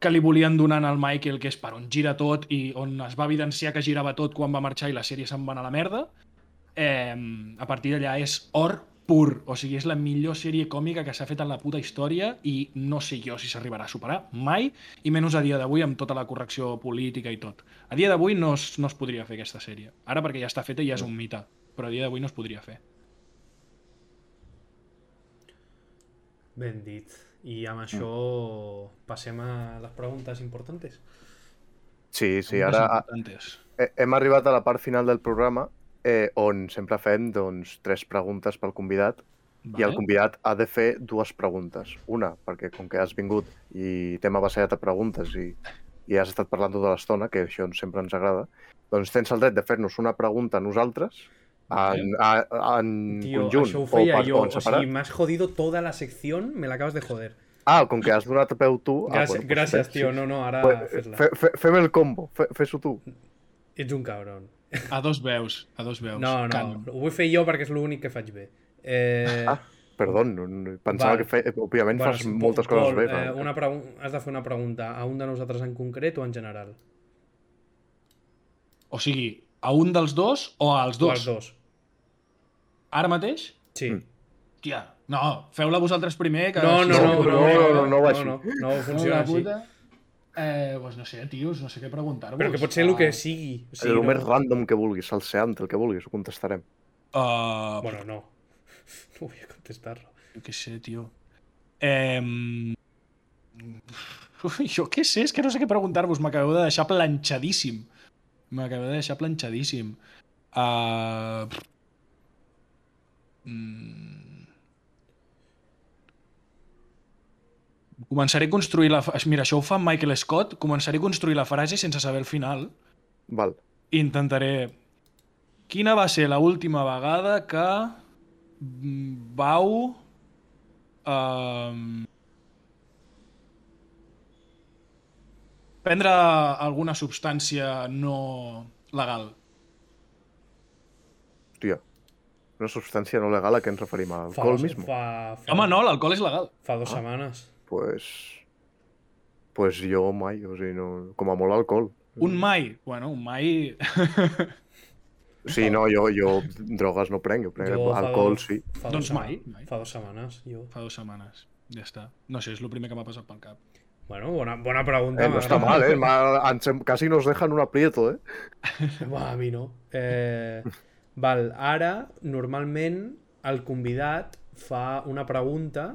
S3: que li volien donar al Michael, que és per on gira tot i on es va evidenciar que girava tot quan va marxar i la sèrie se'n va anar a la merda, eh, a partir d'allà és or pur. O sigui, és la millor sèrie còmica que s'ha fet en la puta història i no sé jo si s'arribarà a superar mai, i menys a dia d'avui amb tota la correcció política i tot. A dia d'avui no, es, no es podria fer aquesta sèrie. Ara perquè ja està feta i ja és un mite, però a dia d'avui no es podria fer.
S1: Ben dit. I amb això passem a les preguntes importants.
S2: Sí, sí, ara a-
S3: Importantes.
S2: he- hem arribat a la part final del programa eh, on sempre fem doncs, tres preguntes pel convidat
S3: Vale.
S2: I el convidat ha de fer dues preguntes. Una, perquè com que has vingut i t'hem abassallat a preguntes i, i has estat parlant tota l'estona, que això ens- sempre ens agrada, doncs tens el dret de fer-nos una pregunta a nosaltres, en, a, en
S1: Tio,
S2: conjunt,
S1: això ho
S2: o,
S1: feia
S2: per,
S1: jo.
S2: o en
S1: O
S2: separat.
S1: sigui, m'has jodido toda la secció, me la acabes de joder.
S2: Ah, com que has donat peu tu... ah,
S1: Gràcies,
S2: doncs
S1: gràcies
S2: fes-
S1: tio. No, no, ara
S2: Pues,
S1: fes-la.
S2: fe, fe, fem el combo, fe, fes-ho tu.
S1: Ets un cabron.
S3: A dos veus, a dos veus.
S1: No, no, ho vull fer jo perquè és l'únic que faig bé. Eh,
S2: Ah, Perdó, no, no, pensava
S1: Val.
S2: que fe, òbviament
S1: bueno,
S2: fas
S1: sí,
S2: moltes
S1: Pol,
S2: coses bé.
S1: Eh,
S2: però-
S1: una pregun- has de fer una pregunta a un de nosaltres en concret o en general?
S3: O sigui, a un dels dos o als
S1: O
S3: dos?
S1: als dos.
S3: Ara mateix?
S1: Sí.
S2: Mm.
S3: Tia, no, feu-la vosaltres primer. Que
S1: No, no, no, no,
S2: No, no,
S1: no,
S2: no, no va així.
S1: no, no, no funciona
S3: la
S1: així.
S3: puta. Eh, doncs no sé, tios, no sé què preguntar-vos.
S1: Però que pot ser el que sigui. O sigui
S2: el més
S1: no.
S2: random que vulguis, el seant, el que vulguis, ho contestarem.
S3: Uh, bueno.
S1: Ah, Bueno, no. *laughs* No voy a contestarlo.
S3: Jo què sé, tio. Eh... Jo què sé, és que no sé què preguntar-vos. M'acabeu de deixar planxadíssim. M'acabeu de deixar planxadíssim. Uh... Mm... Començaré a construir la... fra- Mira, això ho fa Michael Scott. Començaré a construir la frase sense saber el final.
S2: Val.
S3: Intentaré... Quina va ser l'última vegada que mm, vau... Um, prendre alguna substància no legal.
S2: Hòstia. Una substància no legal a què ens referim? A
S1: Fa
S2: alcohol
S1: dos-
S2: mismo? Ah.
S1: Fa, fa,
S3: Home, Ah, no, l'alcohol és legal.
S1: Fa dos setmanes.
S2: Pues... Pues jo mai, o sigui, no... com a molt alcohol.
S3: Un mai. Bueno, un mai... *laughs*
S2: Sí, no, jo, jo drogues no prenc, jo prenc
S1: Jo fa
S2: Eh, pues alcohol,
S1: dos-
S2: sí.
S1: Fa
S3: Doncs
S1: dos
S3: mai,
S1: setma-
S3: mai.
S1: Fa dos setmanes, jo.
S3: Fa dues setmanes. Ja està. No sé, és el primer que m'ha passat pel cap.
S1: Bueno, bona, bona pregunta.
S2: Eh, no està
S1: m'agrada.
S2: mal, eh? Ma- Ens, hem- quasi nos dejan un aprieto, eh?
S1: Va, a mi no. Eh, val, ara, normalment, el convidat fa una pregunta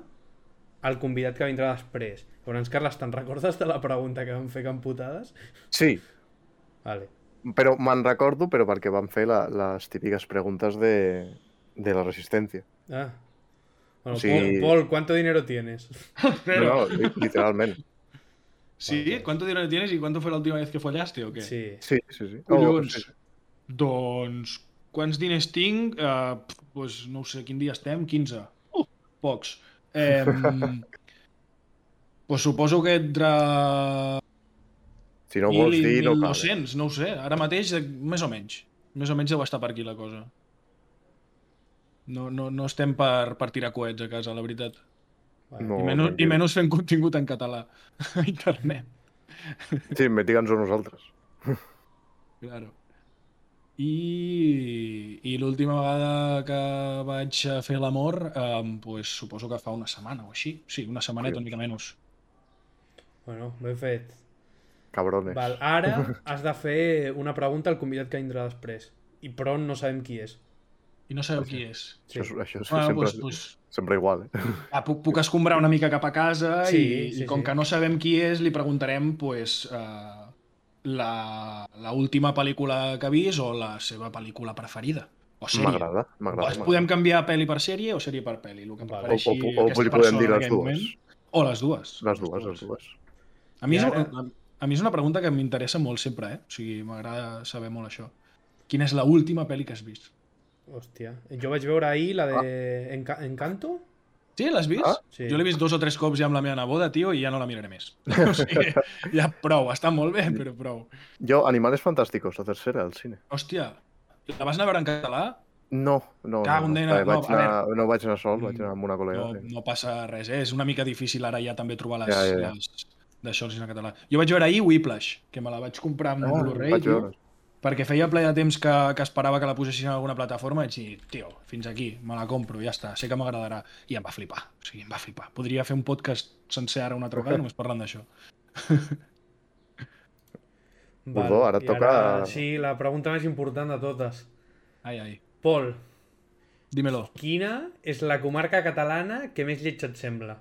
S1: al convidat que vindrà després. Llavors, Carles, te'n recordes de la pregunta que vam fer camputades?
S2: Sí,
S1: Vale.
S2: però me'n recordo, però perquè van fer la, les típiques preguntes de, de la resistència.
S1: Ah. Bueno,
S2: Sí.
S1: Pol, Pol, ¿cuánto dinero tienes?
S3: Però...
S2: No, no, li- literalment.
S3: Sí? ¿Cuánto dinero tienes y cuánto fue la última vez que follaste o qué?
S1: Sí.
S2: Sí, sí, sí. Oh,
S3: Collons.
S2: sí, sí.
S3: Doncs, quants diners tinc? Uh, pues, no ho sé, quin dia estem? 15.
S2: Oh.
S3: Uh, pocs. Eh, pues suposo que entre
S2: Si no ho
S3: 1.000
S2: vols
S3: i
S2: dir, no cal. eh.
S3: 1.200, no ho sé. Ara mateix, eh, més o menys. Més o menys deu estar per aquí la cosa. No, no, no estem per, per tirar coets a casa, la veritat.
S1: Vale.
S2: No.
S3: I menys,
S2: tranquil.
S3: I menys fent contingut en català *laughs* a internet.
S2: Sí, digue'ns-ho nosaltres.
S3: Claro. I, i l'última vegada que vaig a fer l'amor, eh, pues, suposo que fa una setmana o així. Sí, una setmaneta, una mica menys.
S1: Bueno, ben fet.
S2: Cabrones.
S1: Val,
S2: *laughs*
S1: ara has de fer una pregunta al convidat que vindrà després. I però no sabem qui és.
S3: I no sabeu qui és.
S1: Sí.
S2: Això, és- això és
S3: Bueno,
S2: sempre,
S3: doncs, doncs,
S2: sempre igual, eh?
S3: Ah, puc, puc escombrar una mica cap a casa
S1: Sí,
S3: sí, i,
S1: sí,
S3: i com
S1: sí.
S3: que no sabem qui és, li preguntarem pues, uh, la, la última pel·lícula que ha vist o la seva pel·lícula preferida. O sèrie.
S2: M'agrada, m'agrada.
S3: Es
S2: m'agrada.
S3: podem canviar pel·li per sèrie o sèrie per pel·li, el que em
S1: Vale.
S2: O, o,
S3: pareixi
S2: o, o
S3: aquesta
S2: li podem
S3: persona
S2: dir
S3: en
S2: les
S3: aquell
S2: dues.
S3: moment. O les dues.
S2: Les dues, les dues.
S3: A mi,
S1: I
S3: és,
S1: ara-
S3: una- a mi és una pregunta que m'interessa molt sempre, eh? O sigui, m'agrada saber molt això. Quina és l'última pel·li que has vist?
S1: Hòstia. Jo vaig veure ahir la de Enca- Encanto.
S3: Sí, l'has vist?
S2: Ah,
S1: sí.
S3: Jo l'he vist dos o tres cops ja amb la meva neboda, tio, i ja no la miraré més.
S2: *laughs*
S3: O sigui, ja prou, està molt bé, però prou.
S2: Jo, Animales Fantásticos, la tercera, al cine.
S3: Hòstia, la vas anar a veure en català?
S2: No, no,
S3: Cago
S2: no,
S3: en
S2: no.
S3: nena,
S2: Vaig,
S3: no,
S2: vaig
S3: a
S2: anar, no vaig anar sol,
S3: Mm,
S2: vaig anar amb una col·lega.
S3: No,
S2: sí.
S3: no passa res, eh? és una mica difícil ara ja també trobar les,
S2: Ja,
S3: ja,
S2: ja,
S3: ja,
S2: ja.
S3: les d'això al cine català. Jo vaig veure ahir Whiplash, que me la vaig comprar amb
S2: Ah,
S3: Blu-ray,
S2: vaig
S3: tio,
S2: veure.
S3: perquè feia ple de temps que, que esperava que la posessin en alguna plataforma i vaig dir, tio, fins aquí, me la compro, ja està, sé que m'agradarà. I em va flipar, o sigui, em va flipar. Podria fer un podcast sencer ara una altra vegada només parlant d'això.
S2: Bordó, ara
S1: i
S2: toca-
S1: Sí, la pregunta més important de totes.
S3: Ai, ai,
S1: Pol, *laughs*
S3: dímelo.
S1: quina és la comarca catalana que més lletja et sembla?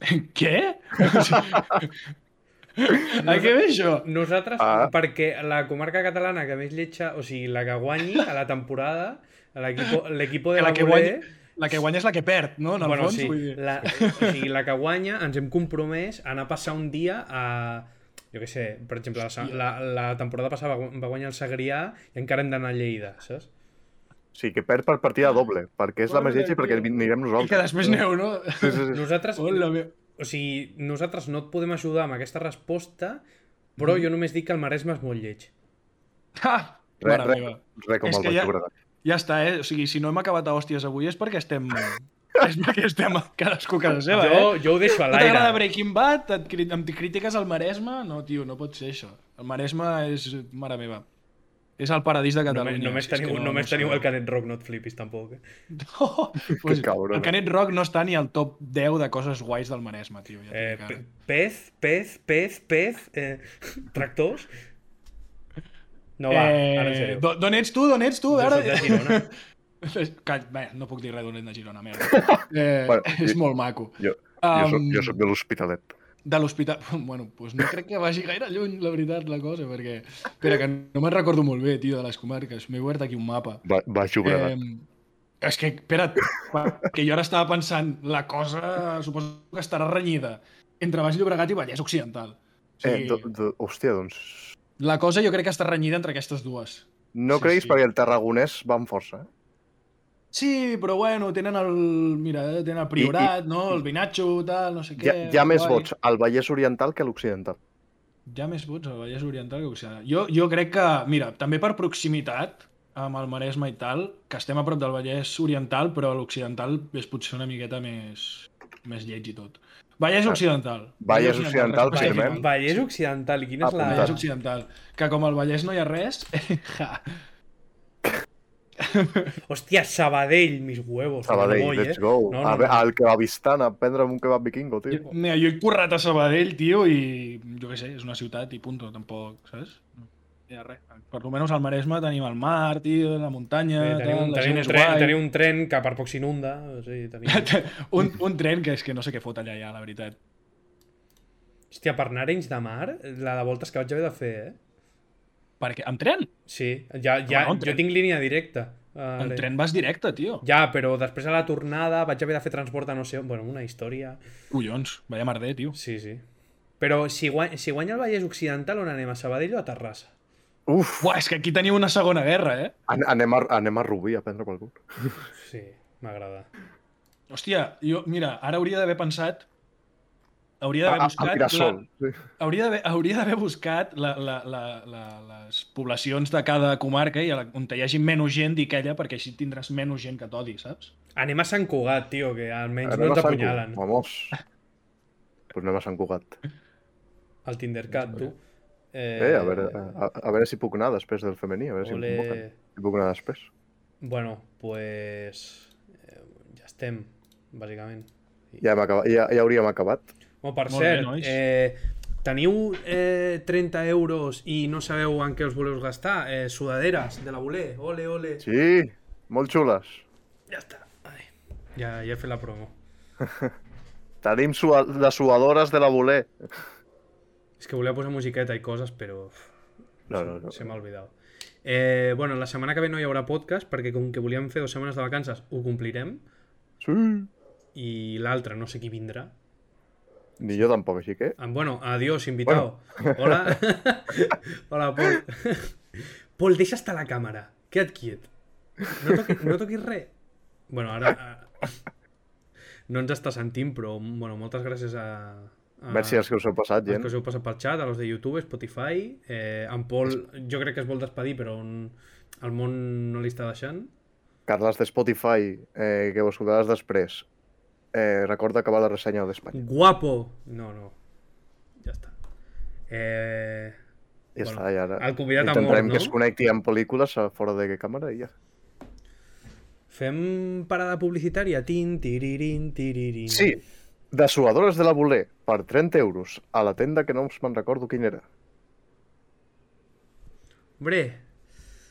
S3: *laughs* Què? a què ve això?
S1: Nosaltres,
S2: Ah.
S1: perquè la comarca catalana que més lletja, o sigui, la que guanyi a la temporada, a l'equipo l'equipo de
S3: Que la
S1: la
S3: que guanyi- La que guanya és la que perd, no? En el
S1: eh? bueno,
S3: fons,
S1: sí,
S3: vull dir.
S1: la, o sigui, la que guanya ens hem compromès a anar a passar un dia a jo què sé, per exemple, la, sa-
S3: Hòstia.
S1: la, la temporada passada va gu- va guanyar el Segrià i encara hem d'anar a Lleida, saps?
S2: Sí, que perd per partida doble, perquè és la
S3: Pobre
S2: més lletja i perquè
S3: tio.
S2: anirem
S3: I que
S2: nosaltres.
S3: després aneu, no?
S2: Sí, sí, sí.
S1: Nosaltres,
S3: Hola, meu.
S1: o sigui, nosaltres no et podem ajudar amb aquesta resposta, però
S3: Mm-hmm.
S1: jo només dic que el Maresme és molt lleig.
S3: Ah,
S2: Re,
S3: mare
S2: re,
S3: meva.
S2: re com
S3: És
S2: el
S3: que
S2: Baix
S3: ja-
S2: Llobregat.
S3: Ja està, eh? O sigui, si no hem acabat a hòsties avui és perquè estem... és perquè estem a cadascú a casa seva, eh?
S1: jo, jo ho deixo a
S3: No t'agrada
S1: l'aire.
S3: Breaking Bad? Et cri em critiques el Maresme? No, tio, no pot ser això. El Maresme és... Mare meva. És el paradís de Catalunya.
S1: Només, només
S3: Si és que
S1: teniu, només
S3: sé.
S1: teniu
S3: *laughs*
S1: el Canet Rock, no et flipis tampoc. eh?
S3: Oh, pues,
S2: cabrón.
S3: el Canet Rock no està ni al top 10 de coses guais del Maresme, tio. Ja
S1: Eh,
S3: eh,
S1: pe- pez, pez, pez, pez, eh, *laughs* tractors... No va, ara en
S3: eh,
S1: sèrio.
S3: do- d'on ets tu? D'on ets tu? A
S1: Jo
S3: veure...
S1: soc de
S3: *laughs*
S1: Girona.
S3: Call, bé, no puc dir res d'on ets de Girona,
S2: *laughs*
S3: merda. Eh,
S2: Bueno,
S3: és
S2: jo-
S3: molt maco.
S2: Jo, jo, soc,
S3: Um,
S2: jo soc de l'Hospitalet.
S3: De l'hospital... *laughs* Bueno, doncs no crec que vagi gaire lluny, la veritat, la cosa, perquè... Espera, que no me'n recordo molt bé, tio, de les comarques. M'he obert aquí un mapa.
S2: Ba- Baix Llobregat.
S3: Eh, és que, espera't, que jo ara estava pensant, la cosa suposo que estarà renyida entre Baix Llobregat i Vallès Occidental. O
S2: Eh,
S3: sigui,
S2: do, do, hòstia, doncs...
S3: La cosa jo crec que està renyida entre aquestes dues.
S2: No
S3: Sí,
S2: creguis
S3: sí.
S2: perquè el tarragonès va amb força. eh?
S3: Sí, però bueno, tenen el... Mira, eh, tenen el Priorat, no? El Vinatxo, tal, no sé
S2: Hi ha,
S3: què...
S2: hi ha més
S3: guai.
S2: vots al Vallès Oriental que a l'Occidental.
S3: Hi ha més vots al Vallès Oriental que Occidental. Jo, jo crec que, mira, també per proximitat, amb el Maresme i tal, que estem a prop del Vallès Oriental, però l'Occidental és potser una miqueta més, més lleig i tot. Vallès
S2: Ah.
S3: Occidental.
S2: Vallès Occidental,
S3: resposta
S2: firmem.
S3: final.
S1: Vallès Occidental, i quina és la...
S2: Apuntat.
S3: Vallès Occidental. Que com al Vallès no hi ha res... *laughs* ja.
S1: Hòstia, Sabadell, mis huevos.
S2: Sabadell,
S1: Orgoll,
S2: let's go.
S1: No, eh.
S2: No,
S1: no,
S2: a, ve-
S1: no.
S2: Al kebabistan a prendre'm un kebab vikingo, tio.
S3: Jo- Mira, jo he currat a Sabadell, tio, i jo què sé, és una ciutat i punto, tampoc, saps? No hi ha res. Per almenys al Maresme tenim el mar, tio, la muntanya,
S1: Eh,
S3: tal,
S1: teniu, un,
S3: la
S1: teniu,
S3: gent
S1: un
S3: és
S1: tren,
S3: guai.
S1: teniu un tren que per poc s'inunda. o sigui,
S3: *laughs*
S1: teniu...
S3: un, un tren que és que no sé què fot allà ja, la veritat.
S1: Hòstia, per anar a Arenys de Mar, la de voltes que vaig haver de fer, eh?
S3: Perquè amb tren?
S1: Sí, ja, ja,
S3: Bueno, un
S1: jo
S3: tren.
S1: tinc línia directa. a
S3: Amb
S1: Arenys.
S3: tren vas directe, tio.
S1: Ja, però després a la tornada vaig haver de fer transport a no sé on. Bueno, una història.
S3: Collons, vaya merder, tio.
S1: Sí, sí. Però si, guany, si guanya el Vallès Occidental, on anem? A Sabadell o a Terrassa?
S2: Uf,
S3: Buah, és que aquí teniu una segona guerra, eh?
S2: an anem, a, anem a Rubí a prendre qualcú.
S1: Sí, m'agrada.
S3: Hòstia, jo, mira, ara hauria d'haver pensat... Hauria
S2: A, a,
S3: d'haver
S2: a
S3: buscat...
S2: Pirasol. Sí.
S3: hauria d'haver hauria d'haver buscat la, la, la, la, les poblacions de cada comarca i a la, on hi hagi menys gent, dic aquella, perquè així tindràs menys gent que t'odi, saps?
S1: Anem a Sant Cugat, tio, que almenys
S2: Anem
S1: no
S2: a
S1: ens
S2: Sant
S1: apunyalen.
S2: Cugat, Vamos. Pues anem a Sant Cugat.
S1: Al Tindercat, tu.
S2: Eh, a, veure, a, a veure si puc anar després del femení, a veure si
S1: Ole.
S2: em convoquen. Si puc anar després.
S1: Bueno, pues... Eh, ja estem, bàsicament.
S2: Ja, hem acabat, ja, ja hauríem acabat.
S1: Bueno, per
S3: Molt bé,
S1: cert,
S3: nois.
S1: eh, teniu eh, 30 euros i no sabeu en què us voleu gastar? Eh, sudaderes de la Voler, ole, ole.
S2: Sí, Molt xules.
S1: Ja està. Ai. Ja, ja he fet la promo.
S2: Tenim sua les suadores de la voler.
S1: És que volia posar musiqueta i coses, però uf,
S2: No, no, no.
S1: se m'ha olvidat. Eh, bueno, la setmana que ve no hi haurà podcast perquè com que volíem fer dues setmanes de vacances ho complirem
S2: Sí.
S1: i l'altra no sé qui vindrà.
S2: Ni jo tampoc, així que...
S1: Ah, Bueno, adiós, invitado.
S2: *laughs*
S1: Hola. Hola, Pol. Pol, deixa estar la càmera. Queda't quiet. No, toqui, no toquis res. Bueno, ara... ah, No ens està sentint, però bueno, moltes gràcies a... a
S2: Merci als que us heu passat,
S1: Els
S2: gent.
S1: que us heu passat pel xat, a los de YouTube, Spotify... Eh, en Pol jo crec que es vol despedir, però on, el món no li està deixant.
S2: Carles de Spotify, eh, que ho escoltaràs després. Eh, recorda acabar la ressenya d'Espanya.
S1: Guapo! No, no. Ja està. Eh...
S2: Ja
S1: Bueno,
S2: està, i ara
S1: el convidat ha
S2: intentarem
S1: mort, no?
S2: que es connecti amb pel·lícules a fora de càmera i ja.
S1: Fem parada publicitària. Tin, tiririn, tiririn.
S2: Sí, de suadores de la voler per 30 euros a la tenda que no us me'n recordo quina era.
S1: Hombre,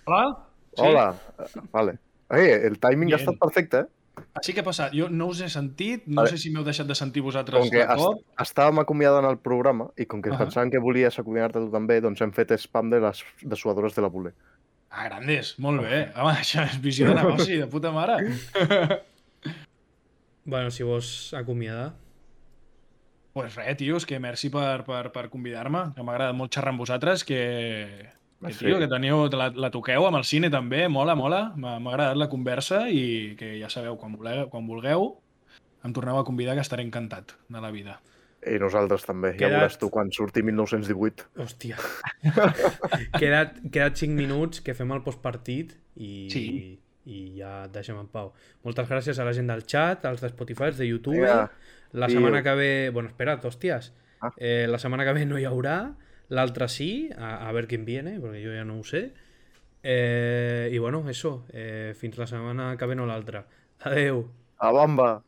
S3: Hola? Sí.
S2: Hola, eh, vale. Eh, el timing ha
S3: Bien.
S2: estat perfecte, eh?
S3: Així que passa, jo no us he sentit, no
S2: Vale.
S3: sé si m'heu deixat de sentir vosaltres
S2: Com que
S3: de
S2: est
S3: cop.
S2: estàvem acomiadant el programa i com que
S3: Ahà.
S2: pensàvem que volies acomiadar-te tu també, doncs hem fet spam de les de suadores de la voler.
S3: Ah, grandes, molt bé. Home, això és visió *laughs* de negoci, de puta mare.
S1: bueno, si vols acomiadar.
S3: pues res, tios, que merci per, per, per convidar-me, que m'ha agradat molt xerrar amb vosaltres, que, que
S2: Sí.
S3: tio, que teniu, la, la toqueu amb el cine també, mola, mola, m'ha m'ha agradat la conversa i que ja sabeu, quan vulgueu, quan vulgueu em torneu a convidar que estaré encantat de la vida.
S2: I nosaltres també. Ja
S1: Quedat-
S2: veuràs tu quan surti 1918. *laughs*
S1: Hòstia. quedat, quedat 5 minuts que fem el postpartit i,
S3: Sí.
S1: i ja et deixem en pau. Moltes gràcies a la gent del chat, als de Spotify, als de YouTube.
S2: Vinga,
S1: la
S2: tio.
S1: setmana que ve... Bueno, espera't, hòsties.
S2: Ah.
S1: Eh, la setmana que ve no hi haurà, l'altra sí, a, a ver quién viene, perquè jo ja no ho sé. Eh, I bueno, eso, eh, fins la setmana que ve no l'altra. Adeu.
S2: A bamba!